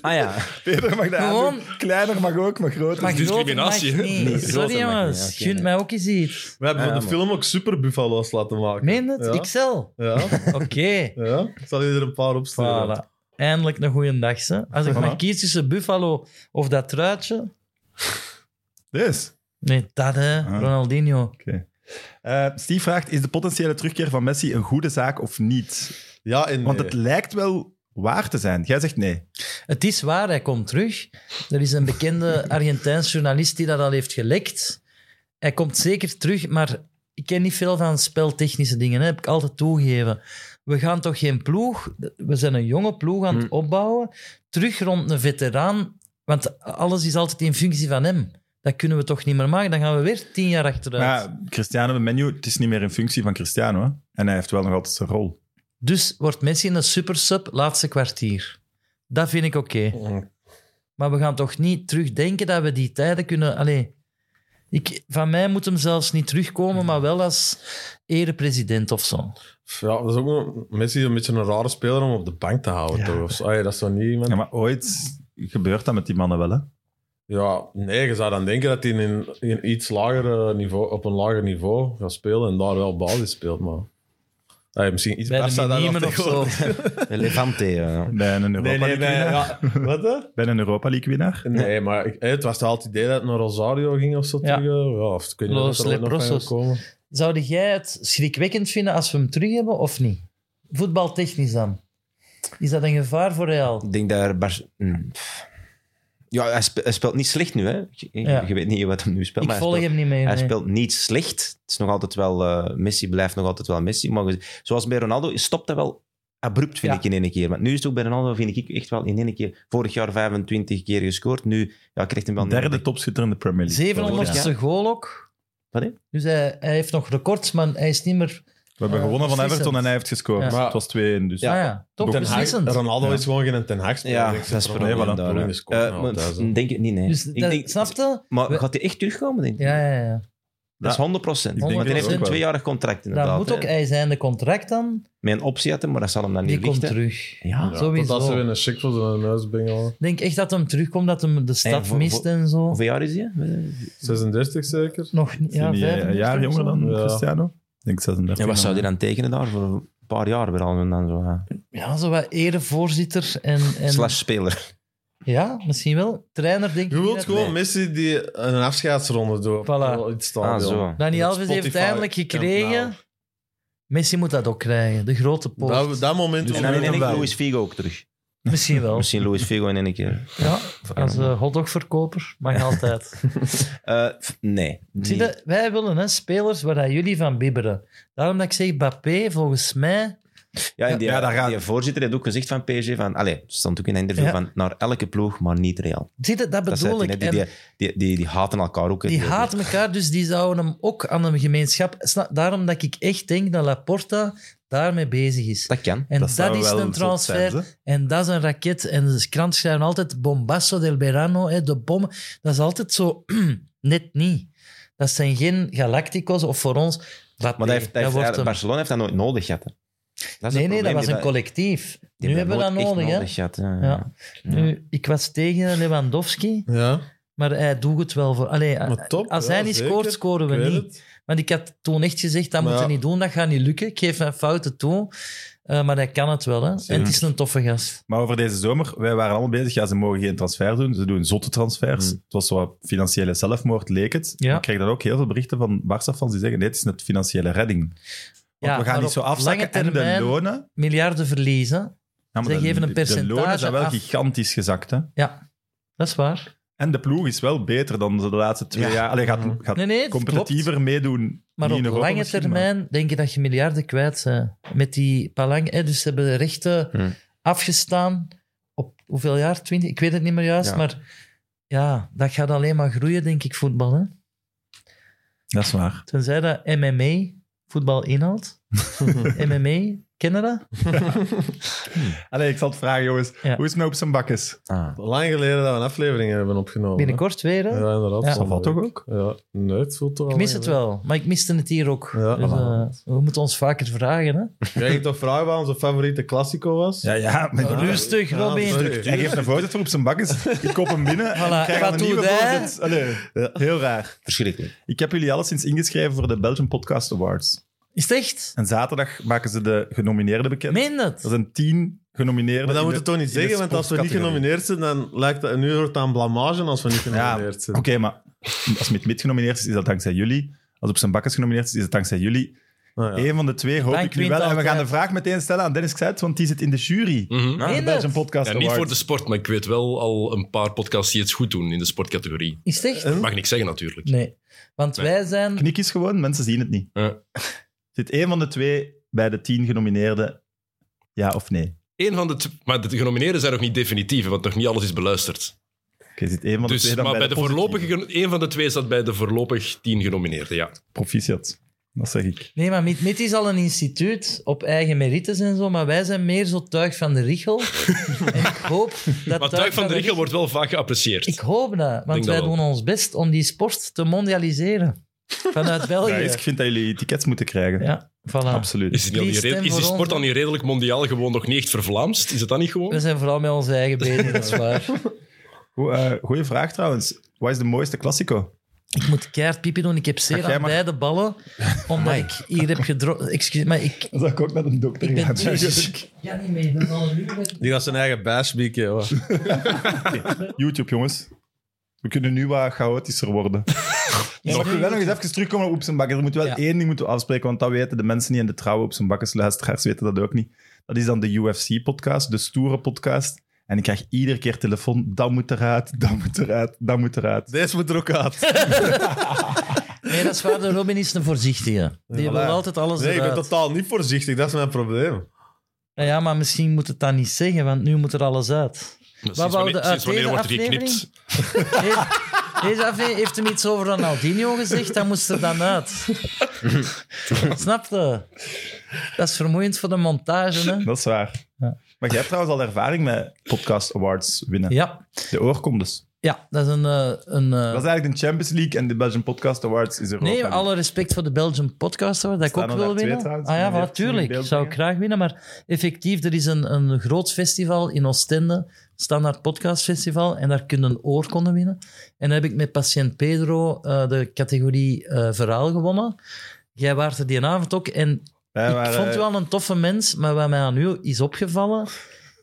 Speaker 4: Ah ja.
Speaker 1: Peter mag dat
Speaker 3: Gewoon-
Speaker 1: aandoen. Kleiner mag ook, maar groter.
Speaker 3: Maar groter mag
Speaker 7: discriminatie, hè?
Speaker 3: niet.
Speaker 4: Nee, groter
Speaker 3: Sorry
Speaker 4: mag
Speaker 3: jongens,
Speaker 4: niet, oké,
Speaker 3: gunt
Speaker 4: nee.
Speaker 3: mij ook eens iets.
Speaker 5: We hebben
Speaker 4: Ja,
Speaker 5: voor de
Speaker 4: man.
Speaker 5: film ook super buffalo's laten maken.
Speaker 3: Meen het?
Speaker 5: Ja.
Speaker 3: Ikzelf?
Speaker 5: Ja,
Speaker 3: Oké.
Speaker 5: ja. Ik zal je er een paar opsturen.
Speaker 3: Voilà. Eindelijk een goede dag. Hè. Als ik
Speaker 1: Voilà.
Speaker 3: maar kies tussen Buffalo of dat truitje.
Speaker 1: Dus,
Speaker 3: Nee, dat hè,
Speaker 1: Ah.
Speaker 3: Ronaldinho.
Speaker 1: eh, Steve vraagt, is de potentiële terugkeer van Messi een goede zaak of niet?
Speaker 5: Ja, en
Speaker 1: Want
Speaker 5: nee.
Speaker 1: het lijkt wel waar te zijn. Jij zegt nee.
Speaker 3: Het is waar, hij komt terug. Er is een bekende Argentijns journalist die dat al heeft gelekt. Hij komt zeker terug, maar ik ken niet veel van speltechnische dingen. Hè. Heb ik altijd toegegeven. We gaan toch geen ploeg... We zijn een jonge ploeg aan
Speaker 1: Hmm.
Speaker 3: het opbouwen. Terug rond een veteraan, want alles is altijd in functie van hem. dat kunnen we toch niet meer maken. Dan gaan we weer tien jaar achteruit.
Speaker 1: Maar ja, Cristiano de menu, het is niet meer in functie van Cristiano. Hè? En hij heeft wel nog altijd zijn rol.
Speaker 3: Dus wordt Messi een supersub laatste kwartier. Dat vind ik oké. Maar we gaan toch niet terugdenken dat we die tijden kunnen... Allee, ik, van mij moet hem zelfs niet terugkomen, maar wel als erepresident of zo.
Speaker 5: Ja, dat is ook nog, Messi is een beetje een rare speler om op de bank te houden. Toch? Of zo. Allee, dat is zo niet iemand...
Speaker 1: Ja,
Speaker 5: Ja,
Speaker 1: maar ooit gebeurt dat met die mannen wel. Hè?
Speaker 5: nee, je zou dan denken dat hij in, in iets lager eh, niveau, op een lager niveau gaat spelen en daar wel basis speelt, maar... Allee, misschien iets
Speaker 3: Bij
Speaker 5: Barca
Speaker 3: de
Speaker 5: daar wel
Speaker 3: miniemen of zo.
Speaker 5: tegenwoordig.
Speaker 4: Levante. ja.
Speaker 1: Bij een Europa
Speaker 5: Nee, nee,
Speaker 1: League
Speaker 5: nee.
Speaker 1: winnaar.
Speaker 5: Ja. Wat, hè?
Speaker 1: Bij een Europa League winnaar.
Speaker 5: Nee, maar ik, eh, het was toch altijd het idee dat het naar Rosario ging of zo
Speaker 3: Ja.
Speaker 5: terug. eh? Ja, of kun je
Speaker 3: Los
Speaker 5: dat er ooit nog van
Speaker 3: Leprosos.
Speaker 5: gaat komen.
Speaker 3: Zou jij het schrikwekkend vinden als we hem terug hebben of niet? Voetbaltechnisch dan. Is dat een gevaar voor Real?
Speaker 4: Ik denk dat er... Bar- Hm, pff. Ja, hij, spe- hij speelt niet slecht nu, hè. Je, je-
Speaker 3: Ja.
Speaker 4: je weet niet wat hem nu speelt.
Speaker 3: Ik
Speaker 4: maar hij
Speaker 3: volg
Speaker 4: speelt-
Speaker 3: hem niet meer.
Speaker 4: Hij
Speaker 3: nee.
Speaker 4: speelt niet slecht. Het is nog altijd wel... eh, Messi blijft nog altijd wel Messi. Maar je- zoals bij Ronaldo stopt dat wel abrupt, vind
Speaker 3: Ja.
Speaker 4: ik, in één keer. Want nu is het ook bij Ronaldo, vind ik, echt wel in één keer... Vorig jaar 25 keer gescoord. Nu ja, krijgt hem wel... niet meer
Speaker 1: Derde
Speaker 4: weg.
Speaker 1: topschutter in de Premier League.
Speaker 3: 700ste goal ook.
Speaker 4: Wat, hè?
Speaker 3: Dus hij, hij heeft nog records, maar hij is niet meer...
Speaker 1: We hebben
Speaker 3: Eh,
Speaker 1: gewonnen van
Speaker 3: beslissend.
Speaker 1: Everton en hij heeft gescoord.
Speaker 3: Ja.
Speaker 1: Maar het was 2-1. Dus.
Speaker 3: Ja, Ah ja toch
Speaker 5: Ten Hag,
Speaker 3: beslissend.
Speaker 5: Ronaldo
Speaker 1: Ja.
Speaker 5: is gewoon geen Ten Hag speler.
Speaker 4: Ja,
Speaker 5: Ik denk
Speaker 4: dat is
Speaker 5: ze
Speaker 4: het
Speaker 5: proberen
Speaker 4: probleem
Speaker 5: dat
Speaker 4: daar,
Speaker 5: te
Speaker 4: hè.
Speaker 5: doen, is kort
Speaker 4: Eh,
Speaker 5: nog
Speaker 4: maar
Speaker 5: altijd,
Speaker 4: pff,
Speaker 5: hè.
Speaker 4: denk het niet, nee.
Speaker 3: Dus
Speaker 4: ik
Speaker 3: dat-
Speaker 4: denk,
Speaker 3: snap je?
Speaker 4: Maar
Speaker 3: We-
Speaker 4: gaat hij echt terugkomen, denk ik?
Speaker 3: Ja, ja, ja.
Speaker 4: Dat is 100 procent.
Speaker 3: denk
Speaker 4: Hij heeft
Speaker 3: dat ook
Speaker 4: een
Speaker 1: wel.
Speaker 4: tweejarig contract, inderdaad.
Speaker 3: Daar moet
Speaker 4: hè.
Speaker 3: ook hij zijn de contract dan.
Speaker 4: Mijn optie had hem, maar dat zal hem dan
Speaker 3: Die
Speaker 4: niet
Speaker 3: komt
Speaker 4: lichten.
Speaker 3: terug.
Speaker 4: Ja.
Speaker 5: Ja,
Speaker 3: Sowieso.
Speaker 5: Totdat ze weer een chic voor zijn neus bengelen.
Speaker 3: Ik denk echt dat hem terugkomt, dat hem de stad
Speaker 4: voor-
Speaker 3: mist
Speaker 4: voor-
Speaker 3: en zo.
Speaker 4: Hoeveel jaar is hij? hè?
Speaker 3: Hm.
Speaker 5: 36 zeker?
Speaker 3: Nog niet-
Speaker 1: Is hij
Speaker 3: ja,
Speaker 1: niet, eh, een
Speaker 3: 35
Speaker 1: jaar
Speaker 3: of
Speaker 1: jonger
Speaker 3: zo.
Speaker 1: dan
Speaker 5: Ja.
Speaker 1: Cristiano? Ik denk 36.
Speaker 4: En wat zou hij dan tekenen daar? Voor een paar jaar weer al. En dan zo, hè.
Speaker 3: Ja, zo wat erevoorzitter en... en
Speaker 4: Slash speler.
Speaker 3: Ja, misschien wel. Trainer, denk ik.
Speaker 5: Je wilt
Speaker 3: niet.
Speaker 5: gewoon Messi die een afscheidsronde doet.
Speaker 3: Voilà.
Speaker 5: Op iets
Speaker 4: Ah,
Speaker 5: stadion.
Speaker 4: zo.
Speaker 3: Dani
Speaker 5: Op
Speaker 3: Alves heeft het
Speaker 5: Spotify.
Speaker 3: eindelijk gekregen.
Speaker 5: Nou,
Speaker 3: Messi moet dat ook krijgen. De grote poort.
Speaker 5: Dat, dat moment...
Speaker 3: Dus
Speaker 4: En
Speaker 5: om-
Speaker 4: dan in één keer
Speaker 5: Dus wel.
Speaker 4: Luis Figo ook terug.
Speaker 3: Misschien wel.
Speaker 4: Misschien Luis Figo in één keer.
Speaker 3: Ja, als eh, hotdogverkoper mag altijd.
Speaker 4: Eh, f- nee.
Speaker 3: Zie
Speaker 4: niet.
Speaker 3: je, wij willen hè, spelers waar dat jullie van bibberen. Daarom dat ik zeg, Bappé, volgens mij...
Speaker 4: Ja, en die,
Speaker 1: Ja, daar gaat-
Speaker 4: die voorzitter heeft ook gezegd van PSG van... Allee, stond ook in een interview
Speaker 3: Ja.
Speaker 4: van... Naar elke ploeg, maar niet Real.
Speaker 3: Zie je, dat
Speaker 4: Dat zei
Speaker 3: bedoel
Speaker 4: hij,
Speaker 3: ik.
Speaker 4: hè.
Speaker 3: En-
Speaker 4: die, die, die, die, die haten elkaar ook. hè.
Speaker 3: Die haten elkaar, dus die zouden hem ook aan een gemeenschap... Sna- Daarom dat ik echt denk dat Laporta daarmee bezig is.
Speaker 4: Dat kan.
Speaker 3: En dat,
Speaker 1: zou
Speaker 3: is
Speaker 1: wel
Speaker 3: een
Speaker 1: zot
Speaker 3: transfer.
Speaker 1: zijn, hè?
Speaker 3: en dat is een raket. En de krant schrijven altijd Bombasso del Verano, hè, de bom. Dat is altijd zo net niet. Dat zijn geen Galacticos of voor ons... Bappé.
Speaker 4: Maar dat heeft, dat heeft-
Speaker 3: wordt hem.
Speaker 4: Barcelona heeft dat nooit nodig gehad. hè. Dat is
Speaker 3: Nee,
Speaker 4: het
Speaker 3: nee, dat
Speaker 4: probleem.
Speaker 3: was
Speaker 4: Die
Speaker 3: een collectief.
Speaker 4: die
Speaker 3: Nu hebben we dat
Speaker 4: nooit echt
Speaker 3: nodig, hè.
Speaker 4: gehad, ja.
Speaker 3: Ja. Nu, ik was tegen Lewandowski,
Speaker 5: Ja,
Speaker 3: maar hij doet het wel voor. Allee,
Speaker 5: maar top.
Speaker 3: als
Speaker 5: ja,
Speaker 3: hij niet
Speaker 5: zeker.
Speaker 3: scoort, scoren we
Speaker 5: Ik weet
Speaker 3: niet.
Speaker 5: het.
Speaker 3: Want ik had toen echt gezegd, dat
Speaker 5: Maar
Speaker 3: moeten
Speaker 5: ja.
Speaker 3: niet doen, dat gaat niet lukken. Ik geef mijn fouten toe. Eh, maar hij kan het wel, hè. En het is een toffe gast.
Speaker 1: Maar over deze zomer, wij waren allemaal bezig. Ja, ze mogen geen transfer doen. Ze doen zotte transfers. Het was zo wat financiële zelfmoord, leek het.
Speaker 3: Mm. Ja.
Speaker 1: Maar Ik kreeg dan ook heel veel berichten van Barca-fans die zeggen: nee, het is net financiële redding. Want
Speaker 3: Ja,
Speaker 1: we
Speaker 3: maar
Speaker 1: gaan niet
Speaker 3: op
Speaker 1: zo afzakken. en
Speaker 3: lange termijn-
Speaker 1: de lonen.
Speaker 3: Miljarden verliezen,
Speaker 1: Ja,
Speaker 3: Ze
Speaker 1: de-
Speaker 3: geven een
Speaker 1: De
Speaker 3: percentage
Speaker 1: lonen zijn wel
Speaker 3: af.
Speaker 1: gigantisch gezakt. Hè?
Speaker 3: dat is waar.
Speaker 1: En de ploeg is wel beter dan ze de laatste twee
Speaker 4: Ja.
Speaker 1: jaar. Allee, gaat,
Speaker 5: Mhm.
Speaker 1: gaat
Speaker 3: Nee, nee, het
Speaker 1: competitiever meedoen.
Speaker 3: Maar
Speaker 1: niet
Speaker 3: op
Speaker 1: in Europa
Speaker 3: lange
Speaker 1: misschien, maar-
Speaker 3: termijn denk je dat je miljarden kwijt bent. Met die palang, hè, dus ze hebben de rechten
Speaker 1: Hm.
Speaker 4: Hmm.
Speaker 3: afgestaan op hoeveel jaar? Twintig? Ik weet het niet meer juist,
Speaker 4: Ja.
Speaker 3: maar ja, dat gaat alleen maar groeien, denk ik, voetbal. Hè?
Speaker 1: Dat is waar.
Speaker 3: Tenzij dat MMA voetbal inhoudt. MMA, kennen dat?
Speaker 1: Allee, ik zal het vragen, jongens.
Speaker 3: Ja.
Speaker 1: Hoe is het met op zijn bakkes?
Speaker 4: Ah.
Speaker 5: Lang geleden dat we een aflevering hebben opgenomen.
Speaker 3: Binnenkort weer,
Speaker 5: hè.
Speaker 3: hè?
Speaker 5: Ja, inderdaad.
Speaker 3: Ja.
Speaker 5: zondag.
Speaker 1: Dat valt toch ook?
Speaker 5: Ja, nee, het voelt toch al
Speaker 3: Ik mis
Speaker 5: lang
Speaker 3: het wel, maar ik miste het hier ook.
Speaker 5: Ja,
Speaker 3: Dus,
Speaker 5: voilà.
Speaker 3: eh, we moeten ons vaker vragen, hè?
Speaker 5: geleden. Jij ging toch vragen wat onze favoriete Classico was?
Speaker 1: Ja, ja. maar-
Speaker 3: Rustig,
Speaker 5: Ja,
Speaker 3: Robin.
Speaker 5: sorry.
Speaker 1: Hij geeft een voorzet voor op zijn bakkes. Ik koop hem binnen en
Speaker 3: Voilà,
Speaker 1: ik krijg
Speaker 3: wat
Speaker 1: al een
Speaker 3: doet
Speaker 1: nieuwe
Speaker 3: hij?
Speaker 1: voorzet. Allee, heel raar.
Speaker 4: Verschrikkelijk.
Speaker 1: Ik heb jullie alleszins ingeschreven voor de Belgian Podcast Awards.
Speaker 3: Is het echt?
Speaker 1: En zaterdag maken ze de genomineerden bekend.
Speaker 3: Meen dat?
Speaker 1: Dat zijn tien genomineerden.
Speaker 5: Maar dat
Speaker 1: in
Speaker 5: moet je
Speaker 1: de-
Speaker 5: toch niet
Speaker 1: in de
Speaker 5: zeggen, want als we niet
Speaker 1: sportcategorie.
Speaker 5: genomineerd zijn, dan lijkt dat nu wordt het aan blamage als we niet genomineerd
Speaker 1: Ja,
Speaker 5: zijn.
Speaker 1: oké, maar als Mit Mit genomineerd is, is dat dankzij jullie. Als op zijn bakkes genomineerd is, is dat dankzij jullie.
Speaker 5: Nou ja.
Speaker 1: Eén van de twee hoop
Speaker 3: Dank
Speaker 1: ik nu
Speaker 3: wint
Speaker 1: wel. En we gaan de
Speaker 3: altijd.
Speaker 1: vraag meteen stellen aan Dennis Kzuid, want die zit in de jury.
Speaker 7: Mhm.
Speaker 3: Meen
Speaker 1: Bij
Speaker 3: dat?
Speaker 1: Belgian Podcast
Speaker 7: Ja, niet
Speaker 1: Awards.
Speaker 7: voor de sport, maar ik weet wel al een paar podcasts die het goed doen in de sportcategorie.
Speaker 3: Is het echt?
Speaker 5: Huh?
Speaker 7: Mag ik niks zeggen, natuurlijk.
Speaker 3: Nee. Want
Speaker 7: Nee.
Speaker 3: wij zijn...
Speaker 1: Knik is gewoon, mensen zien het niet.
Speaker 7: Ja.
Speaker 1: Zit één van de twee bij de tien genomineerden, ja of nee?
Speaker 7: Eén van de tw- maar de genomineerden zijn nog niet definitief, hè, want nog niet alles is beluisterd.
Speaker 1: je zit één van de
Speaker 7: Dus,
Speaker 1: twee dan
Speaker 7: maar bij de,
Speaker 1: positieve.
Speaker 7: voorlopige, geno- één van de twee zat bij de voorlopig tien genomineerden, ja.
Speaker 1: Proficiat. Dat zeg ik.
Speaker 3: Nee, maar MIT, MIT is al een instituut op eigen merites en zo, maar wij zijn meer zo tuig van de richel. en ik hoop dat
Speaker 7: Maar Tuig van de Riegel wordt wel vaak geapprecieerd.
Speaker 3: Ik hoop dat, want
Speaker 7: Denk
Speaker 3: wij
Speaker 7: dat wel.
Speaker 3: doen ons best om die sport te mondialiseren. Vanuit België.
Speaker 1: Ja,
Speaker 3: Ja,
Speaker 1: dus ik vind dat jullie tickets moeten krijgen.
Speaker 3: voilà.
Speaker 1: Absoluut.
Speaker 7: Is, het niet al
Speaker 3: Please
Speaker 7: niet
Speaker 3: stem
Speaker 7: reden- is die
Speaker 3: voor
Speaker 7: sport
Speaker 3: ons.
Speaker 7: dan niet redelijk mondiaal gewoon nog niet echt vervlaamst? Is het dat
Speaker 3: We
Speaker 7: niet gewoon?
Speaker 3: zijn vooral met ons eigen bezig, dat is waar.
Speaker 1: Goe- eh, goeie vraag trouwens. Wat is de mooiste Classico?
Speaker 3: Ik moet keihard pipi doen. Ik heb
Speaker 1: Ach,
Speaker 3: zeer
Speaker 1: jij
Speaker 3: aan
Speaker 1: mag-
Speaker 3: beide ballen, omdat ik hier heb gedronken. Excuus, maar ik...
Speaker 1: Dat zou ik ook naar een dokter
Speaker 3: Ik ben
Speaker 5: dus-
Speaker 3: ik Ja, niet mee. Dat is al een uur dat ik-
Speaker 5: Die gaat zijn eigen bijspieken, hoor.
Speaker 1: YouTube, jongens. We kunnen nu wat chaotischer worden. Ja, maar ik wil wel nog eens even terugkomen op zijn bakken. Er moet wel
Speaker 3: Ja.
Speaker 1: één ding moeten we afspreken, want dat weten de mensen niet en de trouwe op zijn bakkers luisteraars weten dat ook niet. Dat is dan de UFC-podcast, de stoere podcast. En ik krijg iedere keer telefoon, dat moet eruit, dat moet eruit, dat moet eruit.
Speaker 5: Deze moet er ook uit.
Speaker 3: Nee, dat is waar. De Robin is een voorzichtige. Die
Speaker 5: Ja, voilà.
Speaker 3: wil altijd alles
Speaker 5: Nee, ik ben
Speaker 3: eruit.
Speaker 5: totaal niet voorzichtig. Dat is mijn probleem.
Speaker 3: Nou Ja, maar misschien moet het dan niet zeggen, want nu moet er alles uit.
Speaker 7: Sinds
Speaker 3: wou
Speaker 7: wanneer,
Speaker 3: de-
Speaker 7: sinds
Speaker 3: uit
Speaker 7: wanneer
Speaker 3: deze
Speaker 7: wordt er
Speaker 3: aflevering?
Speaker 7: geknipt?
Speaker 3: Deze, deze aflevering heeft hem iets over Ronaldinho gezegd, dat moest er dan uit. Snap je? Dat is vermoeiend voor de montage, hè?
Speaker 1: Dat is waar. Maar jij hebt trouwens al ervaring met podcast awards winnen.
Speaker 3: Ja,
Speaker 1: De oorkondes.
Speaker 3: ja dat is een... eh, een eh,
Speaker 1: Dat is eigenlijk de Champions League en de Belgian Podcast Awards is Europa.
Speaker 3: Nee,
Speaker 1: League.
Speaker 3: alle respect voor de Belgian podcast, hoor, dat ik
Speaker 1: Staan
Speaker 3: ook
Speaker 1: er
Speaker 3: wil
Speaker 1: daar twee
Speaker 3: winnen.
Speaker 1: trouwens?
Speaker 3: ah
Speaker 1: Die
Speaker 3: ja,
Speaker 1: heeft ze in
Speaker 3: natuurlijk.
Speaker 1: beeld
Speaker 3: Zou ik
Speaker 1: brengen.
Speaker 3: graag winnen, maar effectief, er is een, een groot festival in Oostende, Standaard Podcast Festival, en daar kunnen oorkonden winnen. En dan heb ik met patiënt Pedro eh, de categorie eh, verhaal gewonnen. Jij waart er die avond ook en
Speaker 1: Wij
Speaker 3: ik
Speaker 1: waren-
Speaker 3: vond u wel een toffe mens, maar wat mij aan u is opgevallen,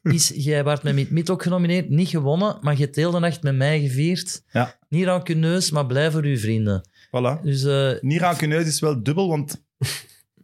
Speaker 3: is jij werd met Meet Meet ook genomineerd, niet gewonnen, maar je hebt heel de nacht met mij gevierd.
Speaker 1: Ja.
Speaker 3: Niet rancuneus, maar blij voor uw vrienden.
Speaker 1: Voilà.
Speaker 3: Dus eh,
Speaker 1: Niet rancuneus is wel dubbel, want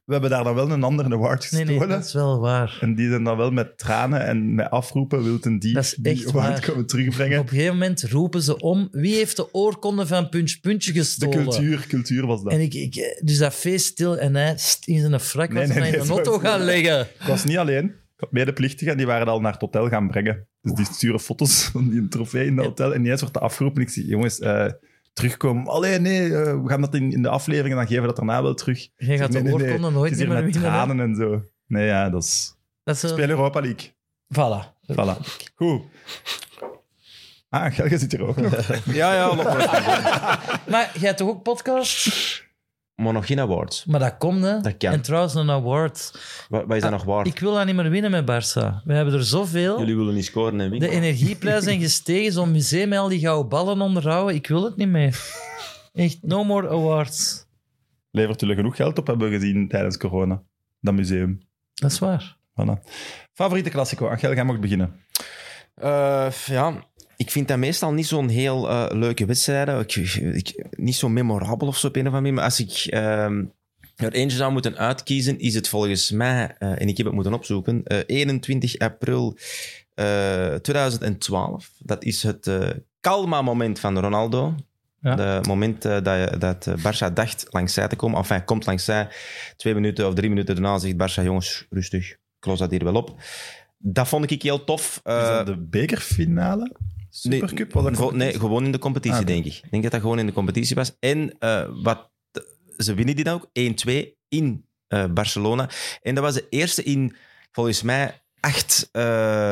Speaker 1: we hebben daar dan wel een andere award
Speaker 3: nee,
Speaker 1: gestolen.
Speaker 3: nee, dat is wel waar.
Speaker 1: En die zijn dan wel met tranen en met afroepen Wilton die,
Speaker 3: Dat is
Speaker 1: die
Speaker 3: echt
Speaker 1: award
Speaker 3: waar.
Speaker 1: komen terugbrengen.
Speaker 3: Op een gegeven moment roepen ze om, wie heeft de oorkonde van Punch Puntje
Speaker 1: De
Speaker 3: gestolen?
Speaker 1: cultuur, cultuur was dat.
Speaker 3: En ik, ik, eh, dus dat feest stil en hij st- in zijn frak
Speaker 1: Nee,
Speaker 3: was
Speaker 1: nee,
Speaker 3: mij
Speaker 1: nee,
Speaker 3: in de
Speaker 1: zo
Speaker 3: auto
Speaker 1: is het
Speaker 3: gaan leggen.
Speaker 1: Ik was niet alleen. Ik had medeplichtigen en die waren al naar het hotel gaan brengen. Dus die sturen foto's van die trofee in het hotel. En ineens wordt dat afgeroepen. Ik zeg, jongens, eh, terugkomen. Allee, nee, eh, we gaan dat in, in de aflevering en dan geven we dat daarna wel terug.
Speaker 3: Jij gaat
Speaker 1: Nee,
Speaker 3: de
Speaker 1: nee,
Speaker 3: oorkonde
Speaker 1: nee.
Speaker 3: nooit
Speaker 1: Het is
Speaker 3: meer
Speaker 1: hier met
Speaker 3: winnen. hè?
Speaker 1: tranen en zo. Nee, ja, dat is...
Speaker 3: Dat is een...
Speaker 1: Speel Europa League.
Speaker 3: Voilà.
Speaker 1: Voilà. Goed. Ah, Gelge zit hier ook nog.
Speaker 4: Ja, ja.
Speaker 3: Maar jij hebt toch ook podcast?
Speaker 4: maar nog geen awards.
Speaker 3: Maar dat komt, hè?
Speaker 4: Dat kan.
Speaker 3: En trouwens, een award.
Speaker 4: Wat, wat is dat nog waard?
Speaker 3: Ah, Ik wil dat niet meer winnen met Barça. We hebben er zoveel.
Speaker 4: Jullie willen niet scoren en
Speaker 3: De
Speaker 4: winnen.
Speaker 3: energieprijzen zijn gestegen. Zo'n museum met al die gouden ballen onderhouden. Ik wil het niet meer. Echt, no more awards.
Speaker 1: Levert jullie genoeg geld op, hebben we gezien tijdens corona. Dat museum.
Speaker 3: Dat is waar.
Speaker 1: Voilà. Favoriete klassico? Angel, jij mag beginnen.
Speaker 4: Eh, f- ja, ik vind dat meestal niet zo'n heel eh, leuke wedstrijden. Ik, ik, niet zo memorabel of zo op een of andere manier. Maar als ik ehm, er eentje zou moeten uitkiezen, is het volgens mij, eh, en ik heb het moeten opzoeken, eh, 21 april eh, 2012. Dat is het eh, Calma-moment van Ronaldo.
Speaker 3: Ja.
Speaker 4: Het moment eh, dat, je- dat eh, Barça dacht langs zij te komen. Enfin, hij komt langs zij. Twee minuten of drie minuten daarna zegt Barça, jongens, rustig. Ik los dat hier wel op. Dat vond ik heel tof.
Speaker 1: Is
Speaker 4: Eh,
Speaker 1: dat de bekerfinale? Supercup? was dat
Speaker 4: Gewo- nee,
Speaker 1: competitie?
Speaker 4: gewoon in de competitie,
Speaker 1: Ah, oké.
Speaker 4: denk ik. Ik denk dat dat gewoon in de competitie was. En eh, wat, ze winnen die dan ook 1-2 in eh, Barcelona. En dat was de eerste in, volgens mij, acht eh,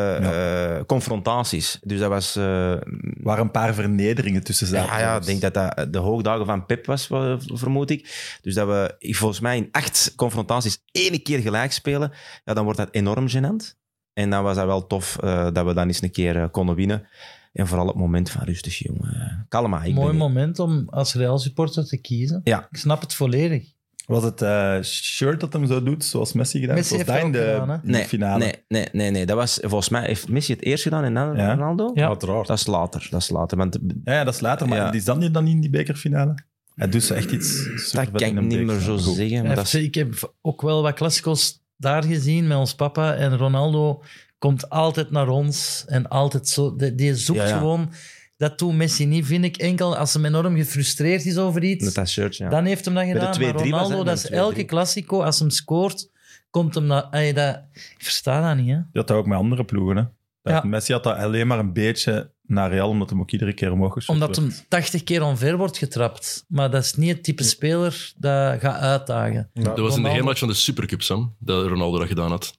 Speaker 4: eh, confrontaties. Dus dat was... eh,
Speaker 1: Er waren een paar vernederingen tussen zaten.
Speaker 4: ja, ja, ik denk dat dat eh, de hoogdagen van Pep was, wa- vermoed ik. Dus dat we ik- volgens mij in acht confrontaties één keer gelijk spelen, ja, dan wordt dat enorm gênant. En dan was dat wel tof eh, dat we dan eens een keer eh, konden winnen. En vooral het moment van rustig, jongen. Kalma, ik
Speaker 3: Mooi
Speaker 4: ben...
Speaker 3: moment om als Real supporter te kiezen.
Speaker 4: Ja.
Speaker 3: Ik snap het volledig.
Speaker 1: Was het eh, shirt dat hem zo doet, zoals Messi gedaan
Speaker 3: Messi
Speaker 1: Was
Speaker 3: heeft
Speaker 1: dat in
Speaker 3: dat
Speaker 1: de,
Speaker 3: ook gedaan, hè?
Speaker 1: in de
Speaker 4: Nee,
Speaker 1: finale?
Speaker 4: nee, nee, nee, nee. Dat was, volgens mij heeft Messi het eerst gedaan en dan
Speaker 1: Ja.
Speaker 4: Ronaldo.
Speaker 3: Ja.
Speaker 5: Uiteraard.
Speaker 4: Dat is later, dat is later. Want
Speaker 1: Ja, ja, dat is later, maar
Speaker 4: Ja.
Speaker 1: is dat niet dan niet in die bekerfinale? Hij doet zo echt iets
Speaker 4: dat
Speaker 1: supervet
Speaker 4: kan
Speaker 1: in
Speaker 4: ik
Speaker 1: een
Speaker 4: niet meer zo
Speaker 1: bekerfinale. Goed.
Speaker 4: zeggen. Maar dat
Speaker 3: FC,
Speaker 4: is,
Speaker 3: Ik heb ook wel wat klassicos daar gezien met ons papa. En Ronaldo komt altijd naar ons. En altijd zo. Die, die zoekt
Speaker 4: Ja, ja.
Speaker 3: gewoon. Dat doet Messi niet, vind ik. Enkel als hem enorm gefrustreerd is over iets.
Speaker 4: met dat shirt, ja.
Speaker 3: Dan heeft hem dat gedaan.
Speaker 4: de
Speaker 3: Maar
Speaker 4: 2-3 was, hè,
Speaker 3: Ronaldo,
Speaker 4: met
Speaker 3: dat is
Speaker 4: de 2-3.
Speaker 3: elke klassico. Als hem scoort, komt hem naar... Ay, dat, ik versta dat niet, hè.
Speaker 1: Je had dat ook met andere ploegen. Hè? Dat
Speaker 3: Ja.
Speaker 1: Messi had dat alleen maar een beetje
Speaker 6: naar Real, omdat hem ook iedere keer omhoog geschopt
Speaker 3: Omdat
Speaker 6: werd.
Speaker 3: hem 80 keer onver wordt getrapt. Maar dat is niet het type speler dat gaat uitdagen.
Speaker 7: Dat was in de
Speaker 3: Ronaldo.
Speaker 7: heermatch van de Supercup, Sam, dat Ronaldo dat gedaan had.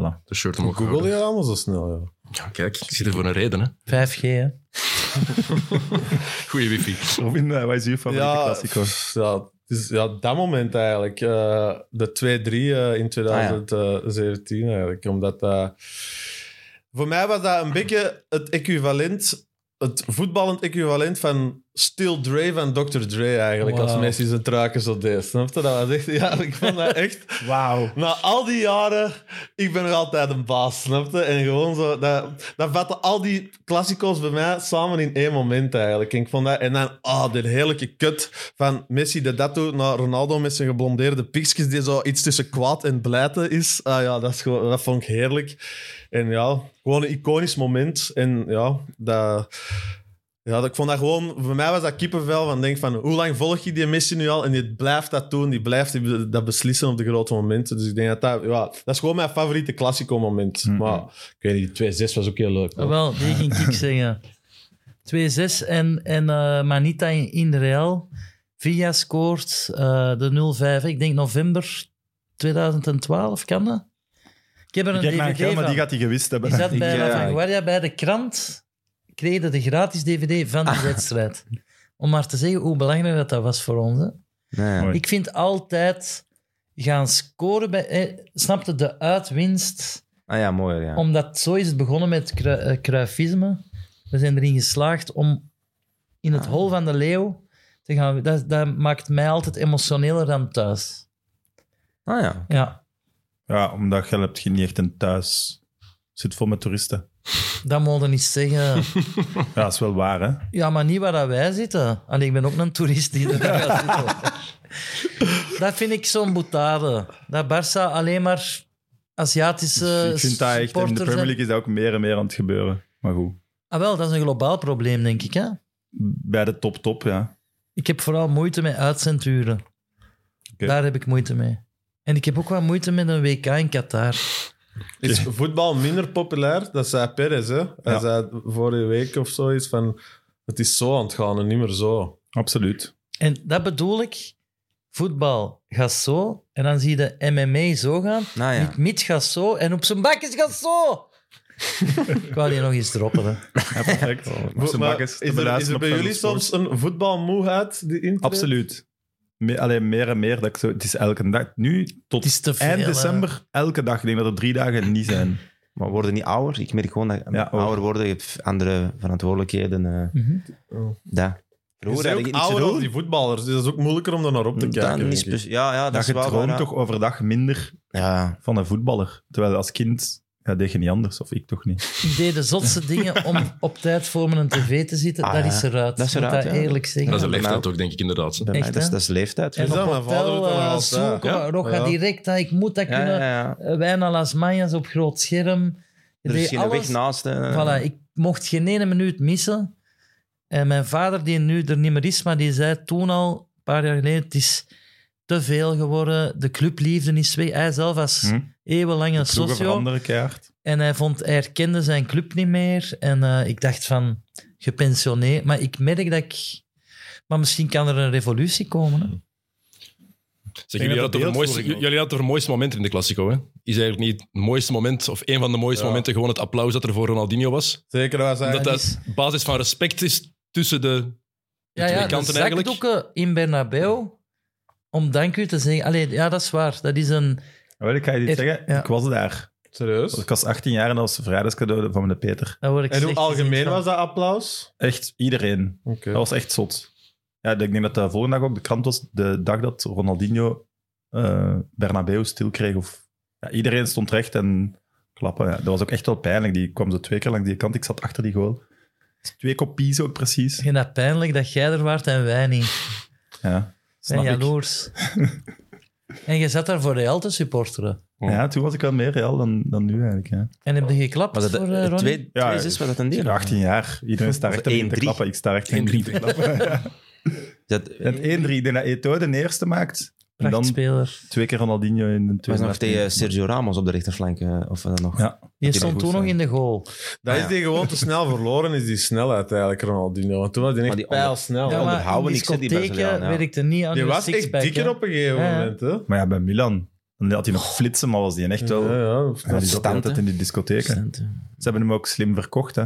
Speaker 6: Voilà.
Speaker 7: De shirt omhoog.
Speaker 5: Google je allemaal zo snel, ja.
Speaker 7: Ja, kijk, ik zit er voor een reden, hè.
Speaker 3: 5G, hè.
Speaker 7: Goeie wifi.
Speaker 1: Robin, eh, wat is uw favoriete klassico?
Speaker 5: pff, Ja, het is, ja, dat moment eigenlijk. eh, de 2-3
Speaker 1: Ah,
Speaker 5: eh, in 2017 eigenlijk. Omdat dat... Voor mij was dat een beetje het equivalent... Het voetballend equivalent van Still Dre van Dr. Dre eigenlijk.
Speaker 3: Wauw.
Speaker 5: Als Messi zijn truiken zo deed. Snap je? Dat was echt... Ja, ik vond dat echt...
Speaker 1: Wauw.
Speaker 5: Na al die jaren, ik ben nog altijd een baas, snapte? En gewoon zo, dat, dat vatten al die klassico's bij mij samen in één moment eigenlijk. En, ik vond dat, en dan, ah, dit heerlijke kut van Messi de dat doet naar Ronaldo met zijn geblondeerde piekjes, die zo iets tussen kwaad en blijten is. Ah ja, dat, is gewoon, dat vond ik heerlijk. En ja, gewoon een iconisch moment. En ja, dat... Ja, dat- ik vond dat gewoon... Voor mij was dat kippenvel van denk van... Hoe lang volg je die missie nu al? En die blijft dat doen. Die blijft die- dat beslissen op de grote momenten. Dus ik denk dat dat... Ja, dat is gewoon mijn favoriete classico-moment. Maar ik weet niet, die 2-6 was ook heel leuk.
Speaker 3: Ah, wel, die ging ik zeggen. 2-6 en, en eh, Manita in, in Real. Villa scoort eh, de 0-5. Ik denk november 2012, kan dat? Ik heb er een
Speaker 1: Kijk naar
Speaker 3: DVD
Speaker 1: Angel, maar
Speaker 3: van.
Speaker 1: die gaat hij gewist hebben.
Speaker 3: Die zat bij
Speaker 4: Ja,
Speaker 3: La
Speaker 4: ja, ik-
Speaker 3: Vanguardia bij de krant. Kregen de gratis DVD van de wedstrijd. Om maar te zeggen hoe belangrijk dat, dat was voor ons. hè.
Speaker 4: Nee.
Speaker 6: Mooi.
Speaker 3: Ik vind altijd gaan scoren bij... eh, snapte de uitwinst...
Speaker 4: Ah ja, mooier, ja.
Speaker 3: Omdat zo is het begonnen met cru- eh, Cruyffisme. We zijn erin geslaagd om in
Speaker 1: Ah.
Speaker 3: het hol van de leeuw te gaan. Dat, dat maakt mij altijd emotioneler dan thuis.
Speaker 4: Ah ja.
Speaker 3: Ja,
Speaker 6: Ja, omdat je hebt geen niet echt een thuis. Zit vol met toeristen.
Speaker 3: dat moet je niet zeggen.
Speaker 6: Ja, dat is wel waar, hè?
Speaker 3: Ja, maar niet waar dat wij zitten. Allee, ik ben ook een toerist die er gaat zitten. Dat vind ik zo'n boetade. Dat Barça alleen maar Aziatische
Speaker 1: ik vind dat echt, en in de
Speaker 3: supporters
Speaker 1: Premier
Speaker 3: zijn.
Speaker 1: League is dat ook meer en meer aan het gebeuren. Maar goed,
Speaker 3: Ah wel, dat is een globaal probleem, denk ik. Hè?
Speaker 1: bij de top top, ja.
Speaker 3: Ik heb vooral moeite met uitzenduren.
Speaker 1: Oké.
Speaker 3: Daar heb ik moeite mee. En ik heb ook wat moeite met een WK in Qatar.
Speaker 5: Is voetbal minder populair? Dat zei Perez, hè? Hij
Speaker 1: Ja.
Speaker 5: zei vorige week of zo iets van... Het is zo aan het gaan en niet meer zo.
Speaker 1: Absoluut.
Speaker 3: En dat bedoel ik. Voetbal gaat zo en dan zie je MMA zo gaan.
Speaker 4: Nou ja.
Speaker 3: Niet mid gaat zo en op zijn bakjes gaat zo. ik wou die nog eens droppen. Hè.
Speaker 1: Ja, perfect. Op zijn
Speaker 5: Maar
Speaker 1: bakkes te
Speaker 5: is, er, is
Speaker 1: beluisteren
Speaker 5: er
Speaker 1: op
Speaker 5: bij
Speaker 1: Channel
Speaker 5: jullie
Speaker 1: Sport.
Speaker 5: soms een voetbalmoeheid die in?
Speaker 1: Absoluut. Me, alleen meer en meer. Dat ik zo, het is elke dag. Nu tot
Speaker 3: Het is te veel.
Speaker 1: eind
Speaker 3: hè.
Speaker 1: december, elke dag. Ik denk dat er drie dagen niet zijn.
Speaker 4: Maar worden niet ouder? Ik merk gewoon dat
Speaker 1: Ja,
Speaker 4: ouder worden, je hebt andere verantwoordelijkheden. eh
Speaker 3: Mhm.
Speaker 4: dat.
Speaker 5: Je
Speaker 4: Vroeger had
Speaker 5: bent ook
Speaker 4: ik niets te
Speaker 5: ouder dan
Speaker 4: doen.
Speaker 5: die voetballers. Dus dat is ook moeilijker om daar naar op te
Speaker 4: Dat
Speaker 5: kijken.
Speaker 4: niet
Speaker 5: denk ik.
Speaker 4: spec- ja, ja, dat,
Speaker 1: Dat
Speaker 4: is
Speaker 1: je
Speaker 4: wel waar,
Speaker 1: droomt
Speaker 4: ja.
Speaker 1: toch overdag minder
Speaker 4: Ja,
Speaker 1: van een voetballer. Terwijl als kind ja, deed je niet anders. Of ik toch niet.
Speaker 3: Ik deed de zotste dingen om op tijd voor mijn tv te zitten.
Speaker 4: Ah,
Speaker 3: dat
Speaker 4: ja.
Speaker 3: is eruit.
Speaker 4: Dat is
Speaker 3: Ik moet
Speaker 4: eruit,
Speaker 3: dat
Speaker 4: ja.
Speaker 3: eerlijk zeggen.
Speaker 7: Dat is
Speaker 4: Ja,
Speaker 7: een leeftijd
Speaker 4: maar-
Speaker 7: ook, denk ik, inderdaad. hè.
Speaker 4: bij mij,
Speaker 3: Echt,
Speaker 4: dat, is,
Speaker 3: hè?
Speaker 4: dat is leeftijd.
Speaker 3: En
Speaker 5: Is dat?
Speaker 3: op
Speaker 5: Mijn vader doet
Speaker 3: hotel
Speaker 5: dat wel
Speaker 3: eh,
Speaker 5: altijd.
Speaker 3: zoeken.
Speaker 5: Ja?
Speaker 3: maar Rocha
Speaker 5: Ja.
Speaker 3: direct. hè. Ik moet dat
Speaker 4: Ja,
Speaker 3: kunnen.
Speaker 4: ja, ja.
Speaker 3: Eh, Wijna Las Mayas op groot scherm. Ik
Speaker 4: Er is
Speaker 3: deed
Speaker 4: geen
Speaker 3: alles.
Speaker 4: weg naast. eh.
Speaker 3: Voilà, ik mocht geen ene minuut missen. En mijn vader, die nu er niet meer is, maar die zei toen al, een paar jaar geleden, het is te veel geworden. De clubliefde is weg. Hij zelf was
Speaker 1: Hm.
Speaker 3: eeuwenlange
Speaker 1: Ploegen
Speaker 3: socio.
Speaker 1: veranderen keihard.
Speaker 3: En hij, vond, hij herkende zijn club niet meer. En eh, ik dacht van, gepensioneerd. Maar ik merk dat ik... Maar misschien kan er een revolutie komen. Hè?
Speaker 7: Zeg,
Speaker 6: Ik denk
Speaker 7: jullie,
Speaker 6: dat
Speaker 7: hadden
Speaker 6: de
Speaker 7: het over mooiste,
Speaker 6: beeldvorming ook.
Speaker 7: jullie hadden het over mooiste momenten in de Classico. Hè? Is eigenlijk niet het mooiste moment, of een van de mooiste
Speaker 5: Ja.
Speaker 7: momenten, gewoon het applaus dat er voor Ronaldinho was.
Speaker 5: Zeker was hij.
Speaker 7: Omdat
Speaker 3: dat
Speaker 7: dat basis van respect is tussen de, de
Speaker 3: Ja,
Speaker 7: twee
Speaker 3: ja, de
Speaker 7: kanten eigenlijk.
Speaker 3: zakdoeken eh, in Bernabeu. Om dank u te zeggen. Allee, ja, dat is waar. Dat is een...
Speaker 1: Ja, Wel, ik ga je dit
Speaker 3: Echt,
Speaker 1: zeggen.
Speaker 3: ja.
Speaker 1: Ik was daar.
Speaker 5: Serieus?
Speaker 1: Ik was 18 jaar en dat was een vrijdagscadeau van mijn Peter.
Speaker 3: Dat word ik
Speaker 5: En hoe
Speaker 3: slecht
Speaker 5: algemeen
Speaker 3: gezien van.
Speaker 5: was dat applaus?
Speaker 1: Echt iedereen.
Speaker 5: Oké.
Speaker 1: Dat was echt zot. Ja, ik denk dat de volgende dag ook de krant was. De dag dat Ronaldinho eh Bernabeu stil kreeg. Of, ja, iedereen stond recht en klappen. Ja. Dat was ook echt wel pijnlijk. Die kwam zo twee keer langs die kant. Ik zat achter die goal. Twee kopies ook
Speaker 3: Ik
Speaker 1: precies.
Speaker 3: vind dat pijnlijk dat jij er waart en wij niet.
Speaker 1: Ja,
Speaker 3: En
Speaker 1: snap ik.
Speaker 3: jaloers. en je zat daar voor Real te supporteren.
Speaker 1: Ja, toen was ik wel meer real dan, dan nu eigenlijk. Hè.
Speaker 3: En heb je geklapt
Speaker 4: Was dat
Speaker 3: voor
Speaker 4: de-
Speaker 3: eh,
Speaker 4: de
Speaker 3: Ronnie?
Speaker 4: twee,
Speaker 1: Ja,
Speaker 4: twee zes was dat een
Speaker 1: Ik
Speaker 4: deel?
Speaker 1: ben 18 jaar. Iedereen staat
Speaker 4: Of
Speaker 1: recht tegen te
Speaker 4: 1-3.
Speaker 1: klappen. Ik sta recht tegen te klappen.
Speaker 4: Dat,
Speaker 1: Dat 1-3. Ik denk dat Eto'o de eerste maakt. En dan
Speaker 3: Prachtspeler.
Speaker 1: twee keer Ronaldinho in een
Speaker 4: was
Speaker 1: tweede
Speaker 4: nog tegen Sergio Ramos op de rechterflank. eh, Of dat nog.
Speaker 1: Ja.
Speaker 3: Die
Speaker 4: die
Speaker 3: stond
Speaker 4: goed
Speaker 3: toen nog
Speaker 4: zijn.
Speaker 3: in de goal.
Speaker 5: Dat
Speaker 4: Ah,
Speaker 5: is
Speaker 4: ja.
Speaker 5: die gewoon te snel verloren, is die snelheid eigenlijk, Ronaldinho. Want toen was die
Speaker 4: Maar
Speaker 5: echt
Speaker 4: die
Speaker 5: pijlsnel.
Speaker 4: Ja,
Speaker 3: maar
Speaker 4: onderhouden
Speaker 3: in
Speaker 4: niks, hè, die
Speaker 3: discotheken
Speaker 4: Braziliaan, ja.
Speaker 3: werkte niet aan
Speaker 5: die
Speaker 3: je
Speaker 5: was echt
Speaker 3: sixpack.
Speaker 5: dikker
Speaker 3: hè.
Speaker 5: op een gegeven
Speaker 3: Ja, ja.
Speaker 5: moment. Hè?
Speaker 1: Maar ja, bij Milan. Dan had hij nog flitsen, maar was die echt wel...
Speaker 5: Ja, ja, dat is-
Speaker 1: Ja, die zat
Speaker 4: Stand,
Speaker 1: altijd
Speaker 4: hè.
Speaker 1: in die discotheken.
Speaker 4: Cent, hè.
Speaker 1: Ze hebben hem ook slim verkocht, hè.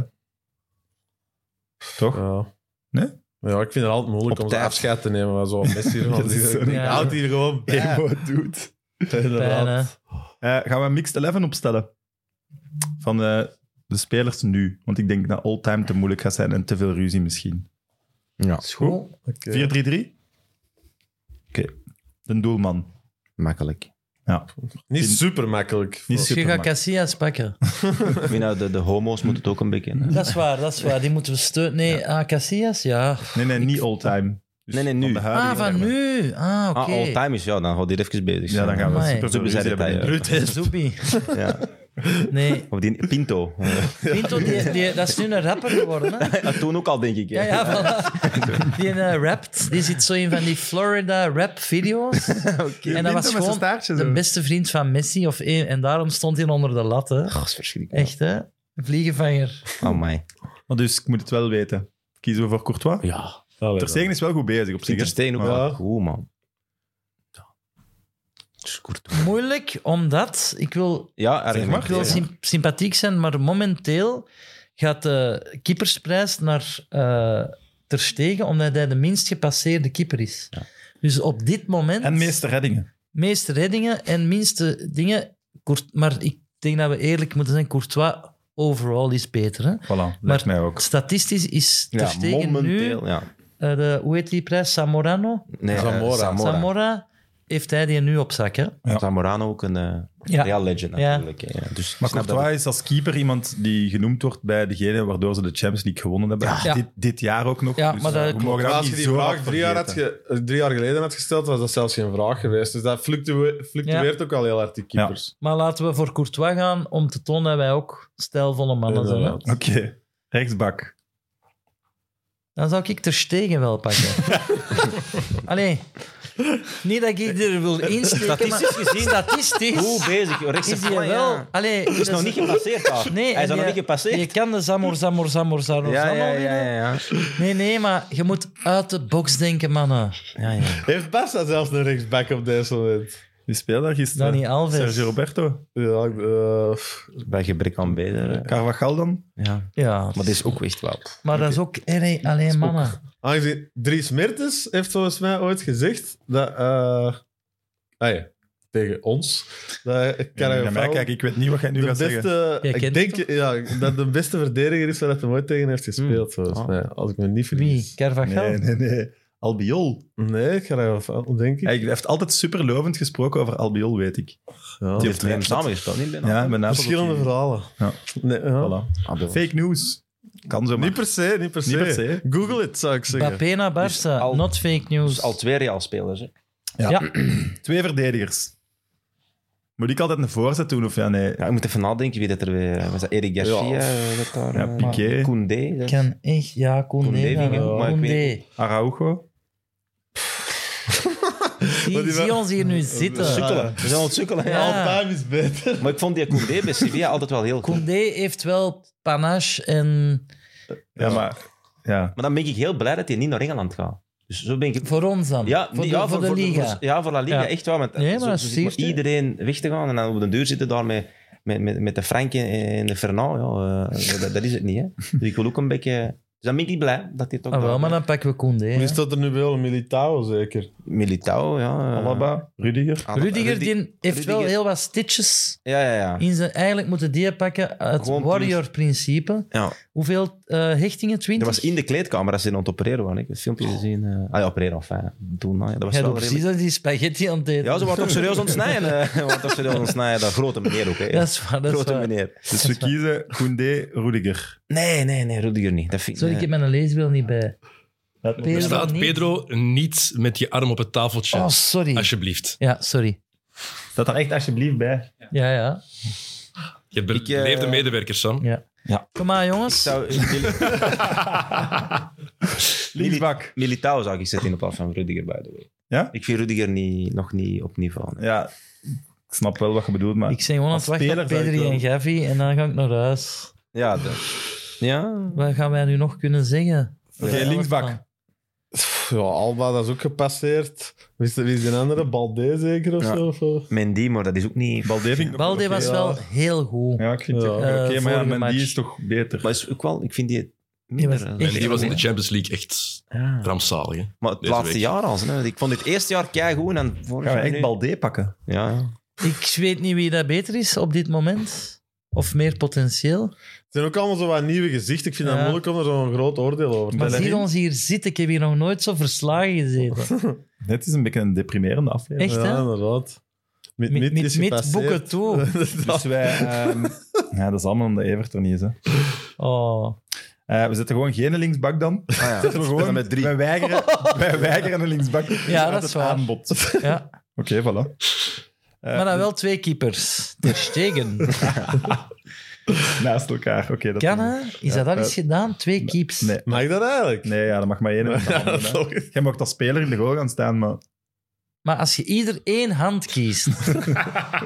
Speaker 1: Toch?
Speaker 5: Ja.
Speaker 1: Nee?
Speaker 5: Ja, ik vind het altijd moeilijk
Speaker 4: Op
Speaker 5: om zo'n
Speaker 4: tijd.
Speaker 5: afscheid te nemen. Maar zo, Messi, Ronaldinho.
Speaker 1: Ja.
Speaker 5: Ik houd hier gewoon bij.
Speaker 1: Emo doet.
Speaker 5: Inderdaad.
Speaker 3: Pijn, hè.
Speaker 1: Eh, gaan we een mixed 11 opstellen? Van eh, de spelers nu. Want ik denk dat all-time te moeilijk gaat zijn en te veel ruzie misschien.
Speaker 4: Ja,
Speaker 3: School.
Speaker 5: Oké.
Speaker 1: 4-3-3? Oké. De doelman.
Speaker 4: makkelijk.
Speaker 5: Niet super makkelijk.
Speaker 1: Niet
Speaker 3: Dus je gaat
Speaker 1: supermak.
Speaker 3: Casillas pakken.
Speaker 4: Ik vind dat de, de homo's moeten het ook een beetje. hè.
Speaker 3: Dat is waar, dat is waar. Die moeten we steunen. Nee, ah, Casillas? Ja.
Speaker 1: Nee, nee, niet all-time. Dus
Speaker 4: Nee, nee, nu.
Speaker 1: van de huidige
Speaker 3: Ah, van
Speaker 1: hebben we-
Speaker 3: nu. Ah,
Speaker 4: Ah,
Speaker 3: oké.
Speaker 4: all-time is ja, dan gaat die even bezig.
Speaker 1: Ja, dan gaan we
Speaker 3: Amai.
Speaker 1: super
Speaker 4: Zo
Speaker 1: veel
Speaker 4: bezet
Speaker 1: ruzie hebben.
Speaker 4: het eigenlijk.
Speaker 3: Ruud Zoebi.
Speaker 4: Ja.
Speaker 3: Nee,
Speaker 4: Of die Pinto. Eh,
Speaker 3: Pinto, die, die, dat is nu een rapper geworden. Hè?
Speaker 4: ja, toen ook al, denk ik. hè.
Speaker 3: Ja, ja, voilà. Die eh, rapt. Die zit zo in van die Florida rap-video's. En dat
Speaker 1: Pinto met
Speaker 3: was
Speaker 1: zijn
Speaker 3: gewoon
Speaker 1: staartje
Speaker 3: de
Speaker 1: zo.
Speaker 3: beste vriend van Messi. Of één, en daarom stond hij onder de lat. Hè.
Speaker 4: Oh, dat is verschrikkelijk.
Speaker 3: Echt, hè? Vliegenvanger.
Speaker 4: Amai.
Speaker 1: Maar dus ik moet het wel weten. Kiezen we voor Courtois?
Speaker 4: Ja.
Speaker 5: Allee,
Speaker 1: Ter Stegen is wel goed bezig op zich. hè?
Speaker 4: Ter Stegen ook
Speaker 1: Maar-
Speaker 4: wel goed, man. Dus Courtois.
Speaker 3: Moeilijk, omdat ik wil,
Speaker 4: Ja,
Speaker 3: ik wil
Speaker 4: argumenteer.
Speaker 3: sym- sympathiek zijn, maar momenteel gaat de keepersprijs naar eh Ter Stegen, omdat hij de minst gepasseerde keeper is. Dus op dit moment...
Speaker 1: En meeste reddingen.
Speaker 3: meeste reddingen en minste dingen. Court- maar ik denk dat we eerlijk moeten zijn: Courtois overall is beter. Hè?
Speaker 1: Voilà,
Speaker 3: Maar-
Speaker 1: lijkt mij ook.
Speaker 3: Statistisch is Ter
Speaker 4: Ja,
Speaker 3: Stegen nu,
Speaker 4: momenteel. Ja.
Speaker 3: eh, de, hoe heet die prijs? Samorano?
Speaker 4: Nee, eh,
Speaker 5: Zamora.
Speaker 4: Zamora.
Speaker 3: Samora heeft hij die nu op zak. Hè?
Speaker 1: Ja.
Speaker 4: Zamorano ook een eh,
Speaker 3: Ja.
Speaker 4: real legend
Speaker 3: Ja.
Speaker 4: natuurlijk. hè. Ja. Dus ik
Speaker 1: Maar
Speaker 4: snap
Speaker 1: Courtois is als keeper iemand die genoemd wordt bij degene waardoor ze de Champions League gewonnen hebben.
Speaker 3: Ja.
Speaker 1: Dit, dit jaar ook nog.
Speaker 3: Ja,
Speaker 1: dus
Speaker 3: maar dat
Speaker 1: we
Speaker 3: klopt.
Speaker 1: mogen
Speaker 5: Maar
Speaker 1: dat
Speaker 5: als je
Speaker 1: niet
Speaker 5: die
Speaker 1: zo
Speaker 5: vraag
Speaker 1: hard
Speaker 5: drie jaar, had
Speaker 1: vergeten.
Speaker 5: ge- eh, drie jaar geleden had gesteld, was dat zelfs geen vraag geweest. Dus dat fluctue- fluctueert ook al heel hard, die keepers.
Speaker 3: Maar laten we voor Courtois gaan om te tonen dat wij ook stijlvolle mannen zijn. hè.
Speaker 5: Inderdaad.
Speaker 1: Oké, rechtsbak.
Speaker 3: Dan zou ik Ter Stegen wel pakken. Allee, niet dat ik er wil insteken, statistisch maar gezien,
Speaker 4: dat. Goed
Speaker 3: statistisch
Speaker 4: bezig. joh. Rechtse
Speaker 3: is hij
Speaker 4: flank,
Speaker 3: wel...
Speaker 4: ja.
Speaker 3: Allee,
Speaker 4: Hij is nog niet gepasseerd daar.
Speaker 3: Nee,
Speaker 4: Hij
Speaker 3: en
Speaker 4: is nog
Speaker 3: die-
Speaker 4: niet gepasseerd.
Speaker 3: Je kan de Zamor, Zamor, Zamor, Zamor,
Speaker 4: ja,
Speaker 3: Zamor
Speaker 4: ja,
Speaker 3: winnen.
Speaker 4: ja, ja, ja.
Speaker 3: Nee, nee, maar je moet uit de box denken, mannen.
Speaker 4: ja, ja.
Speaker 5: Heeft Barca zelfs een rechtsback op deze moment?
Speaker 1: Wie speelde daar gisteren?
Speaker 3: Dani Alves.
Speaker 1: Sergio Roberto.
Speaker 5: Ja, ik- eh,
Speaker 4: Bij gebrek aan beter. hè.
Speaker 1: Carvajal dan?
Speaker 4: Ja.
Speaker 3: Ja,
Speaker 4: Maar dit is ook echt wel.
Speaker 3: maar dat is ook erg, alleen mannen.
Speaker 5: aangezien Dries Mertens heeft volgens mij ooit gezegd dat... eh, ah ja, tegen ons. Dat
Speaker 1: Ja, naar mij
Speaker 5: Carvajal
Speaker 1: kijk, ik weet niet wat jij nu
Speaker 5: de
Speaker 1: gaat zeggen.
Speaker 5: beste,
Speaker 3: Jij
Speaker 5: ik
Speaker 3: kent
Speaker 5: denk
Speaker 3: het
Speaker 5: ja, dat de beste verdediger is waar hij ooit tegen heeft gespeeld.
Speaker 1: Hmm.
Speaker 5: volgens
Speaker 4: Ah.
Speaker 5: mij, als ik me niet
Speaker 3: Wie?
Speaker 5: vergis.
Speaker 3: Carvajal?
Speaker 1: Nee, nee, nee. Albiol.
Speaker 5: Nee, ik ga daar wel van, denk ik.
Speaker 1: Hij heeft altijd superlovend gesproken over Albiol, weet ik.
Speaker 5: Ja.
Speaker 1: Die
Speaker 4: Die heeft met hem samengespeeld, niet? Ben
Speaker 1: Ja, met Napels
Speaker 5: Verschillende
Speaker 1: ook.
Speaker 5: verhalen.
Speaker 1: Ja.
Speaker 5: Nee, ja.
Speaker 1: Voilà.
Speaker 4: Ah,
Speaker 1: Fake news. Kan zo maar.
Speaker 5: Niet per se, niet per se.
Speaker 1: Niet per se.
Speaker 5: Google it, zou ik zeggen.
Speaker 3: Mbappé naar Barca,
Speaker 4: al-
Speaker 3: not fake news.
Speaker 4: Dus al twee Real-spelers. hè.
Speaker 1: Twee verdedigers. Moet ik altijd een voorzet doen? Of ja, nee.
Speaker 4: Ja, ik moet even nadenken wie dat er weer... Was dat Eric Garcia? eh, dat daar,
Speaker 1: Ja,
Speaker 4: eh,
Speaker 1: Piqué.
Speaker 4: Koundé. dat-
Speaker 3: kan echt, ja, Koundé.
Speaker 4: Koundé
Speaker 3: gaan
Speaker 4: ging
Speaker 3: we-
Speaker 4: ook, maar ik
Speaker 3: Koundé.
Speaker 1: Araujo.
Speaker 5: Maar
Speaker 3: Zie
Speaker 5: die
Speaker 3: zie
Speaker 5: wel-
Speaker 3: ons hier nu zitten.
Speaker 4: Sukkelen. We zijn aan het sukkelen. hè.
Speaker 3: Ja.
Speaker 5: Time is better.
Speaker 4: Maar ik vond die Koundé bij Sevilla altijd wel heel goed.
Speaker 3: Koundé heeft wel panache en...
Speaker 1: Ja, maar... Ja.
Speaker 4: Maar dan ben ik heel blij dat hij niet naar Engeland gaat. Dus zo ben ik...
Speaker 3: Voor ons dan.
Speaker 4: Ja,
Speaker 3: voor,
Speaker 4: nee,
Speaker 3: de,
Speaker 4: ja,
Speaker 3: voor de liga.
Speaker 4: ja, voor La Liga,
Speaker 3: Ja.
Speaker 4: echt waar. Want
Speaker 3: Nee, maar
Speaker 4: zo-
Speaker 3: dat
Speaker 4: zo
Speaker 3: is
Speaker 4: zit maar
Speaker 3: triest, hè?
Speaker 4: iedereen weg te gaan en dan op de deur zitten daar met, met, met, met de Frank en de Fernand. Ja, eh, dat, dat is het niet, hè. Dus ik wil ook een beetje... Dus dan ben ik blij dat hij toch...
Speaker 3: Ah, wel,
Speaker 4: daar-
Speaker 3: maar dan pakken we Koundé. hè.
Speaker 5: Wie staat er nu wel? Militao zeker.
Speaker 4: Militao, ja. eh,
Speaker 1: Alaba. Rudiger.
Speaker 4: Alaba.
Speaker 3: Rudiger
Speaker 4: Rudi-
Speaker 3: die heeft wel
Speaker 4: Rudiger-
Speaker 3: heel wat stitches
Speaker 4: Ja, ja, ja.
Speaker 3: in zijn... Eigenlijk moeten die pakken het
Speaker 4: Gewoon
Speaker 3: warrior-principe.
Speaker 4: ja.
Speaker 3: Hoeveel eh, hechtingen?
Speaker 4: Dat
Speaker 3: 20?
Speaker 4: was in de kleedkamer als ze aan het opereren waren. Ik heb het filmpje
Speaker 3: Oh.
Speaker 4: gezien. eh, ah ja, opereren of fijn. Doen, nou, ja, dat was
Speaker 3: Jij
Speaker 4: wel
Speaker 3: doet precies
Speaker 4: redelijk-
Speaker 3: als die spaghetti aan het eten.
Speaker 4: Ja, ze waren toch serieus aan het snijden. eh. Ze waren toch serieus aan het snijden. Dat grote meneer ook, hè.
Speaker 3: Dat is waar, dat is
Speaker 4: grote
Speaker 3: waar.
Speaker 4: meneer.
Speaker 1: Dus we kiezen Koundé, Rudiger.
Speaker 4: Nee, nee, nee, Rudiger niet. Dat vind ik...
Speaker 3: Sorry, ik
Speaker 4: nee.
Speaker 3: heb mijn leesbril niet bij.
Speaker 7: Er
Speaker 3: Pedro
Speaker 7: staat
Speaker 3: niet.
Speaker 7: Pedro niet met je arm op het tafeltje.
Speaker 3: Oh, sorry.
Speaker 7: Alsjeblieft.
Speaker 3: Ja, sorry.
Speaker 1: Staat daar echt alsjeblieft bij.
Speaker 3: Ja, ja.
Speaker 7: Je hebt
Speaker 4: eh,
Speaker 7: beleefde medewerkers, Sam.
Speaker 3: ja.
Speaker 4: Ja.
Speaker 3: Kom maar, jongens.
Speaker 4: zou, ik wil-
Speaker 1: Linksbak.
Speaker 4: Militao zou ik zitten in de plaats van Rudiger, by the way.
Speaker 1: Ja?
Speaker 4: Ik vind Rudiger niet, nog niet op niveau. nee.
Speaker 1: Ja, ik snap wel wat je bedoelt, maar...
Speaker 3: Ik ben gewoon aan
Speaker 1: Als
Speaker 3: het wachten op
Speaker 1: speler zou ik
Speaker 3: Pedri
Speaker 1: wel-
Speaker 3: en Gavi en dan ga ik naar huis.
Speaker 4: Ja, dat... Ja,
Speaker 3: Wat gaan wij nu nog kunnen zeggen?
Speaker 1: Oké,
Speaker 3: Ja.
Speaker 1: linksbak.
Speaker 5: Pff, Ja, Alba, dat is ook gepasseerd. Wie is, wie is die andere? Balde zeker of
Speaker 4: Ja.
Speaker 5: zo? of zo?
Speaker 4: Mendy, maar dat is ook niet...
Speaker 1: Balde vind ik nog
Speaker 3: Balde
Speaker 1: wel oké.
Speaker 3: was
Speaker 5: ja.
Speaker 3: wel heel goed.
Speaker 1: Ja, ik vind het
Speaker 5: Ja.
Speaker 1: ook
Speaker 3: Eh,
Speaker 1: oké, maar ja,
Speaker 3: vorige
Speaker 1: Mendy
Speaker 3: match.
Speaker 1: is toch beter.
Speaker 4: Maar is ook wel, ik vind die
Speaker 3: Die
Speaker 4: minder.
Speaker 3: was
Speaker 4: eh,
Speaker 3: echt-
Speaker 7: En die was in de Champions League echt
Speaker 4: Ja.
Speaker 7: rampzalig. hè.
Speaker 4: Maar het
Speaker 7: Deze
Speaker 4: laatste
Speaker 7: week.
Speaker 4: jaar al. Hè. Ik vond het eerste jaar keigoed en dan vorig
Speaker 1: Gaan we
Speaker 4: jaar
Speaker 1: echt
Speaker 4: nu-
Speaker 1: Balde pakken?
Speaker 4: Ja, ja.
Speaker 3: Ik weet niet wie dat beter is op dit moment. Of meer potentieel.
Speaker 5: Het zijn ook allemaal zo wat nieuwe gezichten. Ik vind
Speaker 3: Ja.
Speaker 5: dat moeilijk om er zo'n groot oordeel over te
Speaker 3: Maar
Speaker 5: hebben.
Speaker 3: zie ons hier zitten. Ik heb hier nog nooit zo verslagen gezeten.
Speaker 1: Dit is een beetje een deprimerende aflevering.
Speaker 3: Echt, hè?
Speaker 5: Ja, inderdaad. Mit,
Speaker 3: Met, met,
Speaker 5: is
Speaker 3: met
Speaker 5: gepasseerd.
Speaker 3: boeken toe.
Speaker 1: Dus wij... ehm, ja, dat is allemaal omdat Evert er niet is, hè.
Speaker 3: Oh.
Speaker 1: Eh, we zetten gewoon geen linksbak dan.
Speaker 4: Ah, ja.
Speaker 1: Zetten we gewoon,
Speaker 4: Dan met drie.
Speaker 1: Wij weigeren, wij weigeren een linksbak. Dus Uit
Speaker 3: dat is
Speaker 1: het
Speaker 3: waar.
Speaker 1: aanbod. Oké,
Speaker 3: Ja.
Speaker 1: voilà. Eh,
Speaker 3: Maar dan wel twee keepers. Ter Stegen.
Speaker 1: Naast elkaar. Oké, dat
Speaker 3: Kan,
Speaker 1: doen we.
Speaker 3: hè? Is dat al eens gedaan? Twee keeps.
Speaker 1: Nee.
Speaker 5: Mag dat eigenlijk?
Speaker 1: Nee, ja, dat mag maar één. met de
Speaker 5: Ja,
Speaker 1: handen, hè.
Speaker 5: sorry.
Speaker 1: Jij mag als speler in de goal gaan staan, maar...
Speaker 3: Maar als je ieder één hand kiest...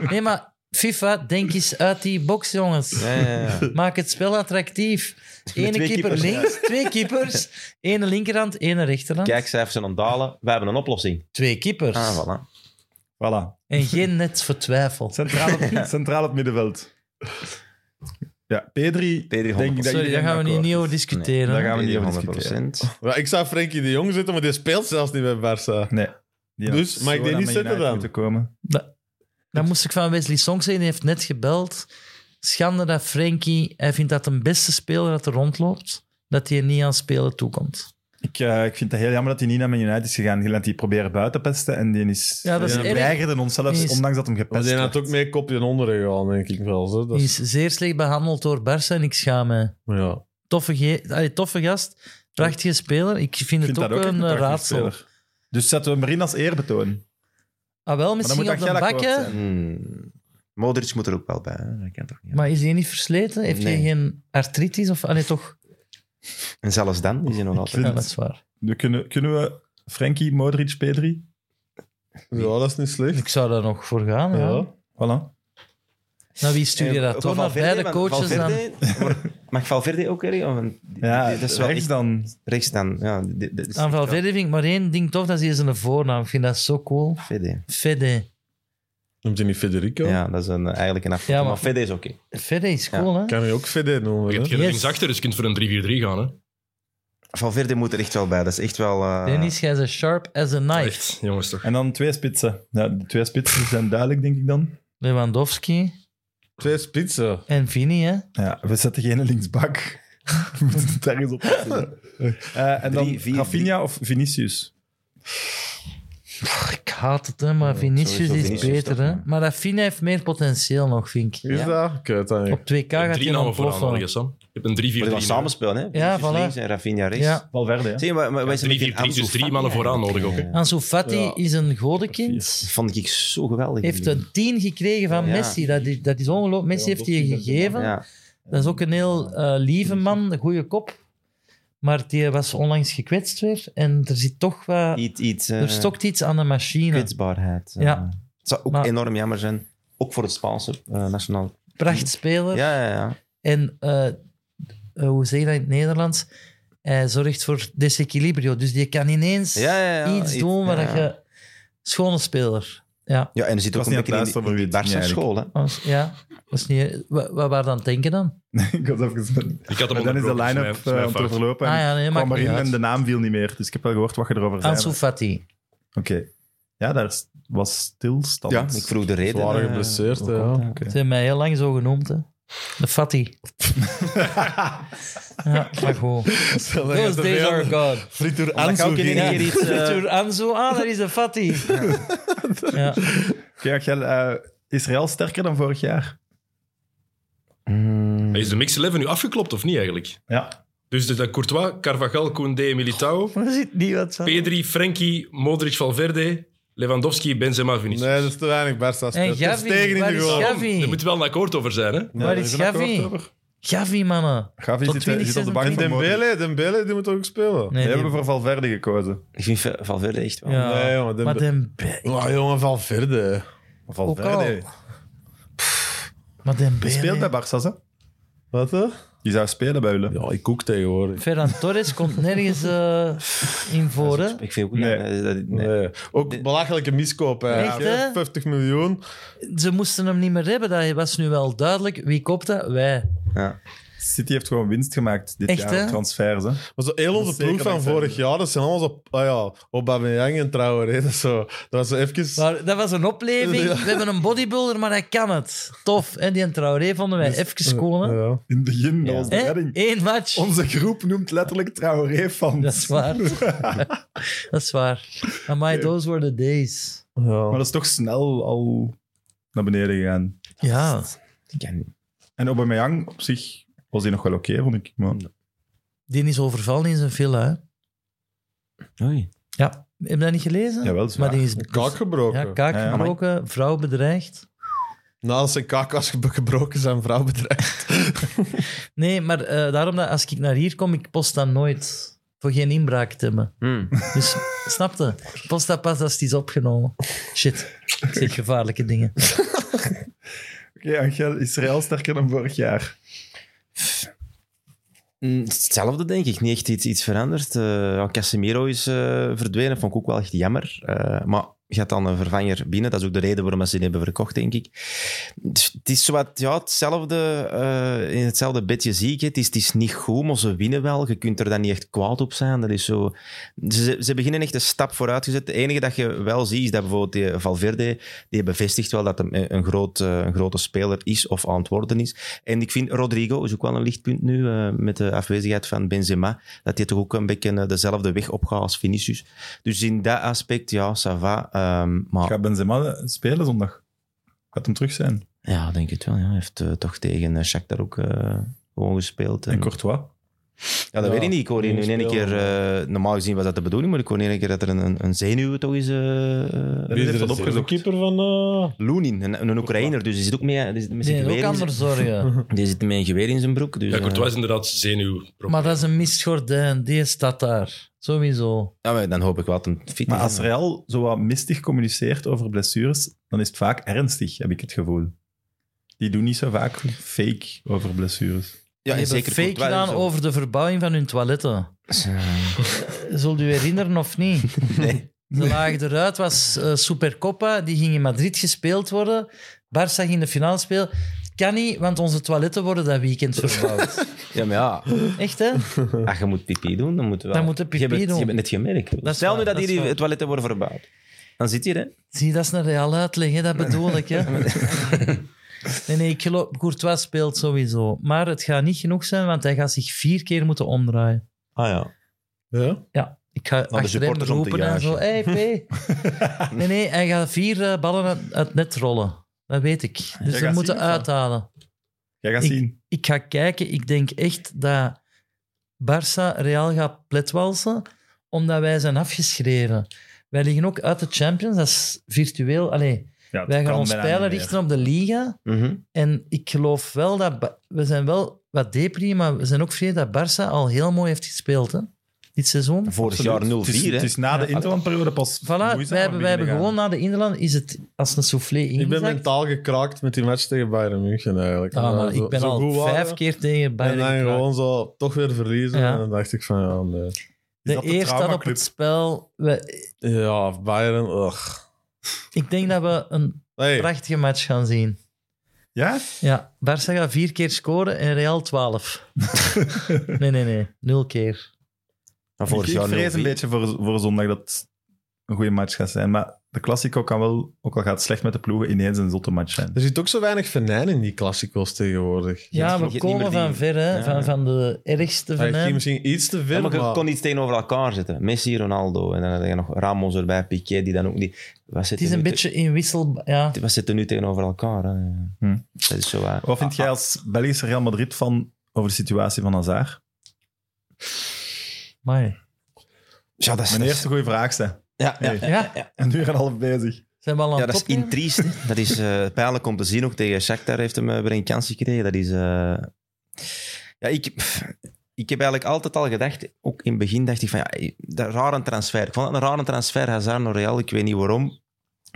Speaker 3: Nee, maar FIFA, denk eens uit die box, jongens.
Speaker 4: Ja, ja, ja.
Speaker 3: Maak het spel attractief. Ene
Speaker 4: twee
Speaker 3: keeper
Speaker 4: keepers, ja.
Speaker 3: links, twee keepers. Ene linkerhand, ene rechterhand.
Speaker 4: Kijkcijfers zijn aan het dalen. Wij hebben een oplossing.
Speaker 3: Twee keepers.
Speaker 4: Ah, voilà.
Speaker 1: Voilà.
Speaker 3: En geen net voor twijfel.
Speaker 1: Centraal op, centraal op middenveld. Ja, Pedri...
Speaker 4: Pedri,
Speaker 1: denk ik dat
Speaker 3: Sorry, daar
Speaker 1: iedereen
Speaker 3: gaan we niet,
Speaker 1: akkoord
Speaker 3: niet
Speaker 1: is.
Speaker 3: over discussiëren.
Speaker 1: Nee,
Speaker 3: hè.
Speaker 1: daar gaan we niet over
Speaker 4: 100%.
Speaker 5: Ja, ik zou Frenkie de Jong zitten, maar die speelt zelfs niet bij Barça.
Speaker 1: Nee. Die had
Speaker 5: Dus, mag ik
Speaker 1: zo
Speaker 5: die
Speaker 1: naar Man
Speaker 5: niet zetten
Speaker 1: United
Speaker 5: dan?
Speaker 1: moeten Komen.
Speaker 3: Dan moest ik van Wesley Song zeggen, die heeft net gebeld. Schande dat Frenkie, hij vindt dat de beste speler dat er rondloopt, dat hij er niet aan spelen toekomt.
Speaker 1: Ik, eh, ik vind het heel jammer dat hij niet naar Man United is gegaan. Die laat die proberen buiten pesten en die is...
Speaker 3: Ja, dat is
Speaker 1: die
Speaker 3: erg.
Speaker 1: weigerde ons zelfs,
Speaker 3: Is-
Speaker 1: ondanks dat hem
Speaker 5: Maar
Speaker 1: gepest
Speaker 5: die had
Speaker 1: werd.
Speaker 5: ook mee kopje onder gegaan, denk ik wel. Zo. Dat
Speaker 3: Hij
Speaker 5: is-
Speaker 3: is zeer slecht behandeld door Barça en ik schaam me.
Speaker 5: ja.
Speaker 3: Toffe, ge- allee, toffe gast, prachtige speler. Ik
Speaker 1: Ik
Speaker 3: vind het
Speaker 1: vind
Speaker 3: ook,
Speaker 1: dat ook echt
Speaker 3: een
Speaker 1: een
Speaker 3: eh,
Speaker 1: prachtige
Speaker 3: raadsel.
Speaker 1: speler. Dus zetten we hem erin als eerbetoon.
Speaker 3: Ah wel,
Speaker 1: dan
Speaker 3: misschien
Speaker 1: moet
Speaker 3: op de
Speaker 1: Angel akkoord
Speaker 3: bakken.
Speaker 1: zijn.
Speaker 4: Hmm. Modric moet er ook wel bij. Hè? Dat kan toch niet.
Speaker 3: Maar is hij niet versleten? Heeft hij
Speaker 4: Nee.
Speaker 3: geen artritis? Of, allee, toch?
Speaker 4: En zelfs dan is hij nog altijd...
Speaker 3: Ja, dat is waar.
Speaker 1: We kunnen, kunnen we Frenkie, Modric, Pedri?
Speaker 5: ja, dat is niet slecht.
Speaker 3: Ik zou daar nog voor gaan. Ja.
Speaker 5: Ja.
Speaker 1: Voilà.
Speaker 3: Nou, wie stuur je
Speaker 4: Eh,
Speaker 3: dat? Toch naar beide coaches dan?
Speaker 4: dan. Mag Valverde ook erin? Of een-
Speaker 1: Ja,
Speaker 4: die- dat is wel
Speaker 1: rechts
Speaker 4: echt-
Speaker 1: dan.
Speaker 4: rechts dan. Ja, dit- dit- dit is-
Speaker 3: Aan Valverde vind ik maar één ding tof, dat is hier zijn voornaam. Ik vind dat zo cool.
Speaker 4: Valverde.
Speaker 3: Fede.
Speaker 5: Noemt hij niet Federico?
Speaker 4: Ja, dat is een, eh, eigenlijk een afkorting.
Speaker 3: Ja, maar-
Speaker 4: maar, Valverde is oké.
Speaker 3: Fede is cool, hè?
Speaker 5: Kan hij ook Fede noemen?
Speaker 7: Je
Speaker 5: hè?
Speaker 7: hebt geen
Speaker 3: Yes.
Speaker 7: linksachter, dus je kunt voor een 3-4-3 gaan. Hè.
Speaker 4: Valverde moet er echt wel bij. Dat is echt wel... eh,
Speaker 3: Dennis, jij is as sharp as a knife.
Speaker 7: Echt, jongens toch.
Speaker 1: En dan twee spitsen. Ja, de twee spitsen zijn duidelijk, denk ik dan.
Speaker 3: Lewandowski
Speaker 5: Twee spitsen.
Speaker 3: en Vini, hè?
Speaker 1: Ja, we zetten geen linksbak. We moeten het ergens op zetten. Eh, en dan
Speaker 4: Drie, vier,
Speaker 1: Rafinha of Vinicius?
Speaker 3: Pff, Ik haat het, hè, maar Vinicius
Speaker 4: sowieso
Speaker 3: is
Speaker 4: Vinicius
Speaker 3: beter,
Speaker 4: toch,
Speaker 3: hè?
Speaker 4: ja.
Speaker 3: Maar Rafinha heeft meer potentieel nog, vind ik.
Speaker 5: Is dat? Ik weet dat niet.
Speaker 3: Op 2K gaat
Speaker 7: Drie
Speaker 3: hij
Speaker 7: namen vooraan,
Speaker 3: ontploffen.
Speaker 7: nodig, Sam. Je hebt een 3-4-3.
Speaker 4: Moet je wel
Speaker 7: nodig.
Speaker 4: samenspelen, hè? Vinicius
Speaker 3: voilà.
Speaker 4: links en Rafinha rechts.
Speaker 3: Ja.
Speaker 1: Valverde, hè?
Speaker 4: Zie je, maar, maar wij zijn een
Speaker 7: 3-4-3,
Speaker 4: beetje
Speaker 7: dus drie
Speaker 4: Ansu
Speaker 7: mannen
Speaker 4: Fati
Speaker 7: vooraan
Speaker 4: eigenlijk,
Speaker 7: nodig ook,
Speaker 4: hè.
Speaker 3: Ansu Fati
Speaker 5: Ja.
Speaker 3: is een godenkind.
Speaker 4: Dat vond ik zo geweldig.
Speaker 3: Heeft een 10 gekregen van
Speaker 4: Ja.
Speaker 3: Messi. Dat is, dat is ongelooflijk. Messi heeft die gegeven.
Speaker 4: Ja.
Speaker 3: Dat is ook een heel eh, lieve man, een goede kop. Maar die was onlangs gekwetst weer. En er zit toch wat...
Speaker 4: Iets, iets eh,
Speaker 3: Er stokt iets aan de machine.
Speaker 4: kwetsbaarheid. eh.
Speaker 3: Ja.
Speaker 4: Het zou ook
Speaker 3: Maar-
Speaker 4: enorm jammer zijn. Ook voor het Spaanse eh, nationaal.
Speaker 3: Prachtspeler.
Speaker 4: Ja, ja, ja.
Speaker 3: En eh, eh, hoe zeg je dat in het Nederlands? Hij zorgt voor desequilibrio. Dus die kan ineens
Speaker 4: Ja, ja, ja.
Speaker 3: iets
Speaker 4: Iets-
Speaker 3: doen waar
Speaker 4: ja,
Speaker 3: dat
Speaker 4: ja.
Speaker 3: je... Schone speler. Ja.
Speaker 4: Ja, en er zit
Speaker 1: Ik
Speaker 4: ook
Speaker 1: was
Speaker 4: een
Speaker 1: niet aan het
Speaker 4: beetje
Speaker 1: luisteren
Speaker 4: in die,
Speaker 1: voor
Speaker 4: in die
Speaker 1: wie het ging
Speaker 4: Barca school, hè?
Speaker 3: Als- ja. Dat is niet... Wat, wat waren dan denken dan?
Speaker 1: Ik was even...
Speaker 7: Ik had
Speaker 1: Maar
Speaker 7: hem
Speaker 1: dan is de
Speaker 7: onderbroken,
Speaker 1: line-up
Speaker 7: is mijn- is mijn
Speaker 1: eh, om te
Speaker 7: fout.
Speaker 1: verlopen.
Speaker 3: Ah ja, nee,
Speaker 1: ik
Speaker 3: maakt
Speaker 1: kwam
Speaker 3: niet
Speaker 1: erin
Speaker 3: uit.
Speaker 1: en de naam viel niet meer. Dus ik heb wel gehoord wat je erover zei.
Speaker 3: Ansu
Speaker 1: Oké.
Speaker 3: Fati.
Speaker 1: Ja, daar was stilstand.
Speaker 4: Ja, ik vroeg de reden.
Speaker 5: Zwaar
Speaker 4: eh,
Speaker 5: geblesseerd,
Speaker 4: hoe
Speaker 5: hè,
Speaker 4: komt
Speaker 5: ja.
Speaker 4: dat?
Speaker 3: Ze hebben mij heel lang zo genoemd, hè. De Fatty. ja, maar goed. Those days are gone.
Speaker 5: Frituur
Speaker 4: Omdat ik ook in één
Speaker 3: Ja.
Speaker 4: keer iets... eh,
Speaker 3: Arthur Anzo, ah, daar is de Fatty. Ja.
Speaker 1: Oké, Angel, eh, is Real sterker dan vorig jaar?
Speaker 4: Mm,
Speaker 7: Is de mix 11 nu afgeklopt of niet eigenlijk?
Speaker 1: Ja.
Speaker 7: Dus de, de Courtois, Carvajal, Koundé, Militao,
Speaker 3: Er zit niet wat van.
Speaker 7: Pedri, Frenkie, Modric, Valverde, Lewandowski, Benzema, Vinicius.
Speaker 5: Nee, dat is te weinig Barça.
Speaker 3: En
Speaker 5: spelers. Het is
Speaker 3: Gavi,
Speaker 5: tegen in
Speaker 3: waar
Speaker 5: de
Speaker 3: is
Speaker 5: goal.
Speaker 3: Gavi?
Speaker 7: Daarom, Er moet wel een akkoord over zijn, hè?
Speaker 5: Ja,
Speaker 3: Waar
Speaker 5: daar
Speaker 3: is
Speaker 5: een akkoord
Speaker 3: Gavi?
Speaker 5: over.
Speaker 3: Gavi, mannen.
Speaker 1: Gavi
Speaker 3: Tot
Speaker 1: zit,
Speaker 5: eh,
Speaker 3: 20,
Speaker 1: zit op de bank
Speaker 5: En
Speaker 1: voor Modric.
Speaker 5: Dembele, Dembele, die moet ook spelen.
Speaker 3: Nee,
Speaker 1: We
Speaker 3: die-
Speaker 1: hebben voor Valverde gekozen.
Speaker 4: Ik vind Ve- Valverde echt wel...
Speaker 3: ja.
Speaker 5: Nee, jongen, Dembe-
Speaker 3: maar Dembe-
Speaker 5: Oh, jongen, Valverde.
Speaker 3: ook
Speaker 1: Valverde.
Speaker 3: al. Maar Dembele.
Speaker 1: Die speelt bij Barça, hè?
Speaker 5: Wat, hè?
Speaker 1: Die zou spelen bij Ulle.
Speaker 5: Ja, ik ook tegenwoordig.
Speaker 3: Ferran Torres komt nergens eh, in voor, hè.
Speaker 4: Ik vind ook
Speaker 1: Nee.
Speaker 4: Ja, dat- dat- nee.
Speaker 5: Nee. Ook belachelijke miskoop. Hè.
Speaker 3: Echt, hè?
Speaker 5: 50 miljoen.
Speaker 3: Ze moesten hem niet meer hebben, dat was nu wel duidelijk. Wie koopt dat? Wij.
Speaker 4: Ja.
Speaker 1: City heeft gewoon winst gemaakt dit
Speaker 3: Echt,
Speaker 1: jaar
Speaker 3: hè?
Speaker 1: op transfers. Hè?
Speaker 5: Maar zo heel
Speaker 1: Dat
Speaker 5: onze
Speaker 1: is zeker
Speaker 5: ploeg van
Speaker 1: dankzij
Speaker 5: vorig jaar, dat zijn allemaal zo... Ah ja, op Aubameyang en Traoré. Dat, is zo, dat was zo even...
Speaker 3: Maar dat was een opleving.
Speaker 5: Ja.
Speaker 3: We hebben een bodybuilder, maar hij kan het. Tof. En die en Traoré vonden wij even cool, hè.
Speaker 5: Ja.
Speaker 1: In het begin, dat was de
Speaker 3: Hè?
Speaker 1: redding.
Speaker 3: Eén match.
Speaker 1: Onze groep noemt letterlijk Traoré van.
Speaker 3: Dat is waar. dat is waar. Amai, those were the days.
Speaker 1: Maar
Speaker 5: Ja.
Speaker 1: dat is toch snel al naar beneden gegaan.
Speaker 3: Ja.
Speaker 4: Ik ken-
Speaker 1: En Aubameyang op zich was hij nog wel oké, vond ik. Maar
Speaker 3: Die is overvallen in zijn villa, hè.
Speaker 4: Oei.
Speaker 3: Ja. Heb je dat niet gelezen?
Speaker 1: Jawel, dat is
Speaker 3: maar
Speaker 1: waar.
Speaker 3: die is
Speaker 5: Kaak gebroken.
Speaker 3: ja, kaak
Speaker 1: Ja, ja.
Speaker 3: gebroken, vrouw bedreigd.
Speaker 5: Nou, als zijn kaak was ge- gebroken, zijn vrouw bedreigd.
Speaker 3: Nee, maar eh, daarom dat als ik naar hier kom, ik post dat nooit. Voor geen inbraak te hebben.
Speaker 4: Hmm.
Speaker 3: Dus, snapte? Post dat pas als het is opgenomen. Shit. Ik zeg gevaarlijke dingen.
Speaker 1: Oké, Angel, Israël sterker dan vorig jaar.
Speaker 4: Mm, Hetzelfde, denk ik. Niet echt iets, iets veranderd. Eh, ja, Casemiro is eh, verdwenen. Vond ik ook wel echt jammer. Eh, maar je had dan een vervanger binnen. Dat is ook de reden waarom ze die hebben verkocht, denk ik. Dus Het is zowat, ja, hetzelfde, eh, in hetzelfde bedje zie ik het. Het is, het is niet goed, maar ze winnen wel. Je kunt er dan niet echt kwaad op zijn. Dat is zo... ze, ze beginnen echt een stap vooruit gezet. Het enige dat je wel ziet, is dat bijvoorbeeld die Valverde, die bevestigt wel dat hem een, een groot, eh, een grote speler is of aan het worden is. En ik vind Rodrigo is ook wel een lichtpunt nu, eh, met de afwezigheid van Benzema, dat hij toch ook een beetje eh, dezelfde weg opgaat als Vinicius. Dus in dat aspect, ja, ça va. ehm, maar
Speaker 3: Ah.
Speaker 1: Gaat Benzema eh, spelen zondag? Gaat hem terug zijn?
Speaker 4: ja, ik denk het wel. Ja. Hij heeft eh, toch tegen eh, Shakhtar ook eh, gewoon gespeeld.
Speaker 1: En Courtois?
Speaker 4: ja, dat
Speaker 5: Ja,
Speaker 4: weet ik niet. Ik hoor
Speaker 5: die
Speaker 4: in één
Speaker 5: spelen,
Speaker 4: keer... eh, normaal gezien was dat de bedoeling, maar ik hoor in één keer dat er een- een, een zenuw toch is... eh,
Speaker 1: Wie heeft dat
Speaker 5: De
Speaker 1: opgezocht?
Speaker 5: keeper van... eh,
Speaker 4: Loenin, een, een Oekraïner, dus die zit ook mee, die zit met
Speaker 3: Die
Speaker 4: zijn
Speaker 3: heeft ook
Speaker 4: geweer in zijn-
Speaker 3: anders zorgen.
Speaker 4: die zit met een geweer in zijn broek. Dus,
Speaker 7: Ja,
Speaker 4: eh,
Speaker 7: Courtois is inderdaad zenuwprobleem.
Speaker 3: Maar dat is een misgordijn. Die staat daar. Sowieso.
Speaker 4: ja, maar dan hoop ik wel dat hem fit
Speaker 1: Maar
Speaker 4: is.
Speaker 1: als Real zo wat mistig communiceert over blessures, dan is het vaak ernstig, heb ik het gevoel. Die doen niet zo vaak fake over blessures.
Speaker 4: ja,
Speaker 3: die
Speaker 4: en
Speaker 3: hebben
Speaker 4: zeker
Speaker 3: fake
Speaker 4: Courtois
Speaker 3: gedaan
Speaker 4: zo.
Speaker 3: over de verbouwing van hun toiletten. Zult u herinneren of niet?
Speaker 4: Nee.
Speaker 3: Ze lagen eruit, was eh, Supercoppa, die ging in Madrid gespeeld worden. Barça ging de finale spelen. Kan niet, want onze toiletten worden dat weekend verbouwd.
Speaker 4: Ja, maar ja,
Speaker 3: Echt, hè?
Speaker 4: als je moet pipi doen, dan moeten we.
Speaker 3: Dan moet je pipi
Speaker 4: je hebt het,
Speaker 3: doen.
Speaker 4: Je hebt het net gemerkt.
Speaker 3: Dat is
Speaker 4: Stel nu
Speaker 3: waar,
Speaker 4: dat
Speaker 3: dat is
Speaker 4: hier die
Speaker 3: waar.
Speaker 4: toiletten worden verbouwd. Dan zit je, hè?
Speaker 3: Zie, dat is een real uitleg, hè? dat bedoel ik. Hè? Nee, nee, ik geloof, Courtois speelt sowieso. Maar het gaat niet genoeg zijn, want hij gaat zich vier keer moeten omdraaien.
Speaker 4: Ah ja.
Speaker 5: Ja.
Speaker 3: Ja, ik ga achter hem
Speaker 4: supporters om te
Speaker 3: roepen en zo.
Speaker 4: juichen.
Speaker 3: Hey, P. nee, nee, hij gaat vier eh, ballen uit, uit het net rollen. Dat weet ik. Dus ze
Speaker 1: gaat
Speaker 3: moeten
Speaker 1: zien, of wat?
Speaker 3: uithalen.
Speaker 1: Jij gaat
Speaker 3: Ik-
Speaker 1: zien.
Speaker 3: ik ga kijken. Ik denk echt dat Barça Real gaat pletwalsen, omdat wij zijn afgeschreven. Wij liggen ook uit de Champions, dat is virtueel. Allee,
Speaker 1: Ja, het
Speaker 3: wij gaan
Speaker 1: kan
Speaker 3: ons
Speaker 1: bijna
Speaker 3: pijlen
Speaker 1: niet
Speaker 3: richten op de Liga.
Speaker 4: Mhm.
Speaker 3: En ik geloof wel dat... Ba- We zijn wel wat depri, maar we zijn ook vrij dat Barça al heel mooi heeft gespeeld, hè? Dit seizoen.
Speaker 4: Vorig
Speaker 1: Absoluut.
Speaker 4: jaar
Speaker 1: Het is,
Speaker 4: 0-4, hè?
Speaker 1: het is na de interlandperiode pas
Speaker 3: Voilà, wij hebben, wij hebben gewoon na de Inderland is het als een soufflé
Speaker 5: Ik ben
Speaker 3: ingezakt.
Speaker 5: mentaal gekraakt met die match tegen Bayern München eigenlijk.
Speaker 3: Ah, maar
Speaker 5: Zo-
Speaker 3: ik ben
Speaker 5: zo goed
Speaker 3: al
Speaker 5: waren,
Speaker 3: vijf keer tegen
Speaker 5: En dan
Speaker 3: Bayern gekraakt.
Speaker 5: gewoon zo toch weer verliezen.
Speaker 3: Ja.
Speaker 5: En dan dacht ik van, ja, nee.
Speaker 3: De
Speaker 1: dat de
Speaker 3: eer staat op
Speaker 1: traumaclub?
Speaker 3: het spel. We-
Speaker 5: Ja, Bayern, ugh.
Speaker 3: ik denk dat we een
Speaker 5: Hey,
Speaker 3: prachtige match gaan zien.
Speaker 1: Ja?
Speaker 3: Ja, Barça gaat vier keer scoren en Real 12. nee, nee, nee. Nul keer.
Speaker 4: Maar
Speaker 1: Ik,
Speaker 4: vorig
Speaker 1: ik
Speaker 4: jaar 0-4.
Speaker 1: vrees een beetje voor, voor zondag dat het een goede match gaat zijn. Maar de Classico kan wel, ook al gaat het slecht met de ploegen, ineens een zotte match zijn.
Speaker 5: er zit ook zo weinig venijn in die klassicals tegenwoordig.
Speaker 3: Ja,
Speaker 4: vergeet
Speaker 3: we
Speaker 4: niet
Speaker 3: komen
Speaker 4: meer die-
Speaker 3: van ver, hè.
Speaker 4: Ja.
Speaker 3: Van, van de ergste
Speaker 5: Hij
Speaker 3: van
Speaker 5: ging
Speaker 3: hen.
Speaker 5: misschien iets te
Speaker 4: Ja,
Speaker 5: veel,
Speaker 4: maar je
Speaker 5: maar...
Speaker 4: kon iets tegenover elkaar zetten. Messi, Ronaldo. En dan had je nog Ramos erbij, Piquet, die dan ook niet... Wat
Speaker 3: Het is een beetje in wissel... Ja.
Speaker 4: Wat zitten nu tegenover elkaar? Hè?
Speaker 1: Hm.
Speaker 4: Dat is zo waar.
Speaker 1: Wat vind jij als Belgische Real Madrid van over de situatie van Hazard?
Speaker 3: Maar
Speaker 4: Ja, dat is...
Speaker 1: Mijn eerste goede vraag, hè.
Speaker 4: Ja, ja,
Speaker 1: Nee.
Speaker 3: ja,
Speaker 1: Een uur en een half bezig.
Speaker 3: zijn we al aan
Speaker 4: Ja,
Speaker 3: het
Speaker 4: dat is
Speaker 3: opnemen?
Speaker 4: intriest. hè. Dat is eh, pijnlijk om te zien. Ook tegen Shakhtar heeft hem eh, weer een kans gekregen. Dat is eh, Ja, ik, ik heb eigenlijk altijd al gedacht, ook in het begin dacht ik van, ja, eh, dat rare transfer. Ik vond het een rare transfer, Hazard naar Real, ik weet niet waarom.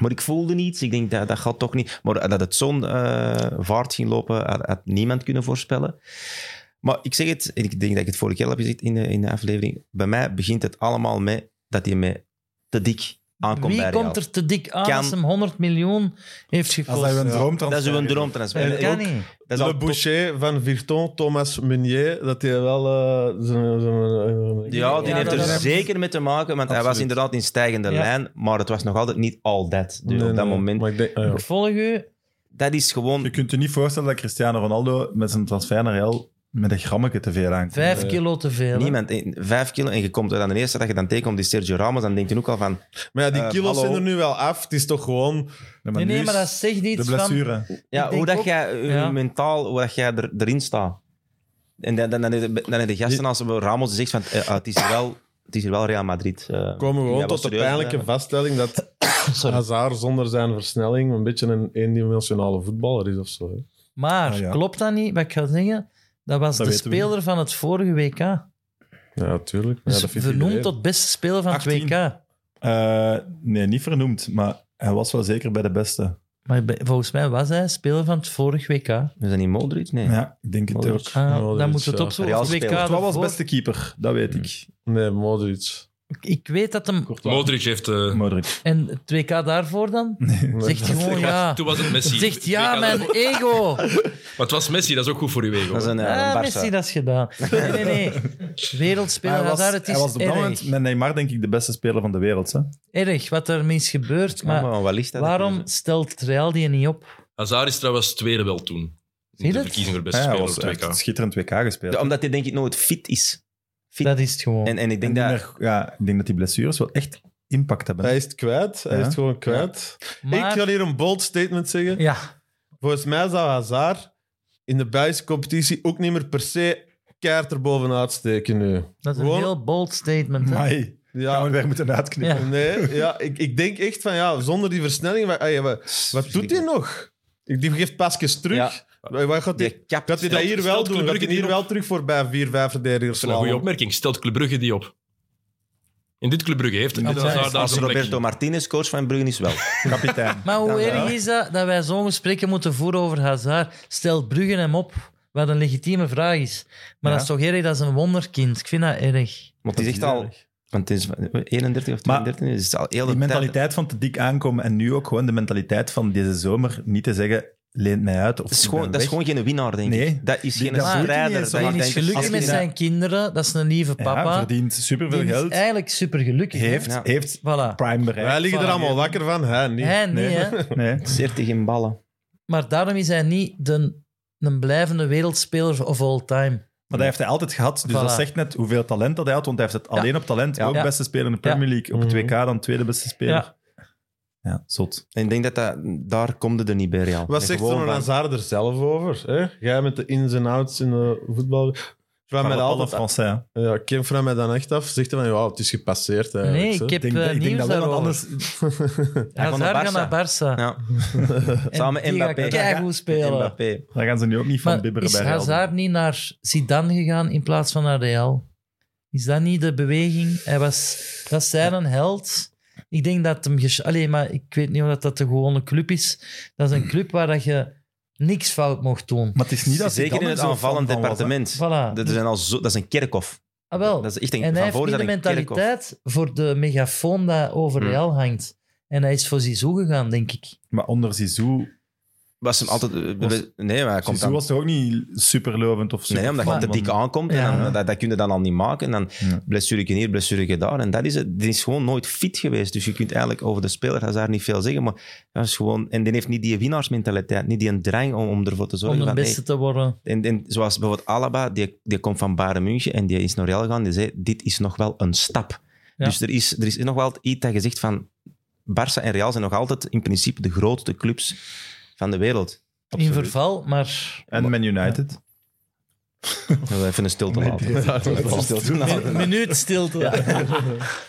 Speaker 4: Maar ik voelde niets, ik denk, dat, dat gaat toch niet. Maar dat het zo'n eh, vaart ging lopen, had, had niemand kunnen voorspellen. Maar ik zeg het, en ik denk dat ik het vorige keer al heb gezegd in de, in de aflevering, bij mij begint het allemaal met dat hij me te dik aankomt bij
Speaker 3: Wie
Speaker 4: Real.
Speaker 3: komt er te dik aan
Speaker 4: Kan-
Speaker 3: als hem 100 miljoen heeft
Speaker 8: Als hij
Speaker 3: gekost?
Speaker 8: een
Speaker 4: Dat
Speaker 8: droomtransfer
Speaker 4: is uw
Speaker 8: is.
Speaker 4: droomtransfer.
Speaker 3: Dat
Speaker 4: En
Speaker 3: kan
Speaker 4: ook-
Speaker 3: niet.
Speaker 4: dat is al
Speaker 5: Le
Speaker 4: tot-
Speaker 5: Boucher van Virton, Thomas Meunier, dat hij wel... eh, zo'n- zo'n- eh,
Speaker 4: Ja, die
Speaker 3: Ja,
Speaker 4: heeft
Speaker 3: dat
Speaker 4: er
Speaker 3: is-
Speaker 4: zeker mee te maken, want hij was
Speaker 5: Absoluut.
Speaker 4: inderdaad in stijgende
Speaker 3: Ja.
Speaker 4: lijn, maar het was nog altijd niet all that. Dus
Speaker 5: Nee,
Speaker 4: op dat
Speaker 5: nee,
Speaker 4: moment,
Speaker 5: Maar ik denk, ah, ja.
Speaker 3: Ik volg u.
Speaker 4: dat is
Speaker 1: Je
Speaker 4: gewoon...
Speaker 1: kunt je niet voorstellen dat Cristiano Ronaldo met zijn transfer naar Real met een grammetje te veel aankomt.
Speaker 3: Vijf kilo te veel. hè.
Speaker 4: Niemand, in- vijf kilo, en je komt er dan de eerste dat je dan tegenkomt, die Sergio Ramos, dan denk je ook al van...
Speaker 5: Maar ja, die
Speaker 4: Eh,
Speaker 5: kilo's
Speaker 4: hallo.
Speaker 5: zijn er nu wel af. Het is toch gewoon...
Speaker 1: Nee,
Speaker 3: Nee,
Speaker 1: nu
Speaker 3: nee,
Speaker 1: is
Speaker 3: maar dat zegt
Speaker 1: de
Speaker 3: iets van...
Speaker 1: blessure.
Speaker 4: Ja,
Speaker 3: denk
Speaker 4: hoe dat
Speaker 3: ook-
Speaker 4: jij eh,
Speaker 3: ja.
Speaker 4: mentaal, hoe dat jij er, erin staat. En dan, dan, dan, dan, de gasten als Ramos zegt van, eh, ah, het, is hier wel, het is hier wel Real Madrid. eh.
Speaker 5: komen we
Speaker 4: Ja,
Speaker 5: gewoon
Speaker 4: wel
Speaker 5: tot de
Speaker 4: serieus,
Speaker 5: pijnlijke
Speaker 4: hè.
Speaker 5: vaststelling dat Hazard zonder zijn versnelling een beetje een eendimensionale voetballer is of zo. hè.
Speaker 3: Maar,
Speaker 1: Ah, ja.
Speaker 3: klopt dat niet, wat ik ga zeggen? Dat was
Speaker 1: Dat
Speaker 3: de
Speaker 1: weten we niet.
Speaker 3: speler van het vorige WK.
Speaker 5: Ja, natuurlijk. Ja,
Speaker 3: Dus
Speaker 5: dat vindt
Speaker 3: vernoemd
Speaker 5: iedereen.
Speaker 3: tot beste speler van
Speaker 1: 18.
Speaker 3: het WK.
Speaker 1: Eh, nee, niet vernoemd, maar hij was wel zeker bij de beste.
Speaker 3: Maar bij- volgens mij was hij speler van het vorige WK. Ah,
Speaker 4: Is dat niet Modric? Nee.
Speaker 1: Ja, ik denk het ook.
Speaker 5: dat
Speaker 3: dan moeten
Speaker 5: is
Speaker 3: we het
Speaker 5: zo.
Speaker 3: opzoeken.
Speaker 4: Real
Speaker 3: Het WK
Speaker 4: speler.
Speaker 1: Wat was
Speaker 3: daarvoor-
Speaker 1: beste keeper? Dat weet ik.
Speaker 5: Nee, Modric.
Speaker 3: Ik weet dat hem...
Speaker 7: Modric heeft... eh,
Speaker 1: Modric.
Speaker 3: En het WK daarvoor dan?
Speaker 5: Nee.
Speaker 3: Zegt gewoon Oh, ja.
Speaker 7: Toen was het Messi.
Speaker 3: Zegt ja,
Speaker 7: Ik-
Speaker 3: mijn ego.
Speaker 7: Maar het was Messi, dat is ook goed voor uw ego.
Speaker 4: Dat is een, eh,
Speaker 3: Ah,
Speaker 4: een Barca.
Speaker 3: Messi, dat is gedaan. Nee, nee, nee. Wereldspeler
Speaker 1: Hij was,
Speaker 3: Hazard, het
Speaker 1: hij
Speaker 3: is
Speaker 1: was op dat
Speaker 3: erg.
Speaker 1: moment met Neymar denk ik de beste speler van de wereld. Hè?
Speaker 3: Erg wat er mis gebeurt,
Speaker 4: Ja,
Speaker 3: maar
Speaker 4: maar wat ligt dat?
Speaker 3: waarom stelt Real die niet op?
Speaker 7: Hazard is trouwens tweede wel toen.
Speaker 3: Zie je
Speaker 7: In de
Speaker 3: dat?
Speaker 7: verkiezing voor beste
Speaker 1: Ja, hij
Speaker 7: speler op
Speaker 1: was
Speaker 7: het
Speaker 1: echt
Speaker 7: WK.
Speaker 1: schitterend WK gespeeld.
Speaker 4: De- Omdat hij denk ik nooit fit is. Fit.
Speaker 3: Dat is het gewoon.
Speaker 4: En, en ik
Speaker 1: Ik
Speaker 4: denk
Speaker 1: denk,
Speaker 4: dat...
Speaker 1: dat... ja, ik denk dat die blessures wel echt impact hebben.
Speaker 5: Hij is het kwijt. Hij
Speaker 1: Ja.
Speaker 5: is het gewoon kwijt.
Speaker 3: maar,
Speaker 5: Ik ga hier een bold statement zeggen.
Speaker 3: ja,
Speaker 5: Volgens mij zou Hazard in de Belgische competitie ook niet meer per se keihard erbovenuit steken nu.
Speaker 3: dat is een
Speaker 5: Gewoon-
Speaker 3: heel bold statement. hè.
Speaker 1: Amai, gaan we
Speaker 5: Ja,
Speaker 1: weer moeten uitknippen.
Speaker 3: Ja.
Speaker 5: nee, ja, ik, ik denk echt van ja, zonder die versnelling, wat, ey, wat, wat doet hij nog? Ik- Die geeft pasjes terug. Wat wat gaat hij
Speaker 4: Die kapt
Speaker 5: dat, hij dat hier wel
Speaker 7: stelt
Speaker 5: doen?
Speaker 7: Club
Speaker 5: Dat
Speaker 7: Brugge
Speaker 5: hij
Speaker 7: die
Speaker 5: hier wel terug voorbij vier, vijf verdedigers
Speaker 7: Dat is een goede
Speaker 5: slaan?
Speaker 7: opmerking. Stelt Club Brugge die op? In dit Club Brugge heeft
Speaker 1: Ja,
Speaker 7: heeft Hazard daar
Speaker 4: Als
Speaker 7: zijn plek.
Speaker 4: Roberto Martinez coach van Brugge is wel.
Speaker 1: Kapitein.
Speaker 3: Maar hoe
Speaker 4: Dan wel.
Speaker 3: erg is dat dat wij zo'n gesprekken moeten voeren over Hazard? Stel Brugge hem op, wat een legitieme vraag is. Maar
Speaker 1: Ja.
Speaker 3: dat is toch erg, dat is een wonderkind. Ik vind dat erg.
Speaker 4: Want die zegt al... Want het is 31 of
Speaker 1: Maar
Speaker 4: 32, dus het is al heel de
Speaker 1: Die
Speaker 4: tijd-
Speaker 1: mentaliteit van te dik aankomen en nu ook gewoon de mentaliteit van deze zomer niet te zeggen, leent mij uit of
Speaker 4: Dat is,
Speaker 1: ik
Speaker 4: gewoon,
Speaker 1: ben
Speaker 4: dat is
Speaker 1: weg.
Speaker 4: gewoon geen winnaar, denk ik.
Speaker 1: Nee.
Speaker 4: Dat is
Speaker 1: Die-
Speaker 4: geen
Speaker 1: dat moet je niet
Speaker 4: strijder.
Speaker 1: eens
Speaker 4: dat
Speaker 1: zo
Speaker 3: Hij
Speaker 4: ik
Speaker 1: lang
Speaker 4: denk
Speaker 3: is
Speaker 4: dat- als
Speaker 3: gelukkig met
Speaker 4: je-
Speaker 3: zijn kinderen, dat is een lieve
Speaker 1: Ja,
Speaker 3: papa.
Speaker 1: verdient superveel
Speaker 3: Die
Speaker 1: geld.
Speaker 3: is eigenlijk supergelukkig. hè.
Speaker 1: Heeft,
Speaker 4: Ja.
Speaker 1: heeft
Speaker 3: Voilà.
Speaker 1: prime bereikt.
Speaker 5: Wij liggen er allemaal wakker van, hè? Niet.
Speaker 3: Hij niet,
Speaker 1: Nee.
Speaker 3: hè.
Speaker 1: Nee.
Speaker 4: 40 in ballen.
Speaker 3: Maar daarom is hij niet de, een blijvende wereldspeler of all time.
Speaker 1: Maar dat heeft hij altijd gehad. Dus
Speaker 3: Voilà.
Speaker 1: dat zegt net hoeveel talent dat hij had. Want hij heeft het alleen op talent.
Speaker 4: Ja.
Speaker 1: Ook
Speaker 3: Ja.
Speaker 1: beste speler in de Premier League. Op het
Speaker 5: Mhm.
Speaker 1: WK dan tweede beste speler. Ja,
Speaker 3: Ja.
Speaker 1: zot.
Speaker 4: En ik denk dat, dat daar komt het er niet bij Real.
Speaker 5: Wat
Speaker 4: En
Speaker 5: zegt
Speaker 4: gewoon
Speaker 5: zo'n
Speaker 4: van-
Speaker 5: Hazard er zelf over? Hè? Jij met de ins en outs in de voetbal. Vraag mij
Speaker 1: Met
Speaker 5: dat
Speaker 1: alle
Speaker 5: altijd af.
Speaker 1: Français. hè. Ik
Speaker 5: Ja, ik ken vraag mij dan echt af. Zegt hij van, ja, het is gepasseerd eigenlijk.
Speaker 3: Nee,
Speaker 5: hè.
Speaker 3: ik heb
Speaker 1: denk, dat-
Speaker 3: eh,
Speaker 1: ik denk dat
Speaker 3: nieuws
Speaker 1: wel
Speaker 3: daarover.
Speaker 1: anders...
Speaker 4: Hij gaat naar
Speaker 3: Hazard gaat naar
Speaker 4: Barça.
Speaker 3: Barça.
Speaker 4: Ja.
Speaker 3: En
Speaker 4: Samen
Speaker 3: die gaat
Speaker 4: Mbappé.
Speaker 3: keigoed spelen.
Speaker 4: Mbappé.
Speaker 1: Daar gaan ze nu ook niet van
Speaker 3: Maar
Speaker 1: bibberen
Speaker 3: is
Speaker 1: bij Real.
Speaker 3: Hazard niet naar Zidane gegaan in plaats van naar Real? Is dat niet de beweging? Hij was, dat is zijn een held. Ik denk dat hem... ges- Allee, maar ik weet niet of dat, dat de gewone club is. Dat is een club waar dat je niks fout mocht doen.
Speaker 1: Maar het is niet dat
Speaker 4: Zeker
Speaker 1: Zidane
Speaker 4: in het
Speaker 1: er zo fan
Speaker 4: aanvallend
Speaker 1: van was, hè.
Speaker 4: departement.
Speaker 3: Voilà.
Speaker 4: Dat, zijn al zo, dat is een kerkhof.
Speaker 3: Ah, wel.
Speaker 4: Dat is echt een,
Speaker 3: En
Speaker 4: van
Speaker 3: hij heeft
Speaker 4: voor
Speaker 3: niet de
Speaker 4: is dat een kerkhof.
Speaker 3: mentaliteit voor de megafoon dat over
Speaker 4: Hmm.
Speaker 3: Real hangt. En hij is voor Zizou gegaan, denk ik.
Speaker 1: Maar onder Zizou
Speaker 4: Was hem altijd... eh,
Speaker 1: Was-
Speaker 4: nee, maar hij komt
Speaker 1: Zizou
Speaker 4: dan...
Speaker 1: was toch ook niet superlovend of zo?
Speaker 4: Nee, omdat je
Speaker 3: Maar-
Speaker 4: te dik aankomt. En
Speaker 3: Ja.
Speaker 4: dan, dat, dat kun je dan al niet maken. En dan
Speaker 1: Ja.
Speaker 4: blessure je hier, blessure je daar. En dat is het. Die is gewoon nooit fit geweest. Dus je kunt eigenlijk over de speler Hazard niet veel zeggen. Maar dat is gewoon... En die heeft niet die winnaarsmentaliteit. Niet die een drang om, om ervoor te zorgen.
Speaker 3: Om de
Speaker 4: van,
Speaker 3: beste te worden.
Speaker 4: hey, en, en zoals bijvoorbeeld Alaba, die, die komt van Bayern München en die is naar Real gegaan. Die zei, dit is nog wel een stap.
Speaker 3: Ja.
Speaker 4: Dus er is, er is nog wel iets dat je zegt van... Barça en Real zijn nog altijd in principe de grootste clubs van de wereld.
Speaker 3: In verval, maar...
Speaker 1: En Man United.
Speaker 4: Dat we even een stilte laten. Even een stilte laten.
Speaker 3: Minuut stilte.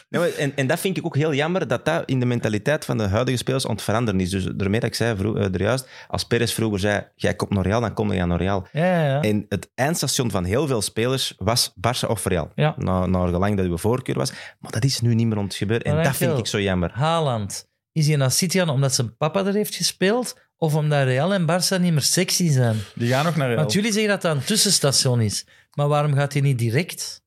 Speaker 4: Ja, maar en, en dat vind ik ook heel jammer, dat dat in de mentaliteit van de huidige spelers aan het veranderen is. Dus daarmee dat ik zei vroeg, eh, er juist, als Perez vroeger zei, jij komt naar Real, dan kom je naar Real.
Speaker 3: Ja, ja, ja.
Speaker 4: En het eindstation van heel veel spelers was Barça of Real.
Speaker 3: Ja.
Speaker 4: Na- naar gelang dat uw voorkeur was. Maar dat is nu niet meer aan het gebeuren. En
Speaker 3: Maar
Speaker 4: dat,
Speaker 3: dank je
Speaker 4: vind
Speaker 3: wel.
Speaker 4: ik zo jammer.
Speaker 3: Haaland, is hij naar City gaan omdat zijn papa er heeft gespeeld? Of omdat Real en Barça niet meer sexy zijn?
Speaker 1: Die gaan nog naar Real.
Speaker 3: Want jullie zeggen dat dat een tussenstation is. Maar waarom gaat hij niet direct?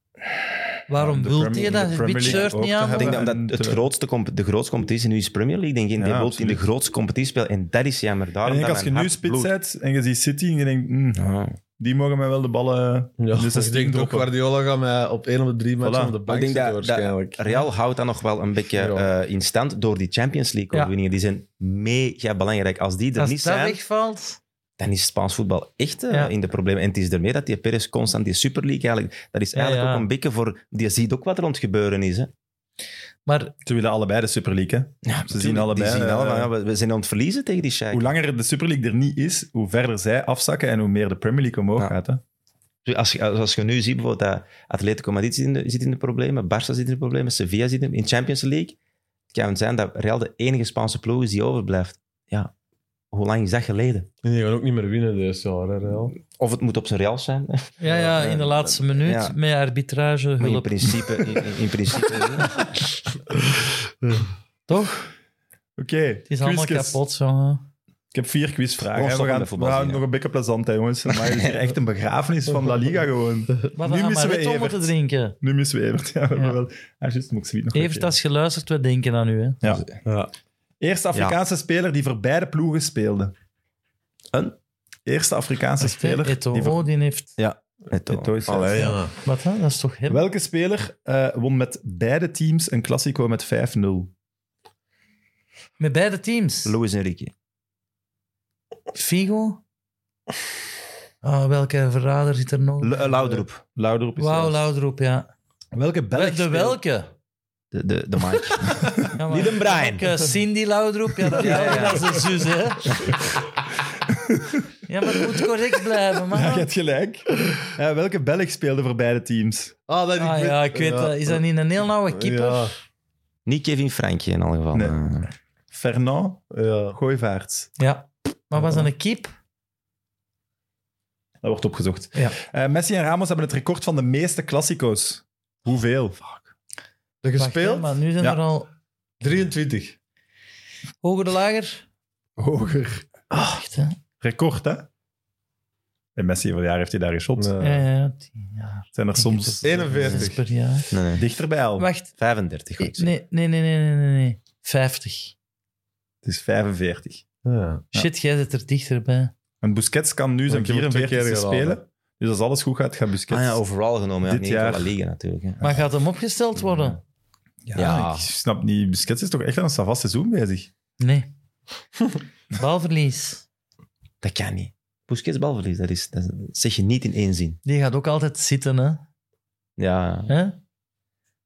Speaker 3: Waarom
Speaker 1: de
Speaker 3: wilt
Speaker 1: Premier-
Speaker 3: hij dat
Speaker 1: de Premier
Speaker 3: wit
Speaker 1: League
Speaker 3: shirt
Speaker 1: ook
Speaker 3: niet
Speaker 1: te
Speaker 3: aan?
Speaker 4: Ik denk dat
Speaker 1: En
Speaker 4: omdat het
Speaker 1: te-
Speaker 4: grootste comp- de grootste competitie nu is Premier League. Denk je, en die
Speaker 1: Ja,
Speaker 4: wilt in de
Speaker 1: absoluut.
Speaker 4: grootste competitie spelen. En dat is jammer. Daarom
Speaker 1: En ik denk als
Speaker 4: dat
Speaker 1: je
Speaker 4: mijn
Speaker 1: nu
Speaker 4: hart
Speaker 1: spits
Speaker 4: bloedt.
Speaker 1: zet en je ziet City en je denkt, mm,
Speaker 4: Ja.
Speaker 1: die mogen mij wel de ballen...
Speaker 5: Ja,
Speaker 1: dus dat is
Speaker 5: ik denk ook Guardiola gaat mij op één op de drie matchen
Speaker 1: Voilà.
Speaker 5: op de
Speaker 4: Maar
Speaker 5: bank
Speaker 4: ik denk
Speaker 5: zitten
Speaker 4: dat,
Speaker 5: waarschijnlijk.
Speaker 4: dat Real houdt dat nog wel een beetje
Speaker 5: Ja.
Speaker 4: eh, in stand door die Champions League
Speaker 3: Ja.
Speaker 4: overwinningen. Die zijn mega belangrijk. Als die er
Speaker 3: Als dat
Speaker 4: niet zijn,
Speaker 3: wegvalt...
Speaker 4: dan is Spaans voetbal echt eh,
Speaker 3: Ja.
Speaker 4: in de problemen. En het is ermee dat die Perez constant die Super League eigenlijk... Dat is
Speaker 3: Ja,
Speaker 4: eigenlijk
Speaker 3: ja.
Speaker 4: ook een beetje voor... Die ziet ook wat er aan het gebeuren is. Hè.
Speaker 3: Maar
Speaker 1: Ze willen allebei de Super League, hè. Ze zien allebei...
Speaker 4: Die zien
Speaker 1: eh,
Speaker 4: allemaal, ja, we, we zijn aan het verliezen tegen die Scheik.
Speaker 1: Hoe langer de Super League er niet is, hoe verder zij afzakken en hoe meer de Premier League omhoog
Speaker 4: Ja.
Speaker 1: gaat. Hè?
Speaker 4: Als, je- als, als je nu ziet bijvoorbeeld dat Atletico Madrid zit in de, zit in de problemen, Barça zit in de problemen, Sevilla zit in, in Champions League. Het kan zijn dat Real de enige Spaanse ploeg is die overblijft. Ja, hoe lang is dat geleden?
Speaker 5: En die gaan ook niet meer winnen dit jaar, hè, Real.
Speaker 4: Of het moet op zijn Real zijn. hè.
Speaker 3: ja, ja, in de laatste minuut,
Speaker 4: Ja.
Speaker 3: met arbitrage,
Speaker 4: Maar in
Speaker 3: hulp.
Speaker 4: principe... In, in- in principe
Speaker 3: Toch?
Speaker 1: Oké,
Speaker 3: Het is allemaal
Speaker 1: quizjes.
Speaker 3: kapot, jongen.
Speaker 1: Ik heb vier quizvragen.
Speaker 4: Oh,
Speaker 1: hè.
Speaker 4: stop
Speaker 1: we gaan,
Speaker 4: met
Speaker 1: we
Speaker 4: voetbal
Speaker 1: houden
Speaker 4: zien,
Speaker 1: nog een beetje plezant, hè, jongens. Maar het is hier echt een begrafenis van La Liga gewoon. Nu
Speaker 3: Maar we gaan
Speaker 1: missen
Speaker 3: maar
Speaker 1: we
Speaker 3: wit om
Speaker 1: Evert.
Speaker 3: moeten drinken.
Speaker 1: Nu missen we Evert. Ja, we hebben
Speaker 3: Ja.
Speaker 1: wel. Ah, juist, moet ik zoiets nog
Speaker 3: Evert,
Speaker 1: weten.
Speaker 3: als je luistert, we denken aan u. Hè.
Speaker 1: Eerste Afrikaanse speler die voor beide ploegen speelde.
Speaker 4: Een?
Speaker 1: Eerste Afrikaanse speler die voor...
Speaker 3: Eto'o, die heeft...
Speaker 1: Eto'o is-
Speaker 4: Allee, ja.
Speaker 3: Wat, hè? dat is toch hem?
Speaker 1: Welke speler eh, won met beide teams een Classico met 5-0?
Speaker 3: Met beide teams.
Speaker 4: Luis Enrique.
Speaker 3: Figo. Ah, welke verrader zit er nog?
Speaker 4: L- eh, Laudrup.
Speaker 1: Louder op is
Speaker 3: Wauw,
Speaker 1: zelfs.
Speaker 3: Laudroep, ja.
Speaker 1: Welke Belg
Speaker 3: de
Speaker 1: speelde-
Speaker 3: welke?
Speaker 4: De, de, de Mike.
Speaker 3: Ja, maar-
Speaker 4: Niet een Brian.
Speaker 3: Welke Cindy Laudroep, ja, dat,
Speaker 4: Ja, ja.
Speaker 3: dat is een zus, hè. ja, maar het moet correct blijven, man.
Speaker 1: Ja, je hebt gelijk. Eh, welke Belg speelde voor beide teams?
Speaker 5: Ah, dat
Speaker 3: ah ja, ik weet dat. Is dat niet een heel nauwe keeper?
Speaker 5: Ja,
Speaker 4: Niet Kevin Frankje in alle geval.
Speaker 1: Nee.
Speaker 4: eh.
Speaker 1: Fernand
Speaker 5: ja.
Speaker 1: Gooivaerts.
Speaker 3: Ja. Maar was dat een keep?
Speaker 1: Dat wordt opgezocht.
Speaker 3: Ja.
Speaker 1: Eh, Messi en Ramos hebben het record van de meeste Classico's. Hoeveel?
Speaker 5: De
Speaker 3: Wacht, hè,
Speaker 5: gespeeld?
Speaker 3: maar nu zijn
Speaker 1: Ja.
Speaker 3: er al...
Speaker 5: 23.
Speaker 3: Hoger de lager?
Speaker 1: Hoger.
Speaker 3: Echt, hè?
Speaker 1: Record, hè? En Messi hoeveel jaar heeft hij daar geschot?
Speaker 5: Nee.
Speaker 3: Ja, ja, ja, tien jaar.
Speaker 1: Zijn er soms
Speaker 5: 41.
Speaker 3: Zes per jaar.
Speaker 4: Nee, nee.
Speaker 1: dichter bij al?
Speaker 3: Wacht.
Speaker 4: 35. goed.
Speaker 3: Nee, nee, nee, nee, nee, nee, nee. 50.
Speaker 1: Het is 45.
Speaker 5: Ja.
Speaker 3: Shit, jij zit er dichterbij.
Speaker 1: En Busquets kan nu zijn
Speaker 5: ik heb hem twee
Speaker 1: 44
Speaker 5: keer gedaan,
Speaker 1: spelen. Dus als alles goed gaat, gaat
Speaker 4: Ah
Speaker 1: Busquets...
Speaker 4: ja, overal genomen. Ja.
Speaker 1: Dit
Speaker 4: Niet in de La
Speaker 1: jaar.
Speaker 4: Liga natuurlijk. hè.
Speaker 3: Maar gaat hem opgesteld worden?
Speaker 1: Ja,
Speaker 4: Ja.
Speaker 1: ik snap niet. Busquets is toch echt aan een savast seizoen bezig?
Speaker 3: Nee. Balverlies.
Speaker 4: Dat kan niet. Busquets balverlies, dat, is, dat zeg je niet in één zin.
Speaker 3: Die gaat ook altijd zitten, hè?
Speaker 4: Ja.
Speaker 3: hè?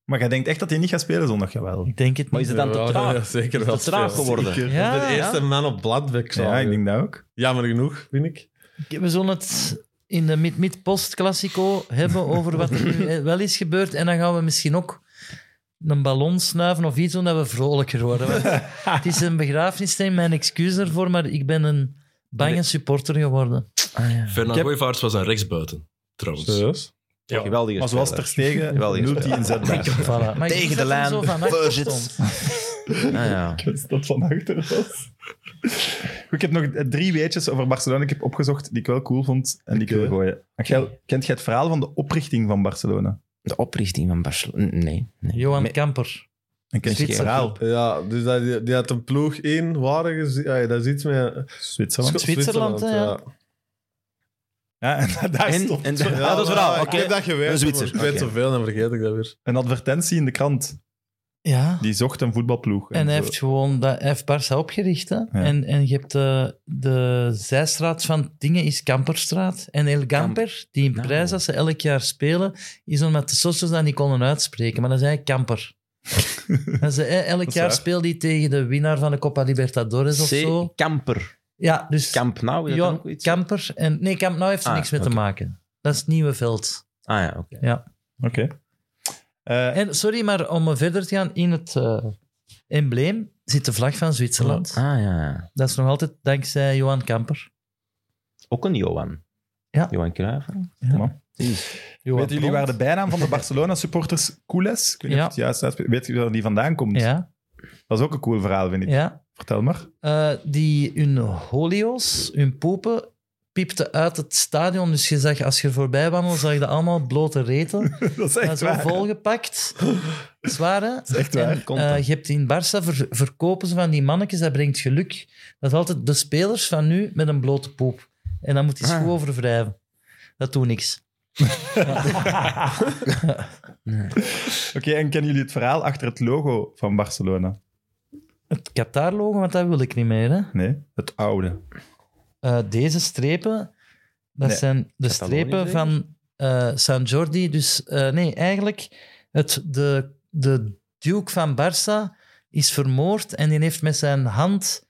Speaker 1: Maar jij denkt echt dat hij niet gaat spelen zondag? Jawel.
Speaker 3: Ik denk het
Speaker 4: Maar
Speaker 3: niet.
Speaker 4: is het dan te
Speaker 5: Ja,
Speaker 4: traag?
Speaker 5: ja, zeker
Speaker 4: Is
Speaker 5: wel.
Speaker 4: dat te traag
Speaker 5: veel.
Speaker 4: geworden?
Speaker 5: Zeker.
Speaker 3: Ja,
Speaker 5: Dat is de
Speaker 3: ja.
Speaker 5: eerste man op Bladbeck.
Speaker 1: Ja, ik denk dat ook.
Speaker 5: Jammer genoeg, vind ik.
Speaker 3: We zullen het in de mid-mid-post-classico hebben over wat er nu eh, wel is gebeurd. En dan gaan we misschien ook een ballon snuiven of iets, omdat we vrolijker worden. Want het is een begrafenis, en mijn excuus ervoor, maar ik ben een bange supporter geworden.
Speaker 4: Ah,
Speaker 7: Fernand Goevaerts was een rechtsbuiten, trouwens.
Speaker 5: Serieus?
Speaker 7: Ja.
Speaker 4: Geweldige
Speaker 1: Maar zoals
Speaker 4: speler.
Speaker 1: Ter Stegen,
Speaker 4: Wel, je
Speaker 1: nult hij inzetbaar.
Speaker 3: Voilà. Maar ik
Speaker 4: Tegen
Speaker 3: zet
Speaker 4: de
Speaker 3: hem
Speaker 4: lijn.
Speaker 3: zo van achter
Speaker 4: Voorzit.
Speaker 3: soms.
Speaker 4: Ah, ja.
Speaker 1: Ik wist dat van achter was. Goed, ik heb nog eh, drie weetjes over Barcelona. Ik heb opgezocht die ik wel cool vond en die ik wil gooien. Angel, kent jij het verhaal van de oprichting van Barcelona?
Speaker 4: De oprichting van Barcelona. Nee. nee.
Speaker 3: Johan
Speaker 4: Me-
Speaker 3: Kamper.
Speaker 1: En kent je het
Speaker 4: Zwitser.
Speaker 1: verhaal?
Speaker 5: Ja, dus dat, die, die had een ploeg in, waren gezien. ah, Ja, dat is iets met
Speaker 1: Zwitserland.
Speaker 3: Zwitserland, hè, ja.
Speaker 1: Ja, en daar
Speaker 4: En-
Speaker 1: stopt
Speaker 4: en-
Speaker 1: het verhaal.
Speaker 4: Ja, dat is verhaal.
Speaker 5: maar
Speaker 4: Oké.
Speaker 5: Ik heb dat
Speaker 4: Een
Speaker 5: geweten.
Speaker 4: Zwitser.
Speaker 5: maar Ik weet
Speaker 4: Oké.
Speaker 5: zoveel, dan vergeet ik dat weer.
Speaker 1: Een advertentie in de krant.
Speaker 3: Ja.
Speaker 1: Die zocht een voetbalploeg.
Speaker 3: En hij
Speaker 1: zo.
Speaker 3: heeft gewoon dat, hij heeft Barça opgericht. Hè? En, en je hebt de, de zijstraat van dingen is Kamperstraat. En El Gamper, die in
Speaker 4: Nou.
Speaker 3: prijs dat ze elk jaar spelen, is omdat de socios dat niet konden uitspreken. Maar dan zei hij Kamper. en ze, eh, elk
Speaker 1: is
Speaker 3: jaar
Speaker 1: waar.
Speaker 3: speelt hij tegen de winnaar van de Copa Libertadores of
Speaker 4: C.
Speaker 3: zo.
Speaker 4: Kamper.
Speaker 3: Ja, dus
Speaker 4: Kamp Nou, is dat
Speaker 3: Jan
Speaker 4: ook iets?
Speaker 3: Kamper. En, nee, Kamp Nou heeft er
Speaker 4: Ah,
Speaker 3: niks mee
Speaker 4: oké.
Speaker 3: te maken. Dat is het nieuwe veld.
Speaker 4: Ah ja, oké.
Speaker 1: Oké. Eh,
Speaker 3: En sorry, maar om verder te gaan, in het eh, embleem zit de vlag van Zwitserland.
Speaker 4: Ah ja, ja.
Speaker 3: Dat is nog altijd dankzij Johan Kamper.
Speaker 4: Ook een Johan.
Speaker 3: Ja.
Speaker 4: Johan Cruijff.
Speaker 3: Johan
Speaker 1: weten jullie waar de bijnaam van de Barcelona-supporters Coeles? Ik weet niet
Speaker 3: Ja.
Speaker 1: of het juist uitspreekt. Weet jullie waar die vandaan komt?
Speaker 3: Ja,
Speaker 1: Dat is ook een cool verhaal, vind ik.
Speaker 3: ja.
Speaker 1: Vertel maar.
Speaker 3: Eh, die hun holio's, hun popen, piepten uit het stadion. Dus je zag, als je er voorbij wandelde, zag je allemaal blote reten.
Speaker 1: Dat is
Speaker 3: Dat
Speaker 1: echt
Speaker 3: is wel
Speaker 1: waar.
Speaker 3: volgepakt. Zwaar, hè?
Speaker 1: Dat is echt waar.
Speaker 4: Komt
Speaker 3: Eh,
Speaker 4: dat.
Speaker 3: je hebt in Barça ver- verkopen ze van die mannetjes, dat brengt geluk. Dat is altijd de spelers van nu met een blote poep. En dan moet
Speaker 1: Ah.
Speaker 3: die schoen over wrijven. Dat doet niks.
Speaker 1: Oké, en kennen jullie het verhaal achter het logo van Barcelona?
Speaker 3: Het Qatar-logo, want dat wil ik niet meer. Hè?
Speaker 1: Nee, het oude.
Speaker 3: Eh, deze strepen, dat
Speaker 1: Nee,
Speaker 3: zijn de
Speaker 4: Catalonië
Speaker 3: strepen
Speaker 4: zeker?
Speaker 3: van eh, San Jordi. Dus eh, nee, eigenlijk, het, de, de Duke van Barça is vermoord en die heeft met zijn hand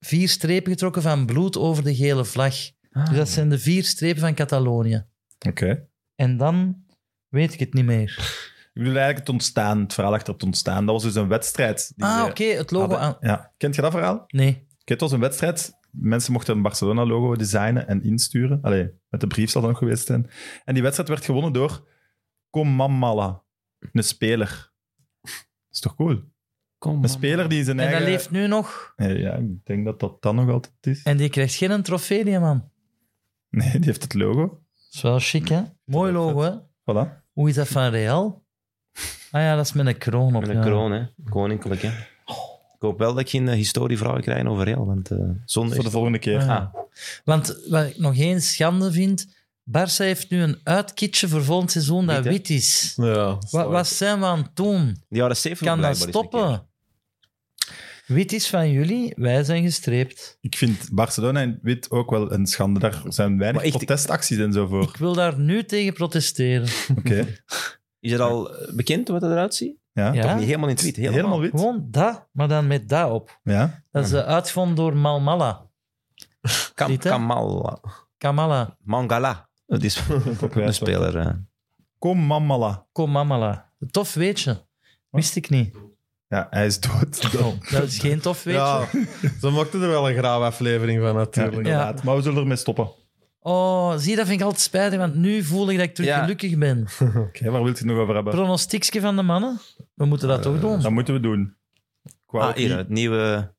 Speaker 3: vier strepen getrokken van bloed over de gele vlag.
Speaker 1: Ah.
Speaker 3: Dus dat zijn de vier strepen van Catalonië.
Speaker 1: Oké.
Speaker 3: En dan weet ik het niet meer.
Speaker 1: Ik bedoel eigenlijk het ontstaan, het verhaal achter het ontstaan. Dat was dus een wedstrijd. Die
Speaker 3: Ah,
Speaker 1: ze
Speaker 3: oké, het logo
Speaker 1: hadden.
Speaker 3: aan.
Speaker 1: Ja. Kent je dat verhaal?
Speaker 3: Nee.
Speaker 1: Oké, het was een wedstrijd. Mensen mochten een Barcelona-logo designen en insturen. Allee, met de brief zal dat nog geweest zijn. En die wedstrijd werd gewonnen door Komamala, een speler. Dat is toch cool?
Speaker 4: Kom,
Speaker 1: Een speler die zijn
Speaker 3: En
Speaker 1: eigen...
Speaker 3: dat leeft nu nog.
Speaker 1: Nee, ja, ik denk dat dat dan nog altijd is.
Speaker 3: En die krijgt geen trofee, die man.
Speaker 1: Nee, die heeft het logo.
Speaker 3: Dat is wel chic, hè? Mooi logo, hè?
Speaker 1: Voilà.
Speaker 3: Hoe is dat van Real? Ah ja, dat is met een kroon op.
Speaker 4: Met een
Speaker 3: ja.
Speaker 4: kroon, hè. Koninklijk, hè. Ik hoop wel dat ik geen eh, historievragen krijg over Real, want eh zonde
Speaker 1: Voor de
Speaker 4: is-
Speaker 1: volgende keer.
Speaker 3: Ah. Want wat ik nog geen schande vind, Barça heeft nu een uitkitje voor volgend seizoen dat
Speaker 4: Wit, hè?
Speaker 3: wit is.
Speaker 5: Ja,
Speaker 3: Wat, wat zijn we aan het doen?
Speaker 4: De jaren 70
Speaker 3: Kan dat
Speaker 4: blijkbaar is een keer.
Speaker 3: stoppen? Wit is van jullie, wij zijn gestreept.
Speaker 1: Ik vind Barcelona in wit ook wel een schande. Daar zijn weinig
Speaker 4: Maar echt-
Speaker 1: protestacties en zo voor.
Speaker 3: Ik wil daar nu tegen protesteren.
Speaker 1: Oké.
Speaker 4: Is het al eh, bekend wat het eruit ziet?
Speaker 1: Ja.
Speaker 3: Ja?
Speaker 4: Niet helemaal in het wit, helemaal.
Speaker 1: Helemaal wit.
Speaker 3: Gewoon dat, maar dan met dat op.
Speaker 1: Ja.
Speaker 3: Dat is de uitvond door Malmala.
Speaker 4: Kam,
Speaker 3: Ziet, hè?
Speaker 4: Kamal,
Speaker 3: Kamala,
Speaker 4: Mangala. Dat is een speler. eh.
Speaker 1: Komamala.
Speaker 3: Komamala. Tof weetje. Wist ik niet.
Speaker 1: Ja, hij is dood.
Speaker 3: Oh, dat is geen tof weetje.
Speaker 5: Ja, ze maakten er wel een grauwe aflevering van natuurlijk.
Speaker 3: Ja.
Speaker 1: Inderdaad. Maar we zullen ermee stoppen. Oké,
Speaker 3: Oh, zie, dat vind ik altijd spijtig, want nu voel ik dat ik terug
Speaker 4: Ja.
Speaker 3: gelukkig ben.
Speaker 1: waar wilt u het nog over hebben?
Speaker 3: Pronostiekje van de mannen? We moeten dat toch doen?
Speaker 1: Dat moeten we doen. Qua
Speaker 4: Ah, hier, het nieuwe...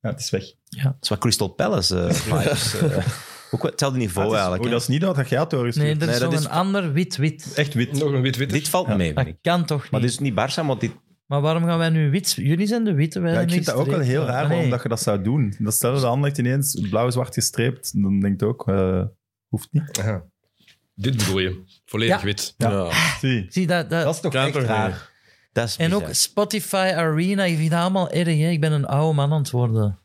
Speaker 1: Ja, het is weg.
Speaker 4: Het is wat Crystal Palace eh, vibes. eh. Ook wel hetzelfde niveau
Speaker 1: Dat is-
Speaker 4: eigenlijk.
Speaker 1: oh,
Speaker 4: hè.
Speaker 1: dat is niet dat, dat jij het doorgestuurd.
Speaker 3: Nee, er is
Speaker 4: Nee, dat
Speaker 3: nog
Speaker 4: is-
Speaker 3: een ander wit-wit.
Speaker 1: Echt wit.
Speaker 7: Nog een wit-wit.
Speaker 4: Dit valt mee, vind
Speaker 3: Dat
Speaker 4: ik.
Speaker 3: kan toch niet?
Speaker 4: Maar dit is niet Barça, maar dit...
Speaker 3: Maar waarom gaan wij nu wit... Jullie zijn de witte, wij
Speaker 1: Ja,
Speaker 3: zijn
Speaker 1: ik
Speaker 3: de
Speaker 1: vind dat ook wel heel
Speaker 3: gestreepte.
Speaker 1: raar
Speaker 3: Nee.
Speaker 1: waarom dat je dat zou doen. Dat stelde de Anderlecht ineens blauw-zwart gestreept. Dan denkt ook, eh, hoeft niet.
Speaker 7: Dit bedoel je. Volledig
Speaker 3: Ja.
Speaker 7: wit.
Speaker 1: Zie,
Speaker 3: Zie, dat, dat...
Speaker 1: dat is toch
Speaker 5: Kan
Speaker 1: echt
Speaker 5: toch
Speaker 1: raar.
Speaker 5: niet?
Speaker 4: Dat is
Speaker 3: En ook
Speaker 4: bizar.
Speaker 3: Spotify Arena, ik vind dat allemaal erg. Hè? Ik ben een oude man aan het worden.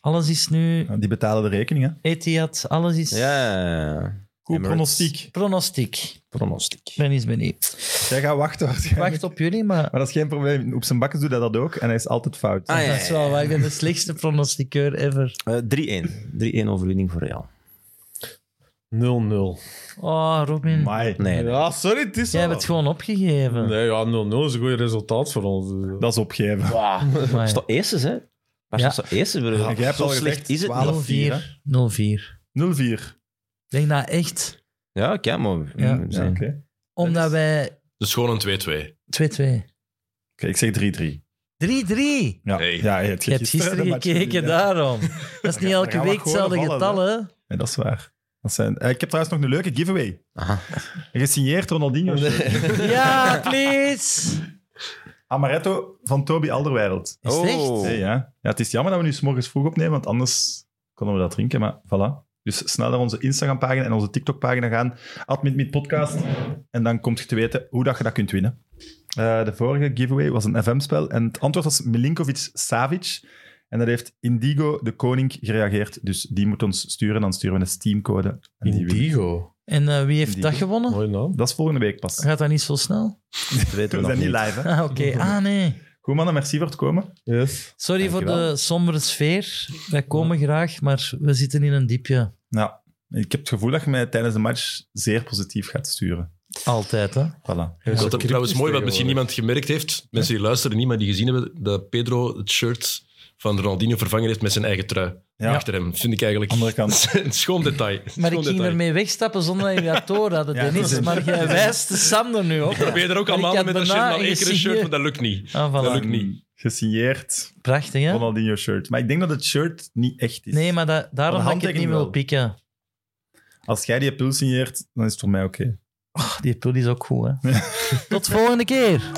Speaker 3: Alles is nu...
Speaker 1: Ja, Die betalen de rekening, hè.
Speaker 3: Etihad, alles is...
Speaker 4: Ja, ja, ja.
Speaker 1: Goed
Speaker 4: Emirates.
Speaker 1: pronostiek.
Speaker 3: Pronostiek. Ik
Speaker 4: Pronostiek.
Speaker 3: ben eens benieuwd.
Speaker 1: Jij gaat wachten
Speaker 3: Ik
Speaker 1: waarschijnlijk.
Speaker 3: wacht op jullie, maar...
Speaker 1: Maar dat is geen probleem. Op zijn bakken doet hij dat ook en hij is altijd fout.
Speaker 4: Ah, ja,
Speaker 3: Dat is wel waar. Ik ben de slechtste pronostiqueur ever.
Speaker 4: Eh, 3-1. 3-1 overwinning voor Real.
Speaker 5: 0-0.
Speaker 3: Oh, Robin.
Speaker 1: Amai.
Speaker 4: Nee, nee.
Speaker 5: Ja, sorry, het is
Speaker 3: Jij
Speaker 5: al.
Speaker 3: hebt het gewoon opgegeven.
Speaker 5: Nee, ja, 0-0 is een goed resultaat voor ons.
Speaker 1: Dat is opgeven.
Speaker 3: Maar-
Speaker 4: Dat is toch eerstes, hè? Barca
Speaker 3: Ja.
Speaker 4: is toch eerstes? broer?
Speaker 1: Ja, jij hebt
Speaker 4: Zo
Speaker 1: al
Speaker 4: slecht
Speaker 1: gezegd,
Speaker 4: is het
Speaker 1: 12.
Speaker 4: niet.
Speaker 1: 12-4,
Speaker 3: 04. 04.
Speaker 1: 0-4.
Speaker 3: Ik denk dat echt,
Speaker 4: Ja, oké, maar...
Speaker 3: Ja.
Speaker 1: Ja,
Speaker 4: we zijn-
Speaker 1: oké.
Speaker 3: omdat wij
Speaker 7: Dus gewoon een 2-2.
Speaker 3: 2-2. 3-3.
Speaker 1: Oké, ik zeg 3-3.
Speaker 3: Je
Speaker 1: Ja,
Speaker 7: Nee.
Speaker 1: ja je hebt
Speaker 3: hebt gisteren
Speaker 1: de match
Speaker 3: gekeken,
Speaker 1: gezien, hè.
Speaker 3: daarom. Dat is niet
Speaker 1: gaan-
Speaker 3: elke
Speaker 1: daar gaan we
Speaker 3: week hetzelfde
Speaker 1: gewoon
Speaker 3: getal, hè?
Speaker 1: Nee, dat is waar. Dat zijn... eh, ik heb trouwens nog een leuke giveaway.
Speaker 4: Aha.
Speaker 1: Gesigneerd Ronaldinho.
Speaker 3: Ja, please!
Speaker 1: Amaretto van Toby Alderweireld.
Speaker 3: Is het echt?
Speaker 4: Oh.
Speaker 1: Nee, ja. ja, het is jammer dat we nu 's morgens vroeg opnemen, want anders konden we dat drinken. Maar voilà. Dus snel naar onze Instagram-pagina en onze TikTok-pagina gaan. Admin Podcast. En dan komt je te weten hoe dat je dat kunt winnen. Eh, de vorige giveaway was een FM-spel. En het antwoord was Milinkovic Savic. En daar heeft Indigo de Koning gereageerd. Dus die moet ons sturen. Dan sturen we een Steam-code. En die winnen.
Speaker 5: Indigo.
Speaker 3: En eh, wie heeft
Speaker 1: Die-
Speaker 3: dat gewonnen?
Speaker 5: Mooi naam.
Speaker 1: Dat is volgende week pas.
Speaker 3: Gaat dat niet zo snel?
Speaker 4: Dat weten
Speaker 1: We
Speaker 4: we nog
Speaker 1: zijn niet
Speaker 4: niet.
Speaker 1: live, hè?
Speaker 3: Ah, oké. Ah, nee.
Speaker 1: Goed, mannen. Merci voor het komen.
Speaker 5: Yes.
Speaker 3: Sorry voor
Speaker 4: Dankjewel.
Speaker 3: de sombere sfeer. Wij komen graag, maar we zitten in een diepje.
Speaker 1: Ja. Nou, Ik heb het gevoel dat je mij tijdens de match zeer positief gaat sturen.
Speaker 3: Altijd, hè?
Speaker 1: Voilà.
Speaker 7: Dat is trouwens mooi, wat misschien niemand gemerkt heeft. Mensen die luisteren, niemand die gezien hebben, dat Pedro het shirt van Ronaldinho vervangen heeft met zijn eigen trui.
Speaker 1: Ja.
Speaker 7: Achter hem. Vind ik eigenlijk
Speaker 1: Andere kant.
Speaker 7: een schoon detail.
Speaker 3: Maar
Speaker 7: Schoon
Speaker 3: ik ging
Speaker 7: detail.
Speaker 3: ermee wegstappen zonder dat je dat door hadden,
Speaker 1: Ja.
Speaker 3: Dennis. Maar jij wijst Sam er nu op.
Speaker 7: Probeer er ook
Speaker 3: Maar ik
Speaker 7: allemaal
Speaker 3: had
Speaker 7: met een shirt,
Speaker 3: daarna
Speaker 7: maar één keer een
Speaker 3: gezien-
Speaker 7: shirt, maar dat lukt niet.
Speaker 3: Ah, voilà.
Speaker 7: Dat lukt niet.
Speaker 1: Gesigneerd
Speaker 3: Prachtig, hè?
Speaker 1: Ronaldinho shirt. Maar ik denk dat het shirt niet echt is.
Speaker 3: Nee, maar dat, daarom
Speaker 1: Van
Speaker 3: dat ik het
Speaker 1: handtekening
Speaker 3: niet wil
Speaker 1: wel.
Speaker 3: pikken.
Speaker 1: Als jij die pul signeert, dan is het voor mij oké.
Speaker 3: Ah, die pul is ook goed, hè? Tot volgende keer.